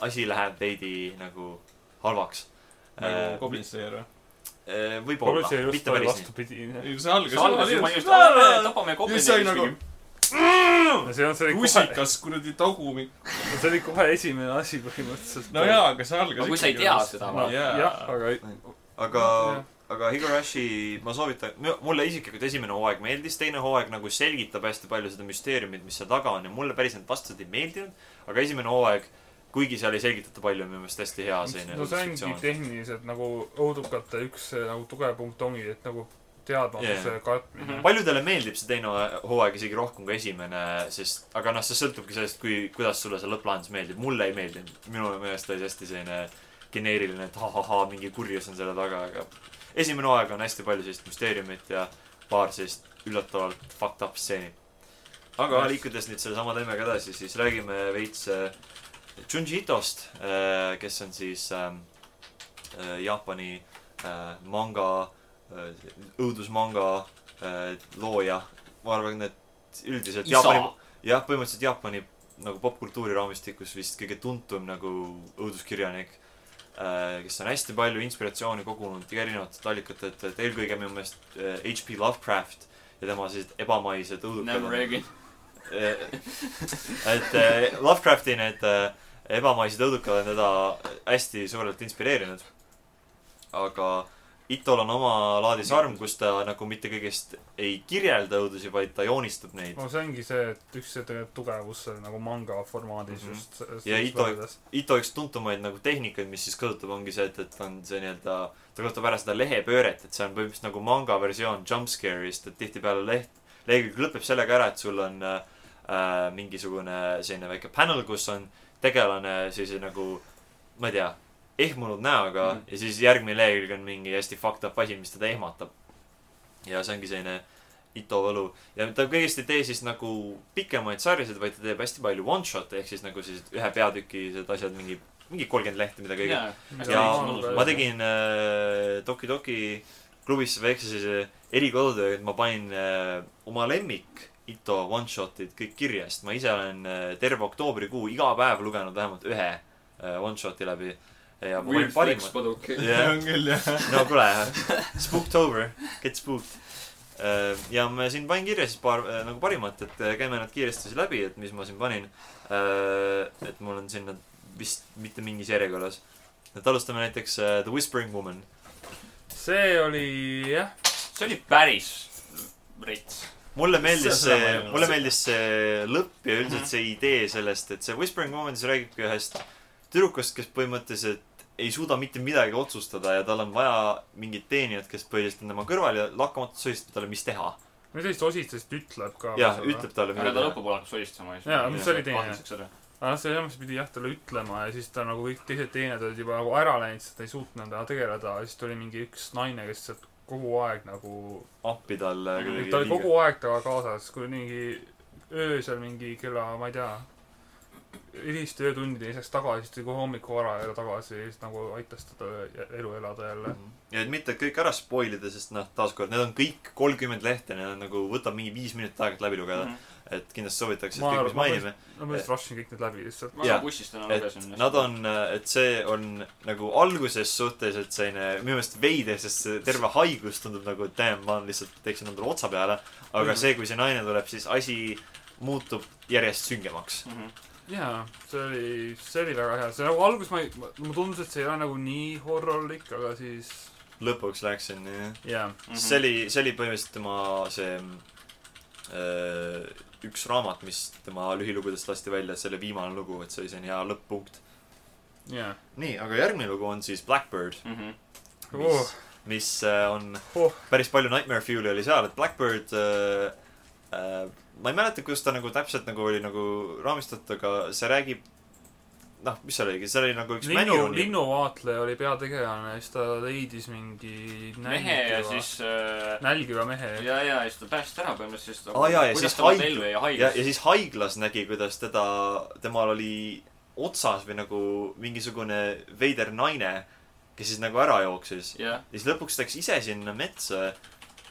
Speaker 1: asi läheb veidi nagu halvaks
Speaker 2: nagu
Speaker 1: äh, .
Speaker 2: Goblin Slayer või ?
Speaker 1: Äh, võib-olla ,
Speaker 5: Politsei just
Speaker 1: mitte
Speaker 5: oli
Speaker 1: päris nii .
Speaker 5: vastupidine .
Speaker 2: ei , see nagu algas .
Speaker 3: see algas juba just , tapame
Speaker 2: Just sai nagu
Speaker 3: kombinatsiooni .
Speaker 5: see on , see oli kohe ,
Speaker 2: rusikas kuradi tagumik .
Speaker 5: see oli kohe esimene asi põhimõtteliselt .
Speaker 2: no jaa , aga see algas .
Speaker 3: Aga kui sa ei tea seda,
Speaker 5: No,
Speaker 2: või ? [laughs]
Speaker 5: jah , aga
Speaker 1: aga
Speaker 5: Jah. ,
Speaker 1: aga Higurashi ma soovitan , mulle isiklikult esimene hooaeg meeldis , teine hooaeg nagu selgitab hästi palju seda müsteeriumit , mis seal taga on ja mulle päris need vastused ei meeldinud . aga esimene hooaeg , kuigi seal ei selgitata palju , on minu meelest hästi hea selline
Speaker 5: no see ongi
Speaker 1: fiktsioon.
Speaker 5: tehniliselt nagu õudukate üks eh, nagu tugev punkt ongi , et nagu teadmatuse
Speaker 1: Jaa.
Speaker 5: katmine .
Speaker 3: Mhm.
Speaker 1: paljudele meeldib see teine hooaeg isegi rohkem kui esimene , sest , aga noh , see sõltubki sellest , kui , kuidas sulle see lõpplahendus meeldib . mulle ei meeldinud , minu meelest oli see hästi selline geneeriline , et ha-ha-ha , mingi kurjus on selle taga , aga esimene hooaeg on hästi palju sellist müsteeriumit ja paar sellist üllatavalt fucked up stseeni . aga liikudes nüüd sellesama teemaga edasi , siis räägime veits äh, Junji Itost , kes on siis ähm, äh, Jaapani äh, manga , õudusmanga äh, looja . ma arvan , et üldiselt
Speaker 3: isa
Speaker 1: Jaapani , jah , põhimõtteliselt Jaapani nagu popkultuuri raamistikus vist kõige tuntum nagu õuduskirjanik , kes on hästi palju inspiratsiooni kogunud erinevatest allikatelt , et eelkõige minu meelest äh, H.P. Lovecraft ja tema sellised ebamaised
Speaker 3: Never
Speaker 1: õudukad .
Speaker 3: again .
Speaker 1: [laughs] et äh, Lovecrafti need äh, ebamaised õudukad on teda hästi suurelt inspireerinud . aga Itol on oma laadi sarm , kus ta nagu mitte kõigest ei kirjelda õudusi , vaid ta joonistab neid .
Speaker 5: no see ongi see , et üks see tegelikult tugevus seal nagu manga formaadis
Speaker 1: Mhm.
Speaker 5: mm -hmm. just .
Speaker 1: Ja Ito- . Ito üks tuntumaid nagu tehnikaid , mis siis kasutab , ongi see , et , et on see nii-öelda , ta kasutab ära seda lehepööret , et see on põhimõtteliselt nagu manga versioon jumpscare'ist , et tihtipeale leht , lehekülg lõpeb sellega ära , et sul on äh, äh, mingisugune selline väike panel , kus on tegelane sellise nagu , ma ei tea , ehmunud näoga mm
Speaker 3: Mhm.
Speaker 1: -hmm. ja siis järgmine lehekülg on mingi hästi fucked up asi , mis teda ehmatab . ja see ongi selline Ito võlu ja ta kõigest ei tee siis nagu pikemaid sarjasid , vaid ta teeb hästi palju one shot'e ehk siis nagu sellised ühe peatüki sellised asjad , mingi , mingi kolmkümmend lehte , mida kõige .
Speaker 3: Ja-
Speaker 1: ma tegin äh, Toki Toki klubis väikse sellise erikodutöö , äh, et ma panin äh, oma lemmik Ito one shot'id kõik kirja , sest ma ise olen äh, terve oktoobrikuu iga päev lugenud vähemalt ühe äh, one shot'i läbi . ja ma panin
Speaker 3: Weird flex
Speaker 1: parimad .
Speaker 3: paduke .
Speaker 1: jah ,
Speaker 4: on küll jah .
Speaker 1: no kuule , Spooktober , get spooked . ja ma siin panin kirja siis paar äh, nagu parimat , et äh, käime nad kiiresti siis läbi , et mis ma siin panin . et mul on siin nad vist mitte mingis järjekorras . et alustame näiteks äh, The Whispering Woman .
Speaker 5: see oli jah ,
Speaker 3: see oli päris rits .
Speaker 1: mulle meeldis see
Speaker 2: Seda- seda ma ei , Mhm. olnud.
Speaker 1: mulle meeldis see lõpp ja üldiselt see idee sellest , et see Whispering Woman siis räägibki ühest tüdrukust , kes põhimõtteliselt ei suuda mitte midagi otsustada ja tal on vaja mingit teenijat , kes põhiliselt on tema kõrval ja lakkamatult sõistab talle , mis teha .
Speaker 5: mis sellist osistest ütleb ka .
Speaker 1: jah , ütleb talle
Speaker 3: aga ta
Speaker 1: midagi .
Speaker 3: lõpupoole hakkas solistama .
Speaker 5: Jaa, mis oli teine?
Speaker 3: ära .
Speaker 5: aga see samas pidi jah talle ütlema ja siis ta nagu kõik teised teenijad olid juba nagu ära läinud , sest ta ei suutnud endaga tegeleda . siis tuli mingi üks naine , kes sealt kogu aeg nagu ,
Speaker 1: appi talle
Speaker 5: Mm, ta oli . kogu aeg temaga kaasas , kui mingi öösel mingi kella , ma ei tea , hiliste öötundide lisaks tagasi , siis tuli kohe hommikul vara jälle tagasi ja siis nagu aitas teda elu elada jälle .
Speaker 1: ja et mitte kõik ära spoil ida , sest noh , taaskord need on kõik kolmkümmend lehte , need on nagu , võtab mingi viis minutit aega et läbi lugeda .
Speaker 3: Mhm.
Speaker 1: et kindlasti soovitaks , et
Speaker 5: Mm. Ma
Speaker 1: kõik ,
Speaker 5: arvan-
Speaker 1: mis mainime .
Speaker 5: no ma just rushin kõik need läbi lihtsalt .
Speaker 3: ma
Speaker 1: Jaa.
Speaker 3: ka bussis täna
Speaker 1: et
Speaker 3: lugesin .
Speaker 1: nad . on , et see on nagu alguses suhteliselt selline minu meelest veider , sest see terve haigus tundub nagu , et damn , ma lihtsalt teeksin endale otsa peale . aga
Speaker 5: Mhm.
Speaker 1: see , kui see naine tuleb , siis asi muutub järjest süngemaks .
Speaker 5: jaa , see oli , see oli väga hea , see nagu alguses ma ei , mulle tundus , et see ei ole nagu nii horrorlik , aga siis
Speaker 1: lõpuks läks sinna , jah .
Speaker 5: jaa .
Speaker 3: Mhm.
Speaker 1: see oli , see oli põhimõtteliselt tema see öö, üks raamat , mis tema lühilugudest lasti välja , selle viimane lugu , et see oli selline hea lõpp-punkt .
Speaker 5: jaa .
Speaker 1: nii , aga järgmine lugu on siis Blackbird ,
Speaker 3: Mhm.
Speaker 5: Oh,
Speaker 1: mis , mis äh, on
Speaker 5: Oh.
Speaker 1: oh. päris palju Nightmare Fuel'i oli seal , et Blackbird äh, äh, ma ei mäleta , kuidas ta nagu täpselt nagu oli nagu raamistatud , aga see räägib noh , mis seal oligi , seal oli nagu üks
Speaker 5: linnu ,
Speaker 1: mänuruni-
Speaker 5: linnuvaatleja oli peategelane , siis ta leidis mingi
Speaker 3: mehe ja
Speaker 5: nälgiva ,
Speaker 3: siis äh,
Speaker 5: nälgiva mehe .
Speaker 3: ja , ja siis ta päästis ära põhimõtteliselt , siis
Speaker 1: Aa, jaa, ja
Speaker 3: kuidas
Speaker 1: siis
Speaker 3: ta olnud
Speaker 1: haig-
Speaker 3: ellu jäi ja
Speaker 1: ja , ja
Speaker 3: haigus .
Speaker 1: siis haiglas nägi , kuidas teda , temal oli otsas või nagu mingisugune veider naine , kes siis nagu ära jooksis .
Speaker 3: jah ,
Speaker 1: ja siis lõpuks läks ise sinna metsa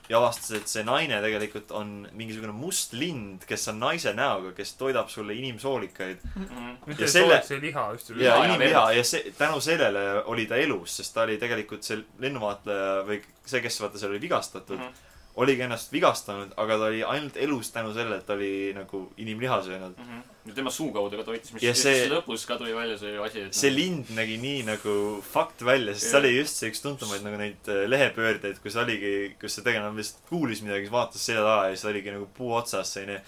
Speaker 1: ja avastas , et see naine tegelikult on mingisugune must lind , kes on naise näoga , kes toidab sulle inimsoolikaid .
Speaker 3: Mhm.
Speaker 5: mitte
Speaker 1: selle-
Speaker 5: selle... see liha just üle
Speaker 1: ja
Speaker 3: Liha ja
Speaker 1: inimliha ja see , tänu sellele oli ta elus , sest ta oli tegelikult see lennuvaatleja või see , kes vaata seal oli vigastatud mm ,
Speaker 3: Mhm.
Speaker 1: -hmm. oligi ennast vigastanud , aga ta oli ainult elus tänu sellele , et ta oli nagu inimliha söönud .
Speaker 3: Mhm. ja tema suu kaudu ka toitis , mis
Speaker 1: Ja
Speaker 3: siis
Speaker 1: see-
Speaker 3: lõpus ka tuli välja see asi , et noh,
Speaker 1: see lind nägi nii nagu fakt välja , sest see
Speaker 3: Jah.
Speaker 1: oli just see üks tuntumaid nagu neid äh, lehepöördeid , kus oligi , kus see tegelane lihtsalt kuulis midagi , siis vaatas selja taha ja siis oligi nagu puu otsas selline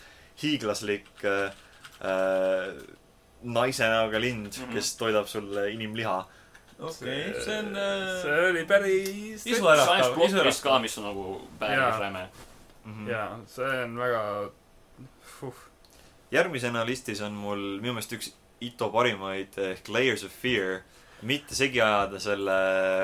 Speaker 1: hiiglaslik äh, äh, naise näoga lind mm ,
Speaker 3: Mhm.
Speaker 1: -hmm. kes toidab sulle inimliha .
Speaker 4: okei , see on
Speaker 3: äh,
Speaker 2: äh,
Speaker 5: see oli päris .
Speaker 3: see
Speaker 2: Isu
Speaker 3: on
Speaker 2: äratav,
Speaker 3: ainult
Speaker 2: isu
Speaker 3: plokk
Speaker 2: äratav.
Speaker 3: ka , mis on nagu päris
Speaker 5: Jaa.
Speaker 3: räme .
Speaker 1: Mhm.
Speaker 3: Mhm.
Speaker 5: jaa , see on väga huh. .
Speaker 1: järgmisena listis on mul minu meelest üks Ito parimaid eh, ehk Layers of Fear . mitte segi ajada selle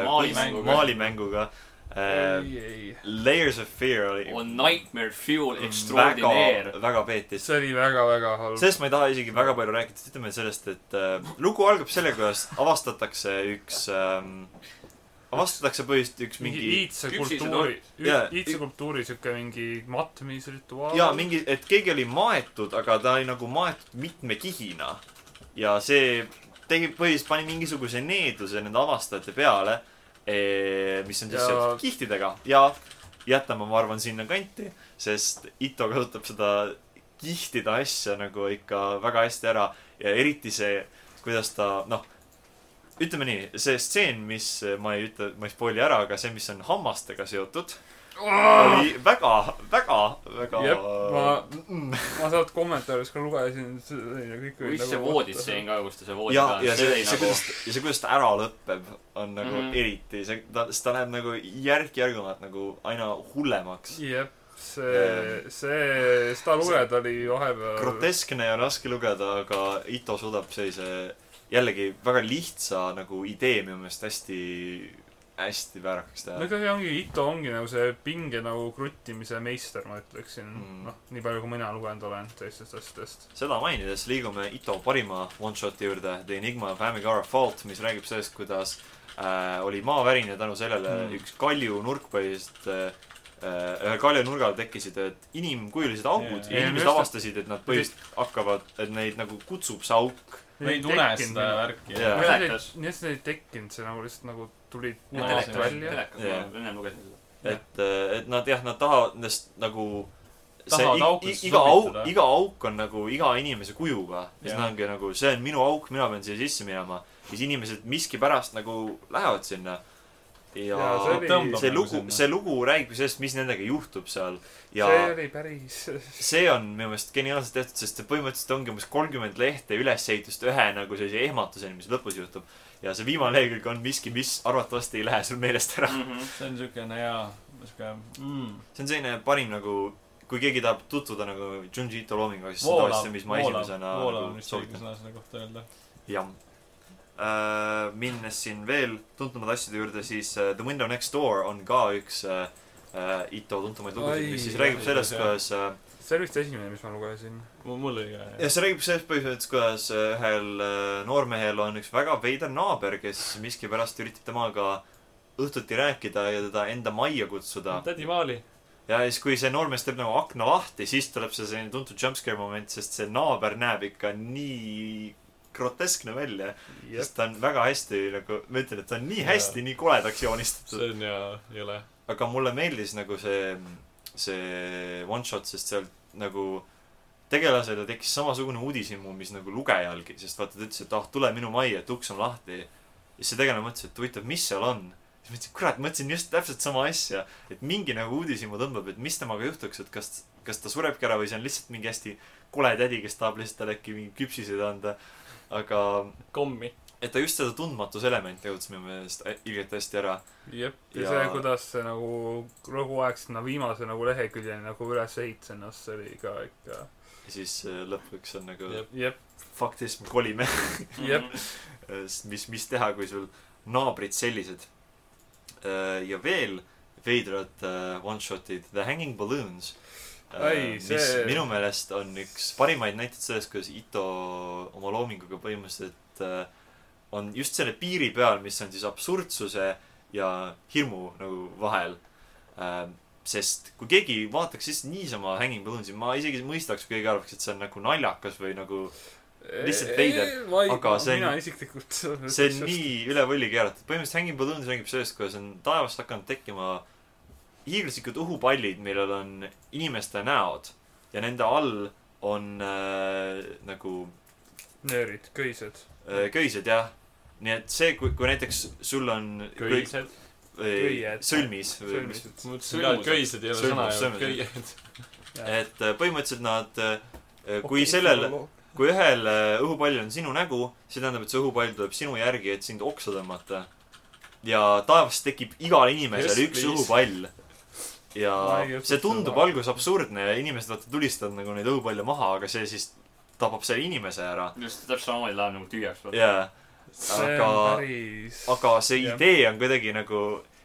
Speaker 3: Maalimänguga.
Speaker 1: maalimänguga , äh, .
Speaker 5: ei ,
Speaker 1: Layers of Fear oli
Speaker 3: on Nightmare Fuel
Speaker 1: väga
Speaker 3: Extraordinaire .,
Speaker 1: väga peetis .
Speaker 5: see oli väga-väga halb .
Speaker 1: sellest ma ei taha isegi väga palju rääkida , ütleme sellest , et äh, lugu algab sellega , kuidas avastatakse üks ähm, , avastatakse põhiliselt üks mingi
Speaker 5: iidse
Speaker 3: Küpsised
Speaker 5: kultuuri ,
Speaker 1: Jaa.
Speaker 5: iidse kultuuri siuke mingi matmisrituaal .
Speaker 1: jaa , mingi , et keegi oli maetud , aga ta oli nagu maetud mitme kihina . ja see tegi , põhiliselt pani mingisuguse needuse nende avastajate peale , mis on siis
Speaker 5: Ja-
Speaker 1: seotud kihtidega ja jätame , ma arvan , sinnakanti , sest Ito kasutab seda kihtide asja nagu ikka väga hästi ära ja eriti see , kuidas ta , noh , ütleme nii , see stseen , mis eh, ma ei ütle , ma ei spoili ära , aga see , mis on hammastega seotud , oli väga , väga , väga
Speaker 5: Ah! Jep, ma- ma sealt kommentaaris ka lugesin , see oli nagu kõik
Speaker 3: või see vooditseen ka , kus ta see voodi
Speaker 1: ja ,
Speaker 3: peal ,
Speaker 1: ja
Speaker 3: see
Speaker 1: see , see ,
Speaker 3: oli nagu
Speaker 1: kuidas , ja see , kuidas ta ära lõpeb , on nagu mm
Speaker 3: Mhm.
Speaker 1: -hmm. eriti , see , ta , sest ta läheb nagu järk-järgumalt nagu aina hullemaks .
Speaker 5: jep , see , see , seda lugeda oli vahepeal .
Speaker 1: groteskne ja raske lugeda , aga Ito suudab sellise jällegi väga lihtsa nagu idee minu meelest hästi , hästi väärakaks
Speaker 5: no
Speaker 1: teha .
Speaker 5: ikkagi ongi , Ito ongi nagu see pinge nagu kruttimise meister , ma ütleksin
Speaker 1: Mm.
Speaker 5: mm. . noh , nii palju , kui mina lugenud olen teistest asjadest .
Speaker 1: seda mainides liigume Ito parima one-shot'i juurde , The Enigma of Amicara Fault , mis räägib sellest , kuidas äh, oli maavärin ja tänu sellele
Speaker 5: Mm.
Speaker 1: mm. üks kalju nurk põhiliselt äh, äh, ühel kaljanurgal tekkisid et inimkujulised augud yeah.
Speaker 2: Jaa.
Speaker 1: ja
Speaker 5: Ja
Speaker 1: inimesed
Speaker 5: just-
Speaker 1: avastasid , et nad põhiliselt hakkavad , et neid nagu kutsub see auk .
Speaker 2: ma ei tunne seda . värki
Speaker 1: Jaa.
Speaker 2: yeah. .
Speaker 5: nii
Speaker 3: Mäletas.
Speaker 5: et see ei tekkinud , see nagu lihtsalt nagu tuli
Speaker 2: No,
Speaker 5: punasest
Speaker 2: see-
Speaker 5: välja .
Speaker 3: telekas , ma
Speaker 1: Jaa.
Speaker 3: ennem lugesin
Speaker 1: [laughs]
Speaker 3: seda .
Speaker 1: et , et nad jah , nad tahavad nendest nagu
Speaker 2: Tahavad
Speaker 1: see i-
Speaker 2: aukudest
Speaker 1: i- iga auk
Speaker 2: sobitada. ,
Speaker 1: iga auk on nagu iga inimese kujuga . ja siis
Speaker 2: Jah.
Speaker 1: nad ongi nagu , see on minu auk , mina pean siia sisse minema . ja siis inimesed miskipärast nagu lähevad sinna . ja
Speaker 5: Jaa, see oli-
Speaker 1: see, see
Speaker 2: nagu
Speaker 1: lugu ,
Speaker 2: sinna.
Speaker 1: see lugu räägib sellest , mis nendega juhtub seal . ja
Speaker 5: see oli päris .
Speaker 1: see on minu meelest geniaalselt tehtud , sest see põhimõtteliselt ongi umbes kolmkümmend lehte ülesehitust ühe nagu sellise ehmatuseni , mis lõpus juhtub . ja see viimane lehekülg on miski , mis arvatavasti ei lähe sul meelest ära .
Speaker 3: Mhm.
Speaker 2: see on siukene hea , siuke mm,
Speaker 1: see on selline parim nagu , kui keegi tahab tutvuda nagu Junji Ito loominguga , siis see on
Speaker 2: voolav ,
Speaker 1: tavaliselt see , mis ma
Speaker 2: voolav ,
Speaker 1: esimesena
Speaker 2: voolav on
Speaker 1: nagu
Speaker 2: vist õige
Speaker 1: soovitan .
Speaker 2: sõna selle kohta öelda .
Speaker 1: jah . Minnes siin veel tuntumate asjade juurde , siis äh, The Window Next Door on ka üks äh, äh, Ito tuntumaid lugusid ,
Speaker 5: Oi,
Speaker 1: mis siis räägib
Speaker 2: jah,
Speaker 1: sellest ,
Speaker 2: jah.
Speaker 1: kuidas äh,
Speaker 5: see oli vist esimene , mis ma lugesin .
Speaker 2: mul oli ka
Speaker 1: ja see räägib sellest põhimõtteliselt , kuidas ühel äh, noormehel on üks väga veider naaber , kes miskipärast üritab temaga õhtuti rääkida ja teda enda majja kutsuda .
Speaker 2: tädi Maali .
Speaker 1: ja siis , kui see noormees teeb nagu akna lahti , siis tuleb see selline tuntud jumpscare moment , sest see naaber näeb ikka nii groteskne välja . sest ta on väga hästi nagu , ma ütlen , et ta on nii hästi , nii koledaks joonistatud .
Speaker 2: see on hea , jõle .
Speaker 1: aga mulle meeldis nagu see , see one shot , sest seal nagu tegelasele tekkis samasugune uudishimu , mis nagu lugejalgi , sest vaata ta ütles , et ah , tule minu majja , et uks on lahti . ja siis see tegelane mõtles , et huvitav , mis seal on . siis ma ütlesin , kurat , mõtlesin just täpselt sama asja , et mingi nagu uudishimu tõmbab , et mis temaga juhtuks , et kas , kas ta surebki ära või see on lihtsalt mingi hästi kole tädi , kes tahab lihtsalt talle äkki mingeid küpsiseid anda . aga ,
Speaker 2: kommi .
Speaker 1: et ta just seda tundmatuselementi jõudis minu meelest ä- ilgelt hästi ära .
Speaker 5: jep , ja
Speaker 1: Ja-
Speaker 5: see , kuidas see nagu rõhuaeg sinna viimase nagu leheküljeni nagu üles ehitas ennast , see oli ka ikka .
Speaker 1: ja siis äh, lõpuks on nagu
Speaker 2: Jep.
Speaker 5: jep ,
Speaker 1: fuck this , me kolime . [laughs]
Speaker 5: jep .
Speaker 3: Mm,
Speaker 1: sest mis , mis teha , kui sul naabrid sellised . ja veel veidrad äh, one-shot'id The Hanging Balloons .
Speaker 5: Ai,
Speaker 1: mis
Speaker 5: see-
Speaker 1: minu meelest on üks parimaid näiteid sellest , kuidas Ito oma loominguga põhimõtteliselt äh, on just selle piiri peal , mis on siis absurdsuse ja hirmu nagu vahel . sest kui keegi vaataks lihtsalt niisama Hanging Balloonsi , ma isegi mõistaks , kui keegi arvaks , et see on nagu naljakas või nagu Lihtsalt veider, . aga see on-
Speaker 5: mina isiklikult . [laughs]
Speaker 1: see on . nii üle võlli keeratud , põhimõtteliselt Hanging Balloons räägib sellest , kuidas on taevast hakanud tekkima hiiglaslikud õhupallid , millel on inimeste näod ja nende all on äh, nagu
Speaker 5: nöörid , köised .
Speaker 1: äh, köised jah . nii et see , kui , kui näiteks sul on kui-
Speaker 2: köised .
Speaker 1: või
Speaker 5: Köied.
Speaker 1: sõlmis või mis ,
Speaker 5: sõlmised .
Speaker 2: ma mõtlesin ka , et köised ei ole
Speaker 1: Sõlmus,
Speaker 2: sõna ju .
Speaker 1: sõlmus.
Speaker 2: [laughs] köied .
Speaker 1: et äh, põhimõtteliselt nad äh, kui sellel , kui ühel äh, õhupallil on sinu nägu , see tähendab , et see õhupall tuleb sinu järgi , et sind oksa tõmmata . ja taevast tekib igale inimesele
Speaker 2: Yes,
Speaker 1: yes, üks
Speaker 2: please.
Speaker 1: õhupall . ja
Speaker 5: Ma ei usu
Speaker 1: see tundub
Speaker 5: seda.
Speaker 1: alguses absurdne ja inimesed vaata tulistavad nagu neid õhupalle maha , aga see siis tapab selle inimese ära .
Speaker 3: just täpselt samamoodi läheb nagu tühjaks .
Speaker 1: jaa ,
Speaker 5: see on
Speaker 1: aga-
Speaker 5: päris .
Speaker 1: aga see
Speaker 5: Jah.
Speaker 1: idee on kuidagi nagu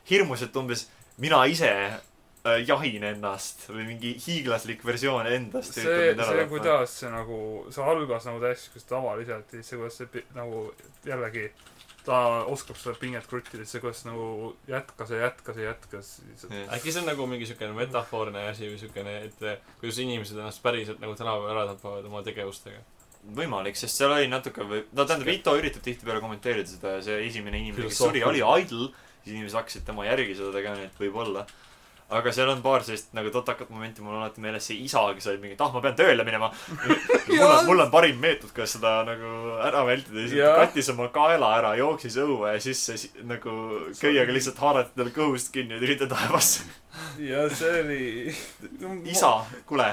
Speaker 1: hirmus , et umbes mina ise äh, jahin ennast või mingi hiiglaslik versioon endast üritab
Speaker 5: see ,
Speaker 1: mind ära
Speaker 5: see ,
Speaker 1: tappa .
Speaker 5: kuidas see nagu , see algas nagu täiesti siukest tavaliselt ja siis see , kuidas see pi- nagu jällegi ta oskab seda pinget kruttida , siis see , kuidas nagu jätkas ja jätkas ja jätkas .
Speaker 2: äkki see on nagu mingi siukene metafoorne asi või siukene , et eh, kuidas inimesed ennast päriselt nagu tänapäeval ära tapavad oma tegevustega .
Speaker 1: võimalik , sest seal oli natuke või , no tähendab , Ito üritab tihtipeale kommenteerida seda ja see esimene inimene , kes suri ,
Speaker 2: Filosoofiline.
Speaker 1: oli idol . siis inimesed hakkasid tema järgi seda tegema , nii et võib-olla . aga seal on paar sellist nagu totakat momenti , mul on alati meeles see isa , kes oli mingi , et ah , ma pean tööle
Speaker 2: [laughs]
Speaker 1: minema . mul on , mul on parim meetod , kuidas seda nagu ära vältida .
Speaker 5: Jaa.
Speaker 1: kattis oma kaela ära , jooksis õue ja siis see si- nagu köiega lihtsalt haarati tal kõhust kinni ja tuli ta taevasse .
Speaker 5: ja see oli .
Speaker 1: isa , kuule ,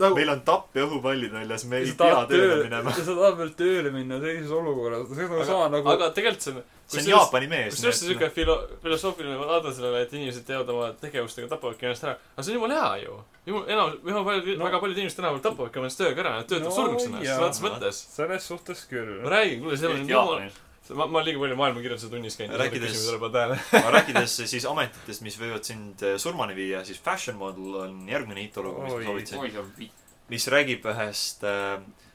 Speaker 5: nagu,
Speaker 1: meil on tapp ja õhupallid väljas , me
Speaker 5: ja
Speaker 1: ei
Speaker 5: sa
Speaker 1: pea
Speaker 5: tahad
Speaker 1: tööle
Speaker 5: tööle
Speaker 2: [laughs]
Speaker 1: minema
Speaker 5: ja . sa tahad veel tööle minna sellises olukorras , see on
Speaker 2: aga
Speaker 5: nagu sama , nagu noh.
Speaker 2: aga tegelikult see on ,
Speaker 1: see on
Speaker 2: kusjuures-
Speaker 1: Jaapani mees .
Speaker 2: kusjuures see siuke filo- , filosoofiline vaade sellele , et inimesed teevad oma tegevustega , tapavadki ennast ära . aga see on jumala hea ju . jumal , enam , väga paljud
Speaker 5: No.
Speaker 2: no. , väga paljud inimesed tänapäeval tapavadki oma ennast tööga ära , nad töötavad no,
Speaker 5: No
Speaker 2: surnuks ennast ,
Speaker 5: jaa.
Speaker 2: sõna otseses mõttes .
Speaker 5: selles suhtes küll .
Speaker 2: ma räägin , kuule , seal on
Speaker 3: eriti
Speaker 2: jumala ,
Speaker 3: Jaapanis .
Speaker 2: ma , ma olen liiga palju maailmakirjanduse tunnis käinud .
Speaker 1: Rääkides-
Speaker 2: tuleb tähele .
Speaker 1: aga rääkides siis ametitest , mis võivad sind eh, surmani viia , siis fashion model on järgmine IT-lugu , mis
Speaker 5: Oi.
Speaker 1: ma soovitasin ,
Speaker 3: oi , see on vitt .
Speaker 1: mis räägib ühest ,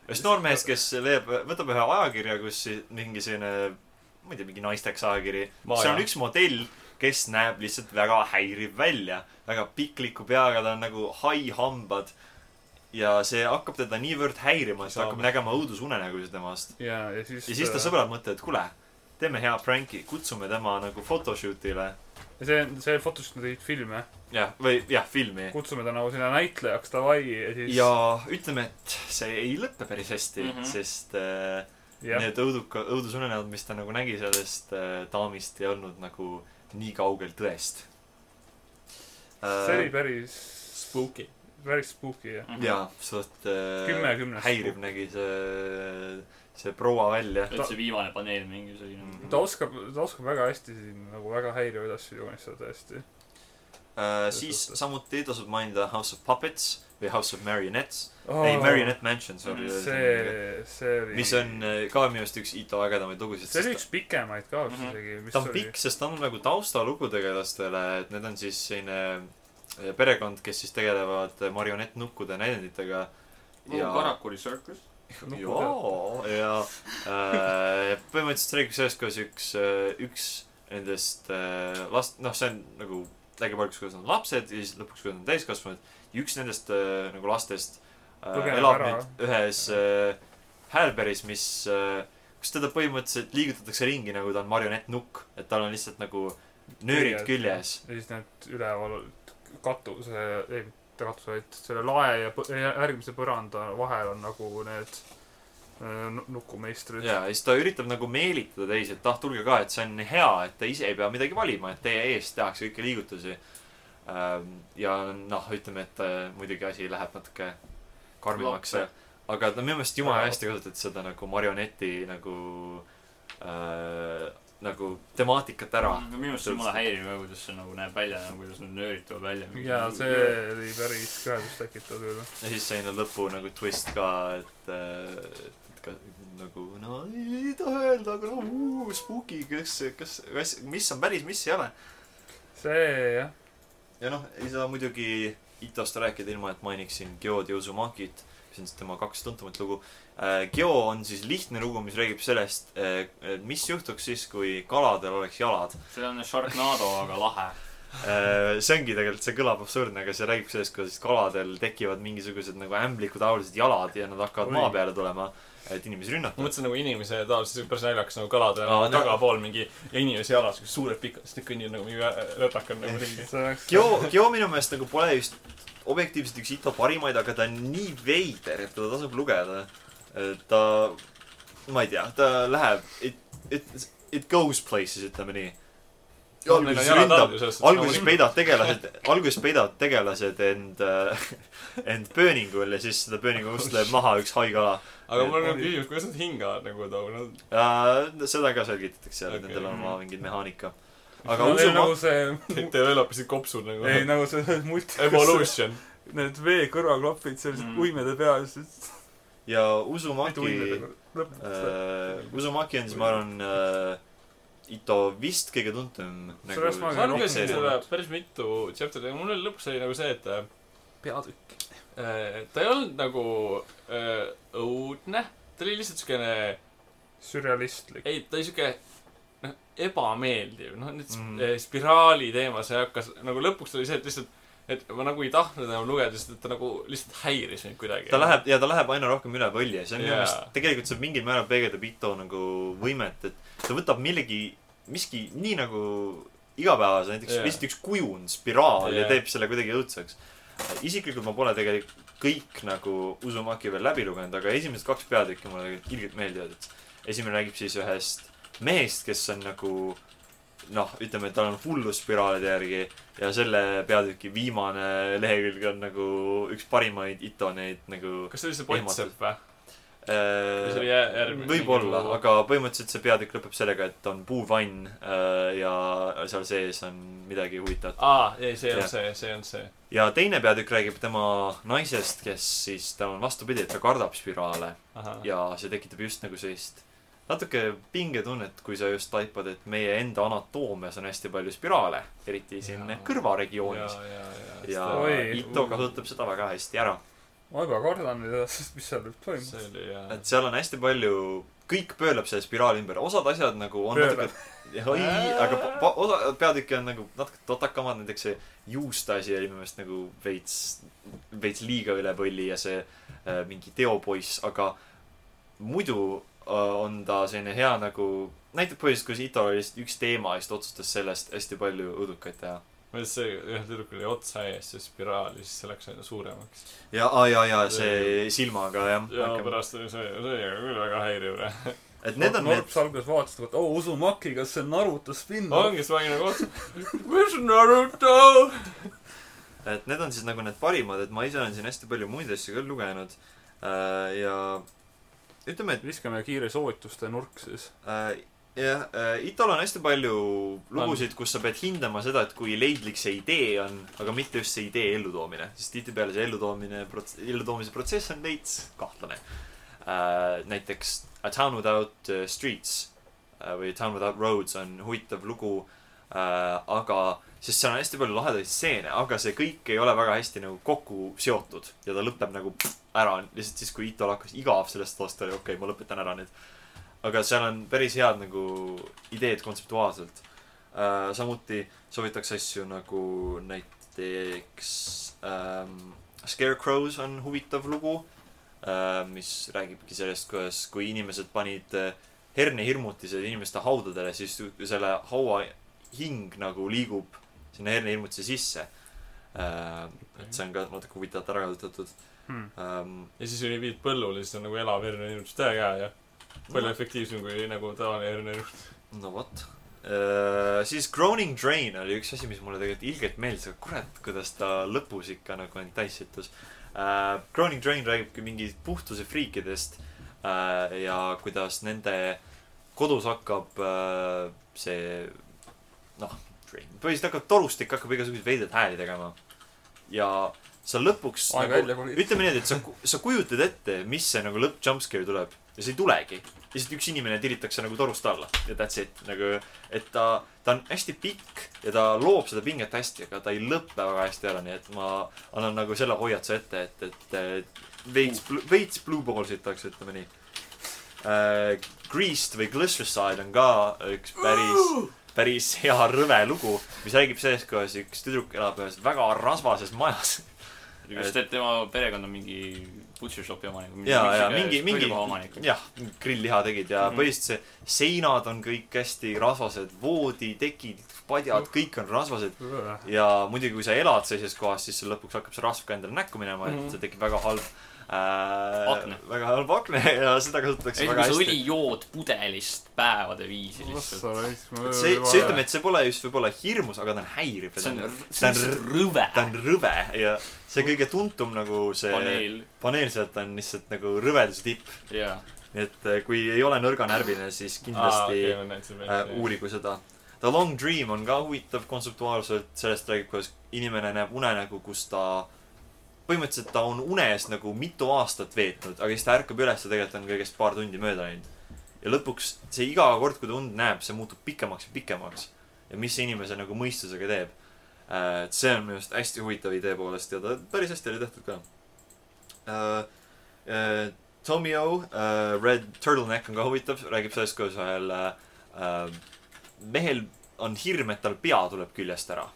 Speaker 1: ühest noormehest , kes leiab , võtab ühe ajakirja , kus si- mingi selline , ma ei tea , mingi naisteks ajakiri .
Speaker 2: Maa,
Speaker 1: seal on
Speaker 2: jah.
Speaker 1: üks modell , kes näeb lihtsalt väga häiriv välja , väga pikliku peaga , tal on nagu hai hambad ja see hakkab teda niivõrd häirima , et ta hakkab
Speaker 2: Saame.
Speaker 1: nägema õudusunenägusid temast .
Speaker 5: ja , ja siis . äh,
Speaker 1: ja siis ta sõbrad mõtlevad , kuule , teeme hea pranki , kutsume tema nagu photoshoot'ile
Speaker 5: see , see fotosid nad tegid filme ,
Speaker 1: jah , või jah , filmi .
Speaker 5: kutsume ta nagu sinna näitlejaks davai ja siis .
Speaker 1: ja ütleme , et see ei lõppe päris hästi mm ,
Speaker 3: Mhm.
Speaker 1: -hmm. sest äh,
Speaker 5: jah ,
Speaker 1: need õuduka , õudusunenäod , mis ta nagu nägi sellest äh, daamist , ei olnud nagu nii kaugel tõest
Speaker 5: see oli
Speaker 1: äh, .
Speaker 5: päris ,
Speaker 2: Spooky .
Speaker 5: päris spooky jah .
Speaker 3: Mhm.
Speaker 1: jaa , suht
Speaker 5: kümme
Speaker 1: äh,
Speaker 5: kümnest .
Speaker 1: häiriv nägi see , see proua välja .
Speaker 3: et see viimane paneel mingi selline . nagu-
Speaker 1: Mm.
Speaker 5: ta oskab , ta oskab väga hästi siin nagu väga häirivaid asju joonistada tõesti .
Speaker 1: Äh, siis samuti tasub mainida House of Puppets või House of Marionettes oh. . ei ,
Speaker 5: see ,
Speaker 1: Marionette Mansion , sorry .
Speaker 5: Mhm. see oli .
Speaker 1: mis on äh, ka minu arust üks Ito ägedamaid lugusid .
Speaker 5: see oli üks pikemaid ka vist
Speaker 3: Mhm.
Speaker 5: isegi , mis
Speaker 1: ta on
Speaker 5: oli .
Speaker 1: pikk , sest ta on nagu taustalugu tegelastele , et need on siis selline perekond , kes siis tegelevad marionettnukkude näidenditega . ja ,
Speaker 3: Nagu Karakuri Circus .
Speaker 1: joo , ja äh, põhimõtteliselt see räägib sellest , kuidas üks , üks nendest äh, last , noh , see on nagu , räägib alguses , kuidas nad on lapsed ja siis lõpuks , kuidas nad on täiskasvanud . ja üks nendest äh, nagu lastest äh,
Speaker 5: Põgeneb
Speaker 1: elab
Speaker 5: ära.
Speaker 1: nüüd ühes äh, häälberis , mis äh, kus teda põhimõtteliselt liigutatakse ringi , nagu ta on marionettnukk , et tal on lihtsalt nagu nöörid küljes .
Speaker 5: ja siis need üleval katuse , ei mitte katuse , vaid selle lae ja põ- ja järgmise põranda vahel on nagu need äh, nu- nukumeistrid .
Speaker 1: ja siis ta üritab nagu meelitada teisi , et ah , tulge ka , et see on hea , et te ise ei pea midagi valima , et teie eest tehakse kõiki liigutusi . ja noh , ütleme , et äh, muidugi asi läheb natuke karmimaks , aga no minu meelest jumala hästi kasutati seda nagu marioneti nagu äh, nagu temaatikat ära .
Speaker 3: minu arust see on jumala häiriv ka , kuidas see nagu näeb välja , kuidas need nöörid tulevad välja .
Speaker 5: ja see . oli päris kõhedust tekitav küll .
Speaker 1: ja siis selline lõpu nagu twist ka , et , et ka nagu no ei ei taha öelda , aga no uu, spooky , kas , kas , kas , mis on päris , mis ei ole .
Speaker 5: see jah ,
Speaker 1: ja noh , ei saa muidugi Itost rääkida ilma , et mainiksin Geod ja Uzumakit , mis on siis tema kaks tuntumat lugu . Geo on siis lihtne lugu , mis räägib sellest , mis juhtuks siis , kui kaladel oleks jalad .
Speaker 3: see on Sharknado , aga lahe .
Speaker 1: see ongi tegelikult , see kõlab absurdne , aga see räägib sellest , kuidas kaladel tekivad mingisugused nagu ämblikutaolised jalad ja nad hakkavad
Speaker 5: Oi.
Speaker 1: maa peale tulema , et inimesi rünnata .
Speaker 2: ma mõtlesin nagu inimese taolised , see on päris naljakas nagu kalade
Speaker 1: Aa,
Speaker 2: no,
Speaker 1: ta-
Speaker 2: taga pool mingi ja inimese jalas , siuksed suured pikad , siis nad kõnnivad nagu mingi vä- lätakad nagu ringi .
Speaker 5: see oleks .
Speaker 1: Geo , Geo minu meelest nagu pole just objektiivselt üks Ito parimaid , aga ta on nii veider , et teda tasub lugeda . ta , ma ei tea , ta läheb , it , it , it goes places , ütleme nii .
Speaker 2: Nagu
Speaker 1: alguses ründab , alguses peidab tegelased , alguses peidavad tegelased end , end pööningul ja siis seda pööningu ust lööb maha üks haigala .
Speaker 2: aga mul on nagu küsimus , kuidas nad hingavad nagu too , nad
Speaker 1: Äh, seda ka selgitatakse seal , et
Speaker 2: Okei.
Speaker 1: nendel on oma mingi mehaanika .
Speaker 5: aga
Speaker 1: aga
Speaker 5: no, usu
Speaker 1: usuma-
Speaker 5: nagu see ,
Speaker 2: developisid kopsud nagu .
Speaker 5: ei nagu see [laughs] multi- .
Speaker 2: Evolution .
Speaker 5: Need vee kõrvaklapid sellised mm.
Speaker 3: Mm.
Speaker 5: uimede peas .
Speaker 1: ja Uzumaki
Speaker 5: uimedega lõpuks .
Speaker 1: äh, uh, . Uzumaki on siis , ma arvan uh, , Ito vist kõige tuntum nagu
Speaker 5: Sellest ma
Speaker 2: ma
Speaker 5: Aga
Speaker 2: lugesin
Speaker 5: rohkem
Speaker 2: seda päris mitu chapter'it , aga mul oli lõpuks oli nagu see , et äh,
Speaker 5: peatükk .
Speaker 2: äh, ta ei olnud nagu äh, õudne , ta oli lihtsalt siukene ,
Speaker 5: sürrealistlik .
Speaker 2: ei , ta oli siuke noh , ebameeldiv , noh nüüd
Speaker 4: Mm.
Speaker 2: mm. spiraali teema , see hakkas nagu lõpuks oli see , et lihtsalt , et ma nagu ei tahtnud enam lugeda , sest et ta nagu lihtsalt häiris mind kuidagi .
Speaker 1: ta läheb ja ta läheb aina rohkem üle võlli ja see on minu
Speaker 2: Jaa.
Speaker 1: meelest , tegelikult see mingil määral peegeldab Ito nagu võimet , et ta võtab millegi , miski nii nagu igapäevase , näiteks
Speaker 2: Jaa.
Speaker 1: lihtsalt üks kujund , spiraal ja
Speaker 2: Jaa.
Speaker 1: teeb selle kuidagi õudseks . isiklikult ma pole tegelikult kõik nagu Uzumaki veel läbi lugenud , aga esimesed kaks peatükki mulle tegelikult ilgelt meeldivad , et esimene räägib siis ühest mehest , kes on nagu noh , ütleme , et tal on hullus spiraalide järgi ja selle peatüki viimane lehekülg on nagu üks parimaid Ito neid nagu
Speaker 2: kas see oli see
Speaker 1: Ehmatav.
Speaker 2: Potsepp või ? või see oli
Speaker 1: Äh,
Speaker 2: jä- järgmine ?
Speaker 1: võib-olla , aga põhimõtteliselt see peatükk lõpeb sellega , et on puuvann äh, ja seal sees on midagi huvitavat .
Speaker 2: aa , ei , see on
Speaker 1: Jah.
Speaker 2: see , see on see .
Speaker 1: ja teine peatükk räägib tema naisest , kes siis , tal on vastupidi , et ta kardab spiraale
Speaker 2: ahah ,
Speaker 1: ja see tekitab just nagu sellist natuke pingetunnet , kui sa just taipad , et meie enda anatoomias on hästi palju spiraale , eriti siin
Speaker 2: Jaa.
Speaker 1: kõrvaregioonis .
Speaker 2: ja , ja ,
Speaker 1: ja
Speaker 5: Oi.
Speaker 1: Ito kasutab seda väga hästi ära .
Speaker 5: ma juba kardan nüüd , mis seal võib
Speaker 2: see
Speaker 5: toimuda .
Speaker 2: oli jaa .
Speaker 1: et seal on hästi palju , kõik pöörleb selle spiraali ümber , osad asjad nagu on
Speaker 5: Pöörleb.
Speaker 1: natuke , oi , aga pa- pa- osa peatükki on nagu natuke totakamad , näiteks see juuste asi oli minu meelest nagu veits , veits liiga üle põlli ja see äh, mingi teopoiss , aga muidu äh, on ta selline hea nagu , näitab põhiliselt , kuidas Itol oli lihtsalt üks teema ja siis ta otsustas sellest hästi palju õudukaid teha .
Speaker 2: ma lihtsalt see ühel tüdrukul oli otsa ees see spiraal ja siis see läks aina suuremaks .
Speaker 1: ja , ja , ja see silmaga
Speaker 2: ja
Speaker 1: jah .
Speaker 2: pärast oli see , see oli küll väga häiriv .
Speaker 1: et need on need
Speaker 5: Norps alguses vaatas , et oo , Uzumaki , kas see on Naruto spinn ?
Speaker 2: [laughs] ongi , siis ma olin nagu otsa , kus Naruto ?
Speaker 1: et need on siis nagu need parimad , et ma ise olen siin hästi palju muid asju küll lugenud äh, ja ütleme , et
Speaker 5: viskame kiire soovituste nurk siis .
Speaker 1: äh, jah äh, , Itol on hästi palju lugusid , kus sa pead hindama seda , et kui leidlik see idee on , aga mitte just see idee ellutoomine , sest tihtipeale see ellutoomine , ellutoomise protsess on veits kahtlane äh, . näiteks A Town Without äh, Streets äh, või A Town Without Roads on huvitav lugu äh, , aga , sest seal on hästi palju lahedaid stseene , aga see kõik ei ole väga hästi nagu kokku seotud ja ta lõpeb nagu ära lihtsalt siis , kui Itol hakkas igav sellest loost , ta oli okei okay, , ma lõpetan ära nüüd . aga seal on päris head nagu ideed kontseptuaalselt äh, . samuti soovitaks asju nagu näiteks ähm, Scarecrows on huvitav lugu äh, , mis räägibki sellest , kuidas , kui inimesed panid äh, hernehirmutised inimeste haudadele , siis ju- selle haua hing nagu liigub sinna hernehirmutise sisse äh, . et see on ka natuke huvitavalt ära kasutatud
Speaker 5: Hmm.
Speaker 1: ähm, .
Speaker 2: ja siis oli viid põllule , siis on nagu elav herne ilmselt täiega hea ja palju efektiivsem kui nagu tavaline herne ilmselt .
Speaker 1: no vot . siis Groaning Drain oli üks asi , mis mulle tegelikult ilgelt meeldis , aga kurat , kuidas ta lõpus ikka nagu end täis sittus . Groaning Drain räägibki mingi puhtuse friikidest äh, ja kuidas nende kodus hakkab äh, see noh , põhiliselt hakkab torustik hakkab igasuguseid veidraid hääli tegema . ja sa lõpuks
Speaker 5: aeg
Speaker 1: nagu,
Speaker 5: välja kolida .
Speaker 1: ütleme niimoodi , et sa , sa kujutad ette , mis see nagu lõpp jumpscare tuleb ja see ei tulegi . lihtsalt üks inimene tiritakse nagu torust alla ja that's it nagu , et ta , ta on hästi pikk ja ta loob seda pinget hästi , aga ta ei lõpe väga hästi ära , nii et ma annan nagu selle hoiatuse ette , et , et , et veits , veits blue ball sitaks , ütleme nii äh, . Greased või Glycerside on ka üks päris , päris hea rõve lugu , mis räägib sellest , kuidas üks tüdruk elab ühes väga rasvases majas
Speaker 3: just , et tema perekond on mingi butcher shop'i omanik .
Speaker 1: jaa , jaa , mingi , mingi
Speaker 3: omanik .
Speaker 1: jah , grillliha tegid ja mm
Speaker 3: Mhm.
Speaker 1: -hmm. põhiliselt see seinad on kõik hästi rasvased , vooditekid , padjad ,
Speaker 3: Mhm.
Speaker 1: kõik on rasvased . ja muidugi , kui sa elad sellises kohas , siis sul lõpuks hakkab see rasv ka endale näkku minema mm , -hmm.
Speaker 2: Mhm.
Speaker 1: et see tekib väga halb äh,
Speaker 3: Akne. ,
Speaker 1: väga halb akne [laughs] ja seda kasutatakse väga
Speaker 3: esimese õli
Speaker 1: hästi .
Speaker 3: jood pudelist päevade viisi lihtsalt .
Speaker 1: see , see ütleme ,
Speaker 5: ütleme ,
Speaker 1: et see pole just võib-olla hirmus , aga ta on häiriv ja
Speaker 3: see
Speaker 1: ta on
Speaker 3: on , see on
Speaker 1: see
Speaker 3: lihtsalt rõve
Speaker 1: ta on rõve ja see kõige tuntum nagu see
Speaker 3: paneel .
Speaker 1: paneel sealt on lihtsalt nagu rõveduse tipp .
Speaker 3: jaa .
Speaker 1: nii et äh, kui ei ole nõrganärviline , siis kindlasti ah, , okay. äh,
Speaker 2: uurisin .
Speaker 1: uurigu seda . The Long Dream on ka huvitav kontseptuaalselt , sellest räägib , kuidas inimene näeb unenägu , kus ta põhimõtteliselt ta on unes nagu mitu aastat veetnud , aga siis ta ärkab üles ja tegelikult on kõigest paar tundi mööda läinud . ja lõpuks see iga kord , kui ta und näeb , see muutub pikemaks ja pikemaks . ja mis see inimese nagu mõistusega teeb . et see on minu arust hästi huvitav idee poolest ja ta päris hästi oli tehtud ka . Tomio äh, Red Turtleneck on ka huvitav , räägib sellest , kuidas ühel äh, mehel on hirm , et tal pea tuleb küljest ära .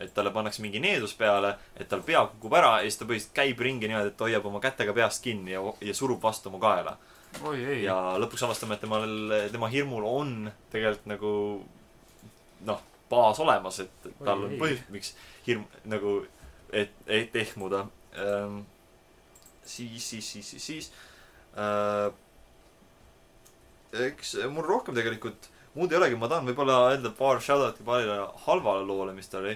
Speaker 1: et talle pannakse mingi needus peale , et tal pea kukub ära ja siis ta põhimõtteliselt käib ringi niimoodi , et ta hoiab oma kätega peast kinni ja , ja surub vastu oma kaela .
Speaker 5: oi ei .
Speaker 1: ja lõpuks avastame , et temal , tema hirmul on tegelikult nagu noh , baas olemas , et tal on
Speaker 5: Oi, ei.
Speaker 1: põhjus , miks hirm nagu , et , et ehmuda . siis , siis , siis , siis , siis äh, . eks mul rohkem tegelikult muud ei olegi , ma tahan võib-olla öelda paar shout-out'i paarile halvale loole , mis tal oli .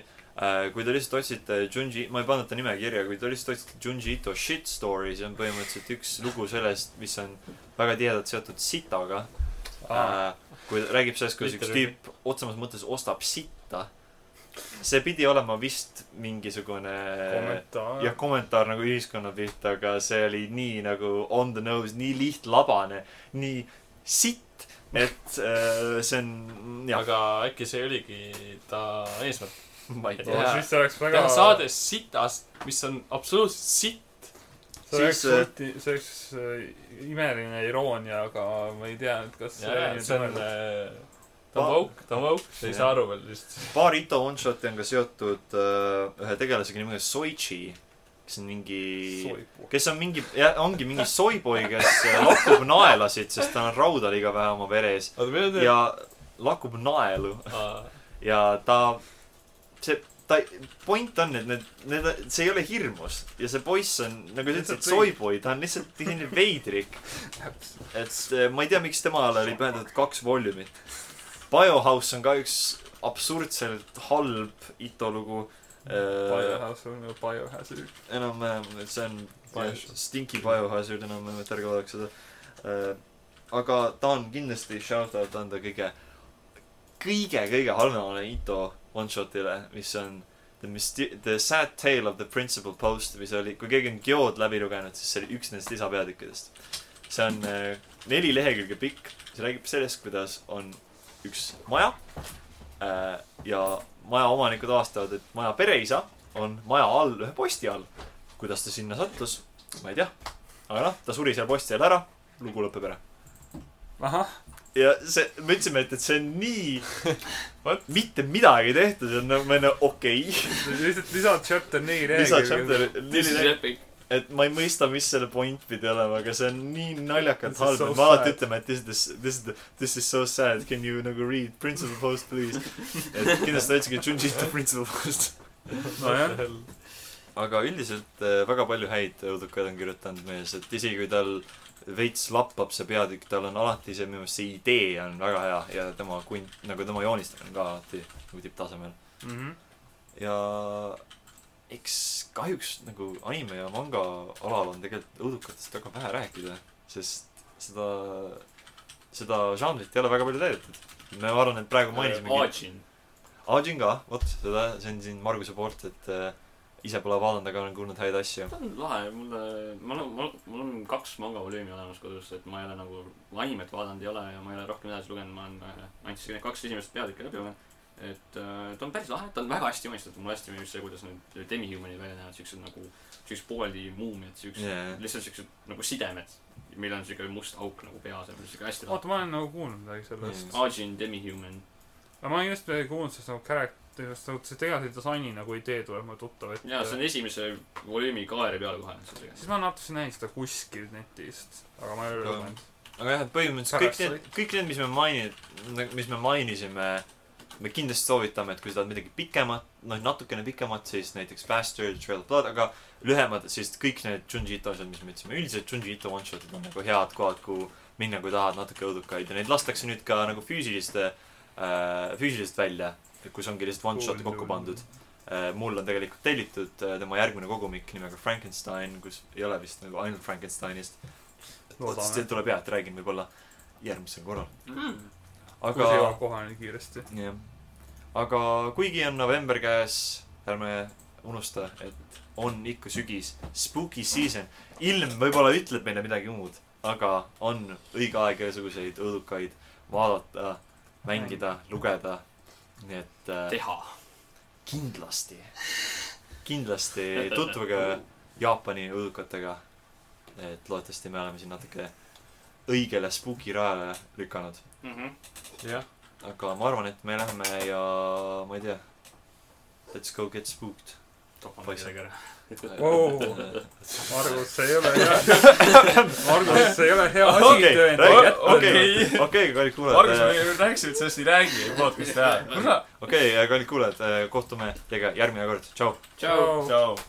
Speaker 1: kui te lihtsalt otsite Junji , ma ei pannud ta nime kirja , kui te lihtsalt otsite Junji Ito Shit Story , see on põhimõtteliselt üks lugu sellest , mis on väga tihedalt seotud sitaga .
Speaker 5: Ah,
Speaker 1: kui ta räägib sellest , kuidas üks
Speaker 2: Literally.
Speaker 1: tüüp otsemas mõttes ostab sitta . see pidi olema vist mingisugune
Speaker 5: kommentaar .
Speaker 1: äh, jah , kommentaar nagu ühiskonna pihta , aga see oli nii nagu on the nose , nii lihtlabane , nii sitt , et äh, see on jah ,
Speaker 2: aga äkki see oligi ta eesmärk .
Speaker 1: ma ei tea .
Speaker 5: siis see oleks väga
Speaker 2: teha . saade sitast , mis on absoluutselt sitt .
Speaker 5: see oleks
Speaker 1: siis, äh,
Speaker 5: suurti , see oleks äh, imeline iroonia , aga ma ei tea nüüd , kas
Speaker 2: see on , ta
Speaker 1: Ma-
Speaker 2: on vauk , ta on vauk , sa ei
Speaker 1: Jah.
Speaker 2: saa aru veel lihtsalt .
Speaker 1: paar Ito one-shot'i on ka seotud äh, ühe tegelasega nimega Soichi , kes on mingi ,
Speaker 5: soibu .
Speaker 1: kes on mingi , ongi mingi soiboi , kes äh, lakub naelasid , sest tal on rauda liiga vähe oma veres
Speaker 2: oota , mida te
Speaker 1: ja lakub naelu ja ta , see , ta , point on , et need , need , see ei ole hirmus ja see poiss on , nagu sa ütlesid ,
Speaker 5: Lihtsalt
Speaker 1: soiboi , ta on lihtsalt selline veidrik . et eh, ma ei tea , miks temale oli pühendatud kaks volüümit . Biohouse on ka üks absurdselt halb Ito lugu . Äh,
Speaker 5: Biohouse on ju biohazard .
Speaker 1: enam-vähem , see on
Speaker 2: Biohazard.
Speaker 1: Stinky Biohazard enam-vähem , et ärge vaadake seda . aga ta on kindlasti shout-out anda kõige , kõige-kõige halvemale Ito one-shot'ile , mis on The Mysti- , The Sad Tale of the Principal Post , mis oli , kui keegi on Geod läbi lugenud , siis see oli üks nendest lisapeatükkidest . see on äh, neli lehekülge pikk , see räägib sellest , kuidas on üks maja äh, ja maja omanikud avastavad , et maja pereisa on maja all ühe posti all . kuidas ta sinna sattus , ma ei tea . aga noh , ta suri seal posti all ära , lugu lõpeb ära .
Speaker 5: ahah ,
Speaker 1: ja see , me ütlesime , et , et see on nii
Speaker 2: What?
Speaker 1: mitte midagi tehtud , see on nagu , ma olen okei okay. .
Speaker 5: lihtsalt lisad chapter neli
Speaker 1: lisad chapter ,
Speaker 3: This is epic .
Speaker 1: et ma ei mõista , mis selle point pidi olema , aga see on nii naljakalt
Speaker 5: This is
Speaker 1: halb ,
Speaker 5: so
Speaker 1: et me alati
Speaker 5: sad.
Speaker 1: ütleme , et this is this , this is the , this is so sad , can you nagu read principal post please . et kindlasti otsige Junji Ito principal post .
Speaker 5: [laughs] nojah ,
Speaker 1: aga üldiselt äh, väga palju häid õudukaid on kirjutanud mees , et isegi kui tal veits lappab see peatükk , tal on alati see , minu meelest see idee on väga hea ja tema kun- , nagu tema joonistamine on ka alati nagu tipptasemel .
Speaker 5: Mhm.
Speaker 1: ja eks kahjuks nagu anime ja manga alal on tegelikult õudukatest väga vähe rääkida , sest seda , seda žanrit ei ole väga palju täidetud . me , ma arvan , et praegu mainisime .
Speaker 3: Ajin .
Speaker 1: Ajin ka , vot seda , see on siin Marguse poolt , et äh, ise pole vaadanud , aga olen kuulnud häid asju .
Speaker 3: ta on lahe , mulle , mul on , mul , mul on kaks manga volüümi olemas kodus , et ma ei ole nagu animet vaadanud ei ole ja ma ei ole rohkem edasi lugenud , ma olen , andsin need kaks esimest peatükki läbi lugenud . et äh, ta on päris lahe , ta on väga hästi joonistatud , mulle hästi meeldib see , kuidas need demihumanid välja näevad , siuksed nagu , siuksed pooleli muumiad , siuksed yeah.
Speaker 1: jaa ,
Speaker 3: lihtsalt siuksed nagu sidemed , millel on siuke must auk nagu pea asemel , siuke hästi lahe .
Speaker 5: oota , ma olen nagu kuulnud midagi sellest .
Speaker 3: Ajin demihuman ,
Speaker 5: aga ma olen kindlasti midagi kuulnud , sest nagu character , see tegelikult disaini nagu idee tuleb mulle tuttav ette .
Speaker 3: jaa , see on esimese volüümi kaare peal kohe , see on siuke
Speaker 5: siis ma natuke näin seda kuskil netist , aga ma ei ole
Speaker 1: Aga-
Speaker 5: lugenud .
Speaker 1: aga jah , et põhimõtteliselt kõik
Speaker 5: Pärast
Speaker 1: need , kõik need , mis me maini- , mis me mainisime , me kindlasti soovitame , et kui sa tahad midagi pikemat , noh , natukene pikemat , siis näiteks Bastard , Trail of Blood , aga lühemad , siis kõik need Junji Ito asjad , mis me ütlesime , üldiselt Junji Ito one-shot'id on nagu head kohad , kuhu minna , kui tahad natuke õudukaid ja neid lastakse nüüd ka nagu füüsiliste äh, , füüsiliselt välja , kus ongi lihtsalt one-shot
Speaker 5: Cool,
Speaker 1: kokku
Speaker 5: cool.
Speaker 1: pandud . Äh, mul on tegelikult tellitud äh, tema järgmine kogumik nimega Frankenstein , kus ei ole vist nagu ainult Frankensteinist .
Speaker 5: Loodame.
Speaker 1: see tuleb hea , et räägin võib-olla järgmisel korral .
Speaker 3: mm. .
Speaker 5: kui see jõuab
Speaker 1: aga ,
Speaker 5: kohale nii kiiresti .
Speaker 1: jah . aga kuigi on november käes , ärme unusta , et on ikka sügis , spooky season . ilm võib-olla ütleb meile midagi muud , aga on õige aeg igasuguseid õudukaid vaadata , mängida , lugeda . nii et äh,
Speaker 3: teha .
Speaker 1: kindlasti , kindlasti tutvuge Jaapani õudukatega . et loodetavasti me oleme siin natuke õigele spukirajale lükanud .
Speaker 2: jah ,
Speaker 1: aga ma arvan , et me lähme ja ma ei tea . Let's go get spooked .
Speaker 3: tapame
Speaker 1: Poiss.
Speaker 3: midagi ära .
Speaker 5: Vau. Margus , see ei
Speaker 3: [laughs]
Speaker 5: ole hea , [laughs] Margus , see ei ole hea asi
Speaker 1: Okei, räägi. okei , okei , kallid
Speaker 4: Margus , me
Speaker 1: kuulajad .
Speaker 4: ju rääkisime , et sellest ei räägi podcast'i ajal .
Speaker 1: okei , kallid kuulajad , kohtume teiega järgmine kord , tšau .
Speaker 3: tšau .
Speaker 4: tšau .